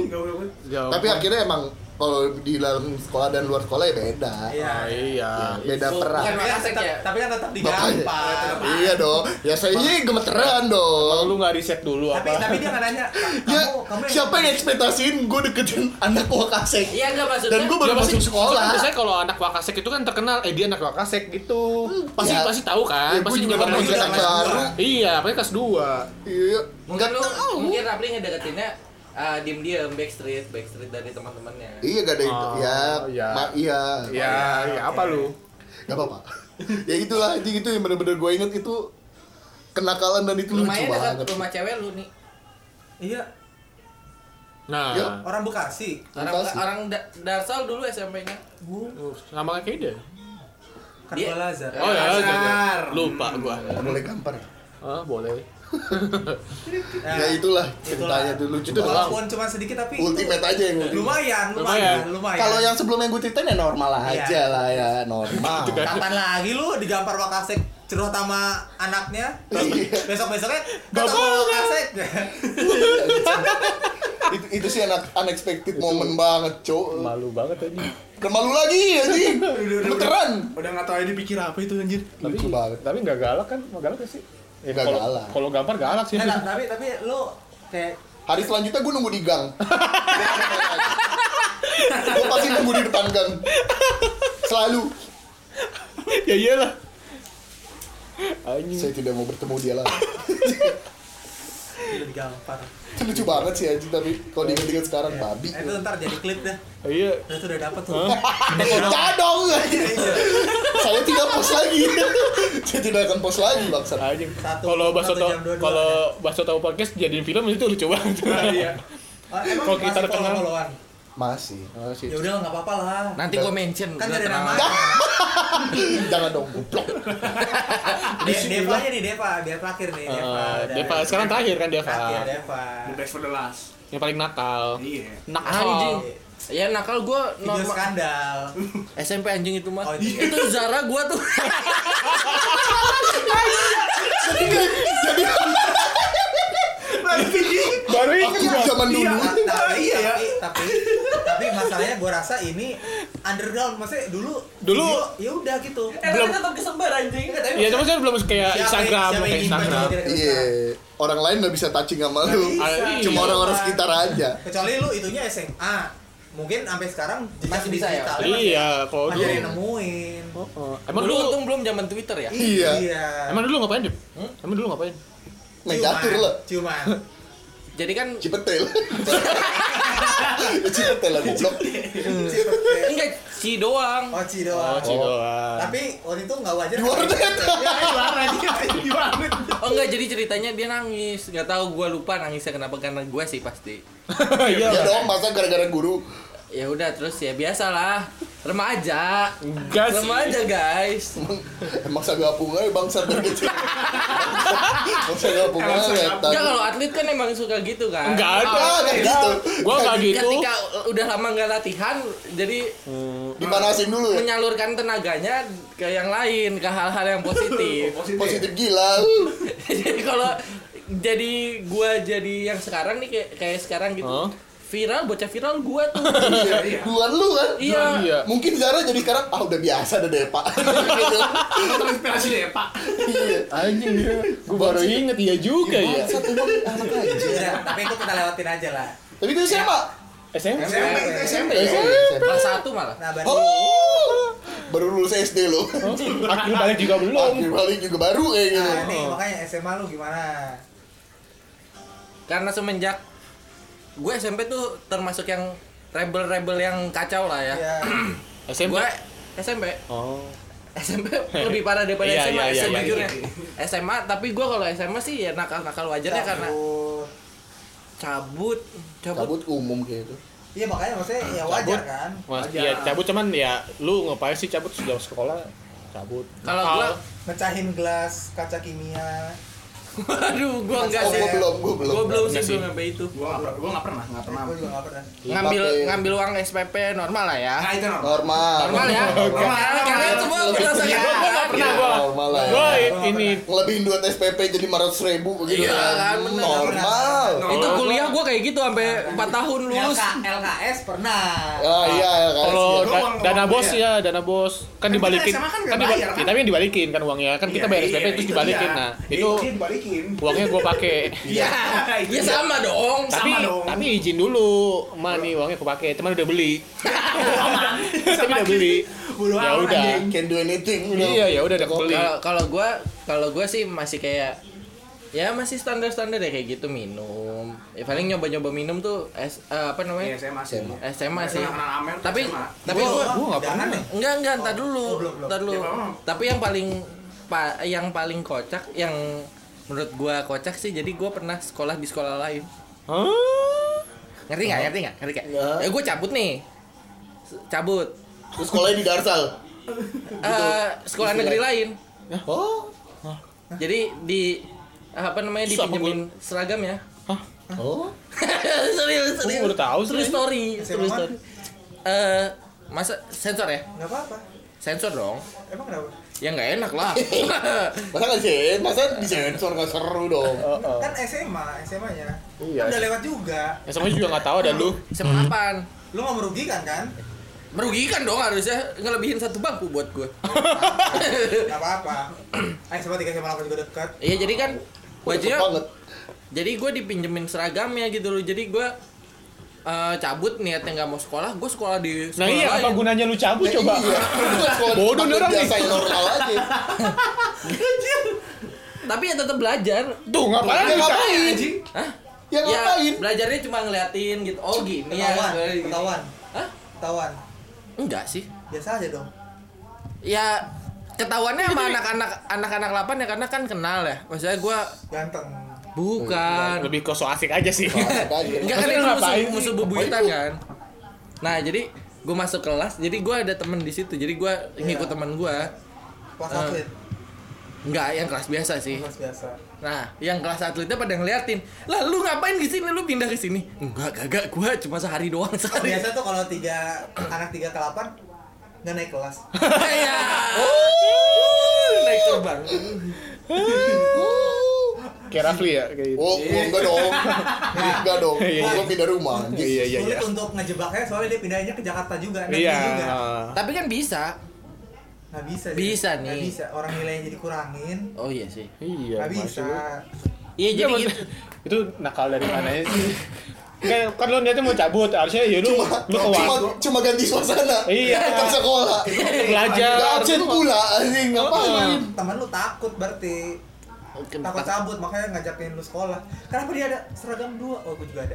S6: Jauh.
S3: tapi akhirnya emang kalau di dalam sekolah dan luar sekolah ya beda
S4: iya
S6: Ah, iya.
S3: beda peran
S4: tapi kan
S1: Makasih,
S4: tetap
S1: ya.
S4: tapi kan tetap
S3: Bapaknya.
S4: digampar
S3: iya dong ya saya ini gemeteran dong
S6: Lu nggak riset dulu
S4: tapi
S6: apa?
S4: tapi dia nggak nanya
S3: ya
S4: kamu kamu yang-
S3: siapa yang ekspektasiin gue deketin anak wakasek
S1: Iya nggak maksudnya.
S3: dan gue baru
S6: Ya, pasti-
S3: masuk
S6: kan
S3: sekolah
S6: Biasanya kalau anak wakasek itu kan terkenal, eh dia anak wakasek gitu. Pasti
S3: ya.
S6: pasti tahu kan,
S3: Ya, gue
S6: pasti
S3: juga
S6: nyebar
S3: baru
S6: juga.
S3: deketan baru
S6: Iya, pakai kelas 2.
S3: iya
S1: Mungkin
S3: nggak
S1: lu
S3: tahu
S1: mungkin Rapli ngedeketinnya eh diem-diem backstreet backstreet dari teman-temannya.
S3: iya gak ada itu
S6: Oh,
S3: ya
S6: iya.
S3: ma- iya
S6: Ya, ya apa lu?
S3: Gak apa-apa. [LAUGHS] ya itulah anjing itu yang bener-bener gue inget itu kenakalan dan itu lucu
S1: Rumahnya dekat
S3: banget.
S1: rumah cewek lu nih.
S4: iya
S6: Nah,
S3: Ya.
S4: orang Bekasi
S1: Orang
S3: Bekasi.
S1: orang Da- Darsal dulu SMP-nya.
S6: uh, sama kayak dia.
S4: Kartu Lazar
S6: Oh ya,
S5: Dasar.
S6: jangan. lupa gua.
S3: Mulai gampar. ya?
S6: Ah, boleh.
S3: Ya itulah ceritanya
S4: itulah.
S3: itu lucu
S6: Itu
S3: banget.
S6: doang.
S4: walaupun cuma sedikit tapi itu
S3: Ultimate aja yang ultimate.
S4: lumayan
S6: Lumayan.
S4: lumayan lumayan
S3: Kalau yang sebelumnya gue ceritain ya normal
S4: Iya.
S3: aja lah ya normal.
S4: Kapan lagi lu digampar Wakasek curhat sama anaknya? Besok-besoknya ketemu Wakasek.
S3: itu, itu sih anak unexpected moment banget, cok.
S6: Malu banget tadi.
S3: Kemalu lagi anjing. Beneran.
S5: Udah gak tau ini pikir apa itu anjir
S3: Lucu banget.
S6: Iya. Tapi enggak galak kan? Mau galak gak sih? Ya,
S3: Nggak
S6: kalau-
S3: galak.
S6: Kalau gambar galak sih.
S4: Eh, nah, tapi tapi lu kayak
S3: Hari selanjutnya gue nunggu di gang. gue pasti nunggu di depan gang. Selalu.
S6: [LAUGHS] ya iyalah. Anjing. Hmm.
S3: Saya tidak mau bertemu dia lagi.
S4: udah digampar.
S3: Itu lucu banget sih anjing tapi kalau diingat-ingat sekarang babi.
S4: Eh, itu ntar jadi klip dah.
S6: Iya.
S4: Udah tuh udah dapet tuh.
S3: Pecah dong. Saya tidak post lagi. Saya tidak akan post lagi bangsa.
S6: Anjing.
S4: Satu-
S6: Kalau bakso
S4: satu
S6: tahu
S4: jam dua-dua.
S6: kalau bakso tahu podcast jadiin film itu lucu banget. [LAUGHS]
S5: Iya
S4: Oh, emang
S6: Kalau kita
S4: masih
S6: terkenal.
S4: follow-followan?
S3: Masih.
S4: Ya udah nggak apa-apa lah.
S1: Nanti
S3: Dan-
S1: gue mention. Nah,
S4: Kan
S1: udah
S4: dari
S1: tenang
S4: nama.
S6: [LAUGHS]
S1: aja.
S3: Jangan dong goblok.
S4: De- Deva aja nih Deva, biar terakhir nih Deva.
S6: Eh,
S4: Udah.
S6: Deva sekarang terakhir kan Deva.
S4: Terakhir ya. Deva.
S5: The best for the last
S6: Yang paling nakal.
S5: Iya
S1: Anjing.
S6: Nakal.
S1: Ya nakal gue
S4: Video
S6: [LAUGHS]
S4: skandal.
S1: SMP anjing itu mah.
S4: Oh, iya.
S1: itu Zara gue
S4: [LAUGHS]
S1: tuh.
S3: Jadi
S5: Nah,
S6: Baru
S3: aku zaman dulu.
S4: tapi,
S5: iya ya.
S4: tapi, tapi, tapi masalahnya gue rasa ini underground. Maksudnya dulu,
S6: Dulu- Eh,
S4: video, ya udah gitu.
S1: Belum tetap kesembar anjing.
S6: Ya cuma saya belum kayak
S4: Siapa-
S6: Instagram,
S4: siapa yang
S6: kayak
S4: kan. nyimpan
S6: Instagram.
S4: kalau tidak
S3: Iya.
S4: kerusak?
S3: Orang lain nggak bisa touching sama lu.
S6: Ah, iya.
S3: Cuma orang-orang sekitar aja.
S4: Kecuali lu itunya SMA. Mungkin sampai sekarang jejak
S1: Masih bisa ya?
S4: digital
S6: Iya, kalau
S4: Masih
S6: dulu.
S4: ada yang nemuin.
S6: Heeh. Emang
S1: Dulu
S6: dulu
S1: untung belum zaman Twitter ya.
S3: Iya.
S6: Emang dulu ngapain, Dip?
S4: Hmm?
S6: Emang dulu ngapain?
S4: Oh.
S3: Main
S4: Iya.
S3: catur lah.
S4: Cuman.
S1: Jadi kan
S3: Cipetel. Cipetel lah goblok.
S1: enggak si doang.
S4: Oh, Ci
S6: Oh,
S4: doang. [LAUGHS]
S6: cidoan.
S4: Tapi waktu itu nggak wajar.
S3: Di warnet.
S1: Oh enggak jadi ceritanya dia nangis. ya Nggak tahu gue lupa nangisnya kenapa karena gue sih pasti.
S6: Iya.
S3: Ya dong masa gara-gara guru.
S1: ya udah terus ya biasalah remaja
S6: Enggak Iya sih.
S1: remaja guys
S3: Emang sagapung aja bangsa kecil. Emang sagapung
S5: Emang
S3: aja.
S5: sagapung.
S3: Tan.
S1: Enggak kalau atlet kan emang suka gitu kan
S6: Enggak ada.
S3: Ah, kayak gitu.
S6: Gua enggak gitu.
S1: ketika udah lama nggak latihan jadi
S3: Dipanasin dulu
S4: Hmm.
S3: ya.
S1: menyalurkan tenaganya ke yang lain ke hal-hal yang
S5: Iya,
S1: positif
S3: Positif gila. Uh,
S1: [LAUGHS] jadi kalau jadi gua jadi yang sekarang nih kayak kayak sekarang gitu
S6: Huh?
S1: viral bocah viral gua
S6: [LAUGHS]
S1: tuh
S3: Duluan lu kan.
S1: iya
S6: Iya.
S3: Mungkin Zara jadi sekarang ah udah biasa ada deh Pak. [LAUGHS] Gitu.
S5: Terinspirasi deh, Pak.
S3: Iya.
S6: Anjing ya. Gua baru inget iya juga ya.
S3: Satu bang anak aja.
S4: Udah, Iya, tapi itu kita lewatin aja lah.
S3: Tapi itu siapa?
S6: SMP.
S5: SMP, itu SMP.
S6: Iya,
S1: kelas satu malah
S4: Nah, Bandi,
S3: Oh. Baru lulus SD lo.
S6: Akhir Oh. balik juga belum.
S3: Akhir balik juga baru
S1: Ah,
S3: kayak gitu.
S4: nah, nih makanya SMA lu gimana?
S1: karena semenjak gue SMP tuh termasuk yang rebel-rebel yang kacau lah ya.
S6: Iya.
S4: Ya,
S6: SMP.
S1: Gue SMP
S6: Oh. [LAUGHS]
S1: SMP lebih parah daripada
S6: Iya,
S1: SMA
S6: iya, iya,
S1: sejujurnya. SMA tapi gue kalau SMA sih ya nakal-nakal wajarnya karena
S4: cabut.
S1: cabut, cabut.
S3: Cabut umum kayak gitu.
S4: Iya makanya maksudnya ya wajar kan.
S6: Mas,
S5: Wajar.
S6: ya cabut cuman ya lu ngapain sih cabut sudah sekolah cabut.
S1: Kalau
S6: Nakal.
S1: gue,
S4: Mecahin gelas kaca kimia.
S1: [LAUGHS] waduh gue enggak
S3: Oh,
S1: sih.
S3: gue belum, gue belum.
S1: Gue belum sih
S6: Enggak sih.
S1: belum sampai itu.
S5: Gua nggak pernah, Iya gua nggak pernah, nggak pernah.
S4: Gue juga nggak pernah.
S1: Ngambil
S3: Pakai
S1: ngambil uang SPP normal lah ya.
S5: Nah, itu normal.
S3: normal. Iya,
S1: Normal ya. Normal. Kalian semua merasakan
S6: Gua gua nggak pernah gua.
S3: Normal lah.
S6: Gua
S3: ya.
S6: ini
S3: ngelebihin duit SPP jadi 400 ribu gitu
S1: Iya, kan, bener.
S3: normal
S1: Itu kuliah gue kayak gitu sampai 4 tahun lulus.
S4: LK, LKS pernah.
S3: ah iya ya kan
S6: kalau
S5: Gua
S6: da-
S5: uang-
S6: dana
S5: uang
S6: bos
S5: gua
S6: ya dana bos kan
S5: Kan
S6: dibalikin
S5: kita SMA kan nggak
S6: diba-
S5: bayar, kan? Iya,
S6: ya, tapi yang dibalikin kan uangnya kan kita bayar SPP terus dibalikin nah itu
S5: dibalikin.
S6: uangnya gua pakai
S5: Iya.
S1: Ya sama dong.
S6: tapi
S5: dong.
S6: tapi izin dulu ma nih uangnya gua pakai teman udah beli tapi udah beli
S5: Bodo
S6: ya
S5: amat,
S6: udah
S5: anjing.
S3: can do anything you know.
S6: iya ya udah udah beli
S1: kalau kalau gua kalau gua sih masih kayak ya masih standar standar ya kayak gitu minum ya, paling nyoba nyoba minum tuh es- eh, apa
S5: Iya,
S1: namanya
S5: saya masih.
S1: SMA sih
S5: Kenal-kenal Amel tuh
S1: tapi
S5: SMA.
S1: tapi gua
S6: gua nggak pernah
S4: nih.
S1: enggak enggak entar dulu
S4: belum, belum.
S1: entar dulu
S5: Ya, Bang.
S1: tapi yang paling pa- yang paling kocak yang menurut gua kocak sih jadi gua pernah sekolah di sekolah lain
S6: Hah?
S1: ngerti nggak ngerti nggak ngerti nggak
S3: Nggak.
S1: ya gua cabut nih S- cabut
S3: terus sekolahnya di Darsal
S1: Eh, sekolah negeri lain
S3: oh
S1: jadi di apa namanya
S6: Susah apa
S1: dipinjemin seragam [LAUGHS] ya
S6: Hah?
S3: oh
S1: serius serius
S6: baru tahu sih.
S1: true story true
S4: SMA.
S1: story eh masa sensor ya
S4: Nggak apa-apa.
S1: sensor dong
S4: Emang kenapa?
S1: ya nggak enak [LAUGHS] lah
S3: masa nggak sih masa disensor nggak seru dong
S6: Eh,
S4: Kan SMA, SMA-nya.
S6: Iya.
S4: Kan Udah lewat juga.
S6: ya sama juga nggak tahu ada lu
S1: sepapan
S4: Lu nggak merugikan kan?
S1: merugikan dong harusnya ngelebihin satu bangku buat [LAUGHS] gue
S4: Nggak apa-apa. Eh SMA tiga SMA 8 juga dekat.
S1: iya jadi kan
S3: Cepet
S1: bajunya
S3: banget
S1: jadi gue dipinjemin seragamnya gitu loh jadi gue eh, cabut niatnya nggak mau sekolah gue sekolah di sekolah
S6: nah iya apa
S1: lain
S6: gunanya lu cabut coba
S3: Iya, bukan sekolah di
S6: Bodoh
S3: tempat
S6: nih orang
S3: biasa
S6: nih.
S3: yang normal aja
S1: tapi ya tetap belajar
S6: tuh
S3: ya
S6: ngapain lu cabut?
S3: ngapain
S5: Anjing.
S1: Hah?
S3: ya ngapain
S1: Ya, belajarnya cuma ngeliatin gitu. Oh gini ya.
S4: Ketahuan,
S1: sebenarnya gini.
S4: ketahuan,
S1: Hah?
S4: ketahuan.
S1: Enggak sih.
S4: Biasa aja dong.
S1: Ya ketahuannya sama anak-anak anak-anak 8 ya karena kan kenal ya. Maksudnya gua
S4: Ganteng.
S1: bukan.
S6: Kan lebih ke so asik aja sih
S1: Enggak kan
S6: Maksudnya
S1: itu musuh,
S6: ngapain sih? Oh,
S1: musuh bebuyutan kan. Nah, jadi gua masuk kelas, jadi gua ada temen di situ. Jadi gua ngikut temen gua.
S4: Kelas
S1: Eh.
S4: atlet,
S1: Enggak, yang kelas biasa sih.
S4: kelas biasa.
S1: Nah, yang kelas atletnya pada ngeliatin. Lah, lu ngapain ke sini? Lu pindah ke sini? Enggak, kagak. Gua cuma sehari doang sehari.
S4: Biasa tuh kalau tiga anak tiga ke delapan nggak naik kelas.
S1: [LAUGHS] Iya. Naik terbang.
S6: kayak Rafli ya kayak gitu.
S3: Oh, gua enggak dong. Enggak dong. Gua pindah rumah. anjing.
S6: iya iya iya
S4: Sulit untuk ngejebaknya soalnya dia pindahnya ke Jakarta juga, negeri
S6: iya
S4: juga.
S1: Tapi kan bisa.
S4: Nggak bisa. sih.
S1: Bisa
S4: Nggak
S1: nih.
S4: bisa. Orang nilainya jadi kurangin.
S1: Oh iya sih.
S6: iya
S4: Nggak bisa.
S6: maksud-
S1: Iya
S6: Iya
S1: jadi
S6: maksud-
S1: gitu.
S6: itu nakal dari mana ya sih? Kayak kan lo niatnya mau cabut, harusnya ya lu lu ke
S3: Cuma
S6: warung.
S3: cuma ganti suasana.
S6: Iya.
S3: Ke sekolah.
S6: belajar.
S3: Gacet pula anjing
S6: Iya.
S3: ngapain?
S4: Temen lu takut berarti takut cabut makanya ngajakin lu sekolah. Kenapa dia ada seragam dua? Oh, gue juga ada.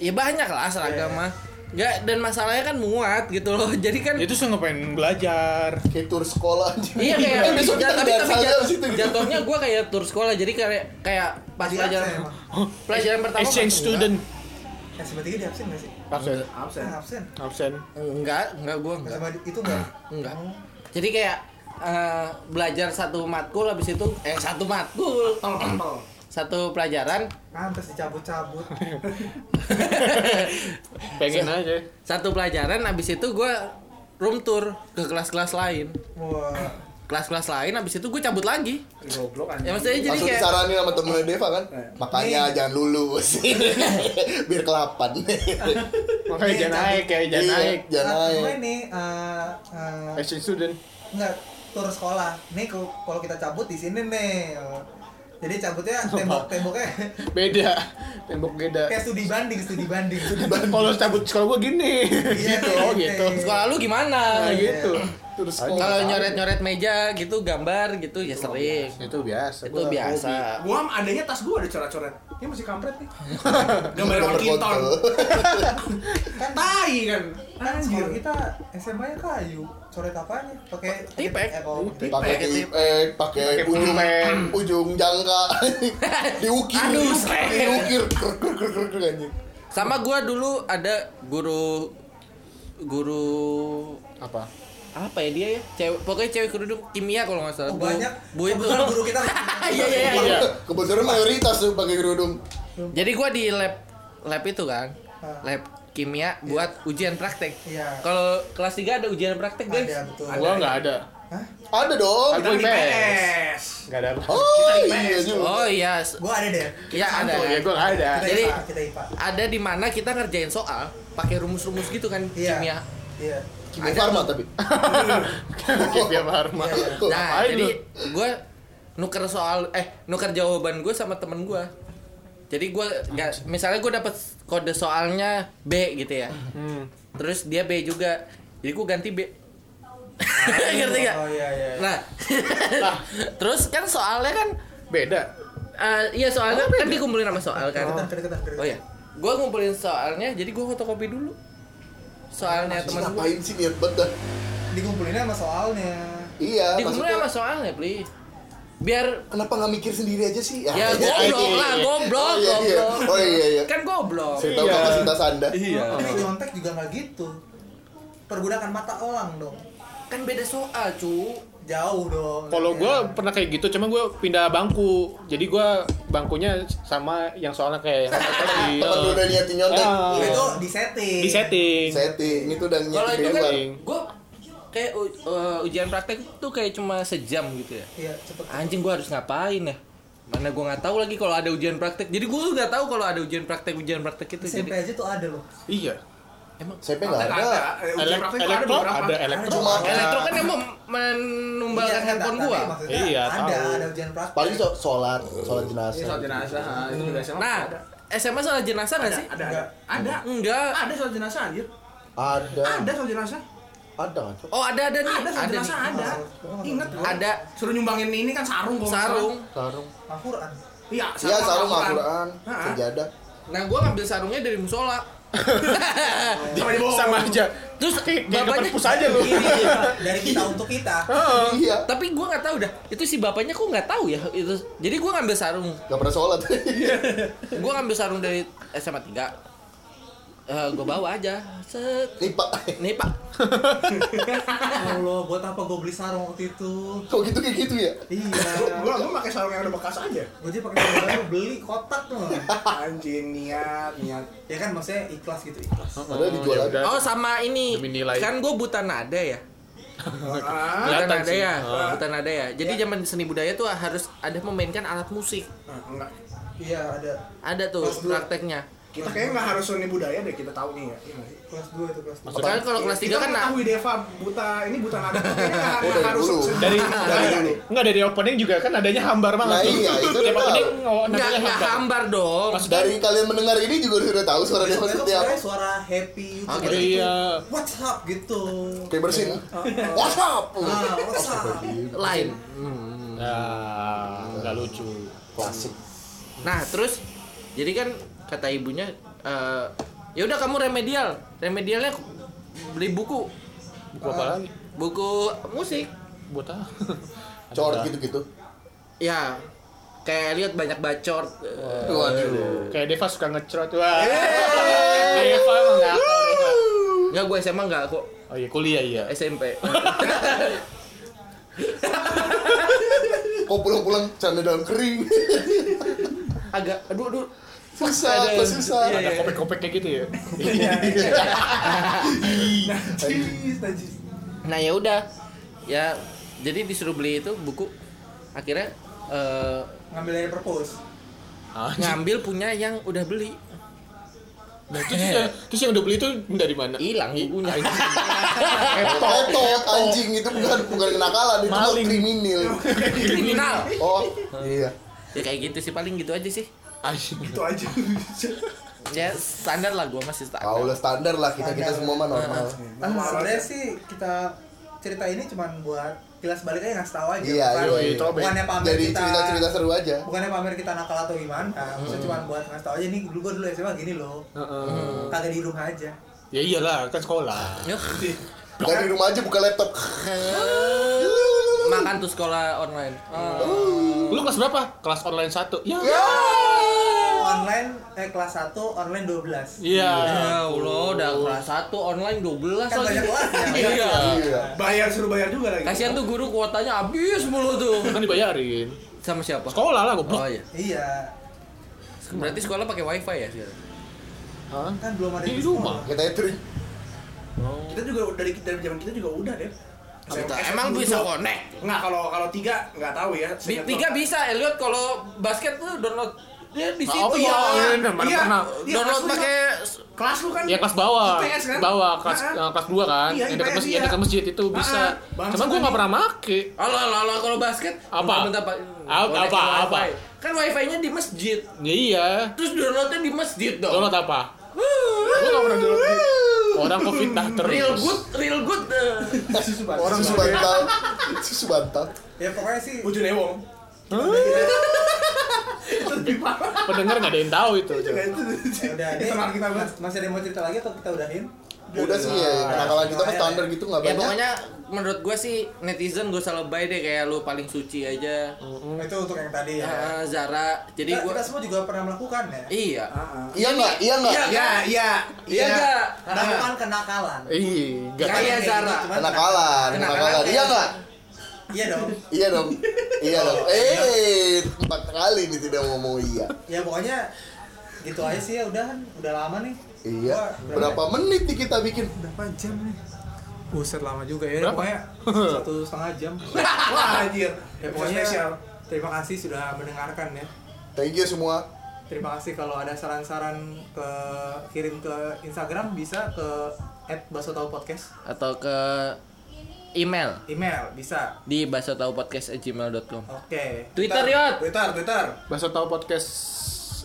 S1: Ya banyak lah seragam mah. Enggak dan masalahnya kan muat gitu loh. [LAUGHS] Jadi kan
S6: Itu sih ngapain belajar.
S3: Kayak tur sekolah anjing.
S1: Iya kayak
S3: Eh, besok kita
S1: ja- tapi,
S3: ke
S1: tapi
S3: Darsal
S1: jat-
S3: abis itu gitu.
S1: jatuhnya gua kayak tur sekolah jadi kayak kayak pas
S4: Di absen
S1: pelajaran
S4: emang.
S1: pelajaran pertama
S6: Exchange
S1: masuk.
S6: student.
S4: SMA tiga di absen nggak sih?
S2: absen
S5: absen
S4: Ah, absen
S2: absen
S1: Enggak, enggak gua enggak.
S4: sama di- itu enggak
S1: Enggak. Jadi kayak eh, belajar satu matkul habis itu eh satu matkul, [COUGHS]
S5: tol tol
S1: satu pelajaran, [LAUGHS]
S4: pantas dicabut-cabut
S6: pengen aja
S1: satu pelajaran habis itu gua room tour ke kelas-kelas lain.
S4: wah
S1: Kelas-kelas lain habis itu gue cabut lagi.
S5: goblok
S1: Ya
S5: anjing
S1: maksudnya jadi kayak
S3: Langsung
S1: Iya.
S3: disaranin sama temennya Deva kan
S6: Iya.
S3: Makanya jangan
S1: [LAUGHS]
S3: lulus Biar kelapan
S2: makanya jangan naik ya jangan
S3: Iya,
S2: naik
S3: Jangan
S4: Nah,
S3: naik
S4: cuma ini eh, eh,
S2: exchange student
S4: Enggak, tur sekolah. Nih kalau kalau kita cabut di sini nih. Jadi cabutnya tembok-temboknya
S2: beda tembok beda
S4: [LAUGHS] kayak studi banding, studi banding.
S2: kalau cabut sekolah gua gini gitu [LAUGHS] oh gitu
S1: sekolah lu
S2: nah
S1: gimana?
S2: gitu terus sekolah
S1: Kalau nyoret-nyoret meja gitu gambar gitu ya sering.
S2: itu biasa
S1: Itu biasa.
S5: gua adanya tas gua ada coret-coret ini masih kampret nih gambar
S3: Nomor
S5: orang kinton
S3: kontrol.
S4: Kan
S5: tai kan
S4: kan sekolah kita SMA-nya kayu. Coret apanya? Pakai
S1: Tipek.
S4: Eh, kalau-
S3: pakai eh pakai ujung [CLEARS THROAT] ujung
S1: [LAUGHS]
S3: jangka diukir
S1: Aduh, srek.
S3: diukir krek, krek, krek, krek, krek, anjing.
S1: Sama gua dulu ada guru guru
S2: apa
S1: apa ya dia ya? Cewek, pokoknya cewek kerudung kimia kalau nggak salah.
S4: Oh,
S1: Bu-
S4: banyak.
S1: Bu itu.
S4: Kebetulan guru kita.
S1: [LAUGHS] Iya iya iya, iya.
S3: kebetulan mayoritas tuh pakai kerudung
S1: Jadi gua di lab lab itu kan.
S4: Ah.
S1: Lab kimia buat ujian praktek.
S4: Iya.
S1: Kalau kelas 3 ada ujian praktek, guys.
S4: Ada betul.
S2: gua nggak ada
S3: ada dong
S2: Aku IPS
S5: es
S2: nggak ada apa
S3: oh iya juga
S1: Oh iya. s-
S4: Gua ada deh.
S1: Iya ada.
S2: oh ya gua nggak ada [LAUGHS]
S4: Kita
S1: Jadi-
S4: IPA, kita IPA.
S1: Ada di mana kita ngerjain soal pakai rumus-rumus gitu kan
S4: Iya.
S1: kimia.
S4: Iya.
S3: Kimia Farma tapi
S2: kimia farma
S1: Nah,
S2: Ngapain
S1: jadi gue nuker soal eh nuker jawaban gue sama temen gue. Jadi gue nggak misalnya gue dapet kode soalnya B gitu ya.
S2: Hmm.
S1: Terus dia B juga. Jadi gue ganti B. [LAUGHS] Ngerti gak?
S4: Oh iya iya.
S1: Nah, [LAUGHS] terus kan soalnya kan
S2: beda
S1: eh, iya soalnya kan dikumpulin sama soal kan.
S4: Kedeketan, kedeketan,
S1: Oh
S4: kedeketan.
S1: iya. Gue ngumpulin soalnya jadi gue fotokopi dulu. Soalnya temen gue.
S3: ngapain sih niat banget dah.
S4: Dikumpulinnya sama soalnya.
S3: iya
S1: Dikumpulin sama
S3: maksudnya
S1: soalnya, Pli. Biar
S3: kenapa nggak mikir sendiri aja sih
S1: Ya goblok lah, goblok,
S3: Oh, iya, iya.
S1: goblok.
S3: Oh, iya, iya.
S1: Kan goblok.
S3: saya tahu
S2: Iya.
S3: kapasitas anda
S1: Oh.
S4: Tapi nyontek juga nggak gitu. Pergunakan mata orang dong.
S1: Kan beda soal, cu.
S4: Jauh dong.
S6: kalau gua pernah kayak gitu cuma gua pindah bangku jadi gua bangkunya sama yang soalnya kayak yang
S2: iya.
S6: tadi
S3: teman
S2: Eh,
S3: lu udah niatin nyontek
S4: Itu
S6: Ah.
S4: itu di setting.
S6: di setting
S3: setting itu dan
S1: Kalau
S3: nyetir
S1: itu kan
S3: depan.
S1: gue kayak u- uh, ujian praktek tuh kayak cuma sejam gitu ya.
S4: Iya, cepet.
S1: Anjing gua harus ngapain ya? Mana gua nggak tahu lagi kalau ada ujian praktek. Jadi gua tuh nggak tahu kalau ada ujian praktek ujian praktek itu.
S4: SMP
S1: Jadi
S4: aja tuh ada loh.
S2: iya
S3: CP nggak ada
S5: ujian praktik ada
S6: elektro
S5: beberapa
S6: ada elektro
S3: Cuma-
S1: elektro kan yang mem
S4: Iya,
S1: menumbalkan handphone
S4: tapi
S1: gua.
S4: maksudnya
S6: Iya,
S4: ada,
S6: tahu.
S4: ada ujian praktik.
S3: paling so- sholat sholat
S5: Iya, soal
S3: jenazah
S5: jenazah ah, itu juga SMA
S1: Nah,
S5: ada
S1: SMA soal jenazah nggak
S5: ada
S1: sih?
S5: ada ada ada
S1: Enggak.
S5: ada soal jenazah anjir
S3: ada
S5: ada soal jenazah
S3: ada nggak, Cok?
S1: Oh ada ada nih.
S5: ada soal
S1: Ada
S5: jenazah
S1: nih.
S5: ada ingat gua.
S1: Ada
S5: suruh nyumbangin ini kan sarung kalau nggak salah.
S1: sarung.
S3: sarung
S4: Al-Qur'an.
S5: iya
S3: iya sarung Al-Quran
S5: Ah, ah.
S3: sejadah
S1: Nah gua ngambil sarungnya dari
S5: [LAUGHS]
S1: musola.
S5: Sama di bawah.
S2: sama aja
S1: Terus
S2: kayak ke
S1: bapaknya
S2: perpus aja lu
S4: [LAUGHS] Iya. Dari kita untuk kita.
S3: iya
S1: tapi gua nggak tahu dah itu si bapaknya kok nggak tahu ya itu jadi gua ngambil sarung
S3: nggak pernah sholat [LAUGHS]
S1: gua ngambil sarung dari SMA 3 Eh gua bawa aja set
S3: nih pak
S1: nih pak
S4: Ya Allah, buat apa gue beli sarung waktu itu?
S3: kok gitu kayak gitu ya
S4: Iya.
S5: gua gua pakai sarung yang udah bekas aja
S4: Gue aja pakai sarung baru beli kotak tuh.
S5: anjing niat niat
S4: Ya kan maksudnya ikhlas gitu, ikhlas.
S3: padahal
S6: ya
S3: dijual ada
S1: oh sama ini
S6: Demi nilai.
S1: kan gua buta nada ya
S5: Ah,
S1: buta
S6: Kelihatan
S1: nada
S6: sih.
S1: ya
S6: Ah.
S1: buta nada ya jadi zaman seni budaya tuh harus ada memainkan alat musik
S5: ah, enggak
S4: Iya, ada
S1: ada tuh
S4: Kelas dua.
S1: prakteknya
S5: kita kayaknya nggak harus seni budaya deh kita tahu nih ya Iya nggak sih?
S4: kelas 2 itu kelas 2.
S1: Soalnya kalau kelas 3 kan
S5: kita
S1: nah,
S5: tahu Deva buta ini buta nada kayaknya
S3: Oh,
S5: nggak nggak
S3: dari
S5: harus
S3: dulu.
S5: seni [LAUGHS]
S6: dari
S5: budaya Nah,
S3: dulu.
S5: deh.
S6: enggak dari opening juga kan adanya hambar banget
S3: Nah,
S6: tuh.
S3: iya, itu
S6: Tiap
S3: udah
S6: opening
S3: tahu.
S6: ngaw-
S1: nggak
S6: namanya
S1: nggak
S6: hambar
S1: hambar dong
S6: Maksudnya-
S3: dari kalian mendengar ini juga sudah tahu suara dia
S4: Besok
S3: seperti apa
S4: suara suara happy
S1: Ah,
S4: gitu.
S1: gitu.
S6: iya
S4: What's up gitu.
S3: kayak bersin what's up
S4: Ah, what's up?
S1: lain
S6: ya nggak lucu
S3: klasik
S1: Nah terus jadi kan kata ibunya eh ya udah kamu remedial, remedialnya beli buku,
S6: buku
S3: Ah.
S6: apa lagi
S1: buku musik.
S6: buat apa
S3: [LAUGHS] cor gitu. gitu-gitu
S1: Ya kayak lihat banyak bacot. eh,
S3: waduh
S6: Ah. kayak Deva suka ngecrot wah Reva emang nggak akal Reva.
S1: Enggak gue SMA enggak kok
S6: Oh iya kuliah iya.
S3: Eh,
S6: [LAUGHS]
S1: SMP.
S3: Kok pulang-pulang canda dalam kering. [LAUGHS]
S1: Agak aduh aduh.
S3: susah, apa susah. Iya.
S6: Ada Iya, kopek-kopek kayak gitu ya. [LAUGHS]
S4: Najis, najis.
S1: Nah ya udah. Ya jadi disuruh beli itu buku akhirnya eh,
S4: Ngambil dari perpus.
S6: Anjing.
S1: ngambil punya yang udah beli
S6: Nah, terus, yang, terus yang udah beli itu dari mana?
S1: hilang bukunya
S3: Otot, anjing itu bukan bukan kenakalan, itu mah kriminal.
S1: kriminal
S3: Oh, iya.
S1: ya kayak gitu sih paling gitu aja sih
S6: Anjing.
S5: Itu aja.
S1: ya standar lah gue masih
S3: Kalau
S1: standar
S3: udah standar lah kita kita semua mah normal.
S4: Nah, soalnya sih kita cerita ini cuman buat kilas balik aja ngasih tahu aja.
S3: Iya,
S4: Bukan-
S3: iya, iya.
S4: Bukannya pamer
S3: Jadi
S4: kita.
S3: cerita-cerita seru aja.
S4: Bukannya pamer kita nakal atau gimana, Nah, hmm. maksudnya cuma buat ngasih tau aja nih dulu gua dulu SMA gini loh. Kagak di rumah aja.
S6: Ya iyalah kan sekolah.
S1: Yuh,
S3: Dari rumah aja buka laptop.
S1: makan tuh sekolah online Oh.
S6: Lu kelas berapa? Kelas online 1. Ya.
S4: Online eh kelas 1, online 12.
S6: Iya.
S1: Ya Allah, udah kelas 1 online 12
S4: Kan
S1: lagi.
S4: banyak kelas ya.
S6: Iya.
S3: Iya.
S5: Bayar suruh bayar juga lagi.
S1: Kasihan tuh guru kuotanya habis mulu tuh.
S6: Kan dibayarin.
S1: Sama siapa?
S6: Sekolah lah
S1: Oh
S6: goblok.
S1: iya.
S4: Iya.
S1: Berarti sekolah pakai wifi ya sekarang?
S6: Hah?
S4: Kan belum ada
S6: Di
S4: yang
S6: rumah.
S4: sekolah.
S3: Kita itu
S5: Kita juga dari dari zaman kita juga udah deh.
S1: Emang bisa
S5: kok?
S1: connect?
S5: Nggak kalau kalau tiga nggak tahu ya.
S1: Di,
S5: Seingat
S1: tiga
S5: gua.
S1: bisa, Elliot kalau basket tuh download dia Ya, di situ.
S6: Oh iya,
S1: Iya.
S6: iya, mana
S5: Iya.
S6: pernah.
S5: Iya,
S1: Download
S5: kelas lu
S1: pakai
S5: kelas lu kan
S6: Ya kelas bawah,
S5: IPS kan?
S6: bawah kelas
S5: Nah,
S6: eh, kelas 2 kan,
S5: Iya,
S6: yang dekat
S5: IPS,
S6: masjid, yang
S5: iya.
S6: dekat masjid itu bisa.
S5: bangsa
S6: Cuman gua nggak
S5: tadi.
S6: pernah make.
S1: Allah Allah Allah kalau basket
S6: Apa?
S1: bentar, Pak.
S6: Apa,
S1: Koneksi
S6: apa,
S1: wifi.
S6: apa?
S1: Kan wifi-nya di masjid.
S6: Ya iya.
S1: Terus downloadnya di masjid dong.
S6: Download apa? Gua nggak pernah download. Orang covid dah terus.
S1: [LAUGHS] Real good, real [LAUGHS] good. eh.
S3: orang susu bantal, susu bantal.
S4: Ya pokoknya sih
S5: Bucu Newong. Itu lebih parah.
S6: Pendengar nggak ada yang tahu itu.
S5: Juga itu.
S4: ya udah
S5: Itu
S4: deh.
S5: teman kita banget.
S4: Mas- masih ada yang mau cerita lagi atau kita udahin?
S3: Udah sih ya, kenakalan kita mah standar gitu nggak
S1: ya
S3: banyak.
S1: pokoknya menurut gue sih netizen gue salah lebay deh kayak lu paling suci aja
S6: Hmm.
S4: Itu untuk yang tadi ya.
S1: Ah, Zara jadi
S4: Kita,
S1: gue
S4: kita semua juga pernah melakukan ya.
S1: iya
S3: Iya nggak, iya nggak.
S5: Ya, ya.
S1: iya enggak
S4: Melakukan kenakalan.
S6: Ih, Iya, nggak
S1: Kayak
S4: Kayak
S1: Zara.
S4: gitu, cuman-
S3: Kenakalan, kenakalan. Iya nggak.
S4: Iya dong.
S3: Iya [LAUGHS] dong. Iya dong. Eh, empat kali nih tidak ngomong iya.
S4: Ya pokoknya gitu aja sih ya udah kan udah lama nih.
S3: Iya. Berapa menit nih kita bikin?
S4: Berapa jam nih? Buset lama juga ya. udah
S6: Berapa?
S4: Pokoknya satu setengah jam.
S5: Wah, anjir.
S4: ya pokoknya
S5: spesial.
S4: terima kasih sudah mendengarkan ya.
S3: Thank you semua.
S4: Terima kasih kalau ada saran-saran ke kirim ke Instagram bisa ke @basotau_podcast.
S1: atau ke email
S4: Email bisa.
S1: di basotauPodcast@gmail.com
S4: Oke.
S1: Twitter yot
S5: Twitter, Twitter.
S6: Bahasa tahu podcast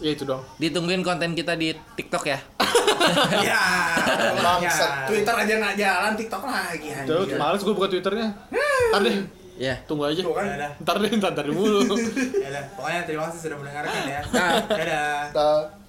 S6: ya itu dong.
S1: ditungguin konten kita di TikTok ya
S5: Ya.
S3: Bangsat.
S5: Twitter aja nggak jalan, TikTok lagi
S6: Terus
S5: anjir.
S6: males gua buka Twitternya. Ntar deh,
S1: ya
S6: tunggu aja.
S5: Iya. Tuh kan.
S4: Dadah.
S6: Ntar deh, ntar dari mulu.
S5: [LAUGHS]
S4: Ya udah, pokoknya terima kasih sudah mendengarkan ya.
S1: Nah.
S4: Dadah.
S3: Kita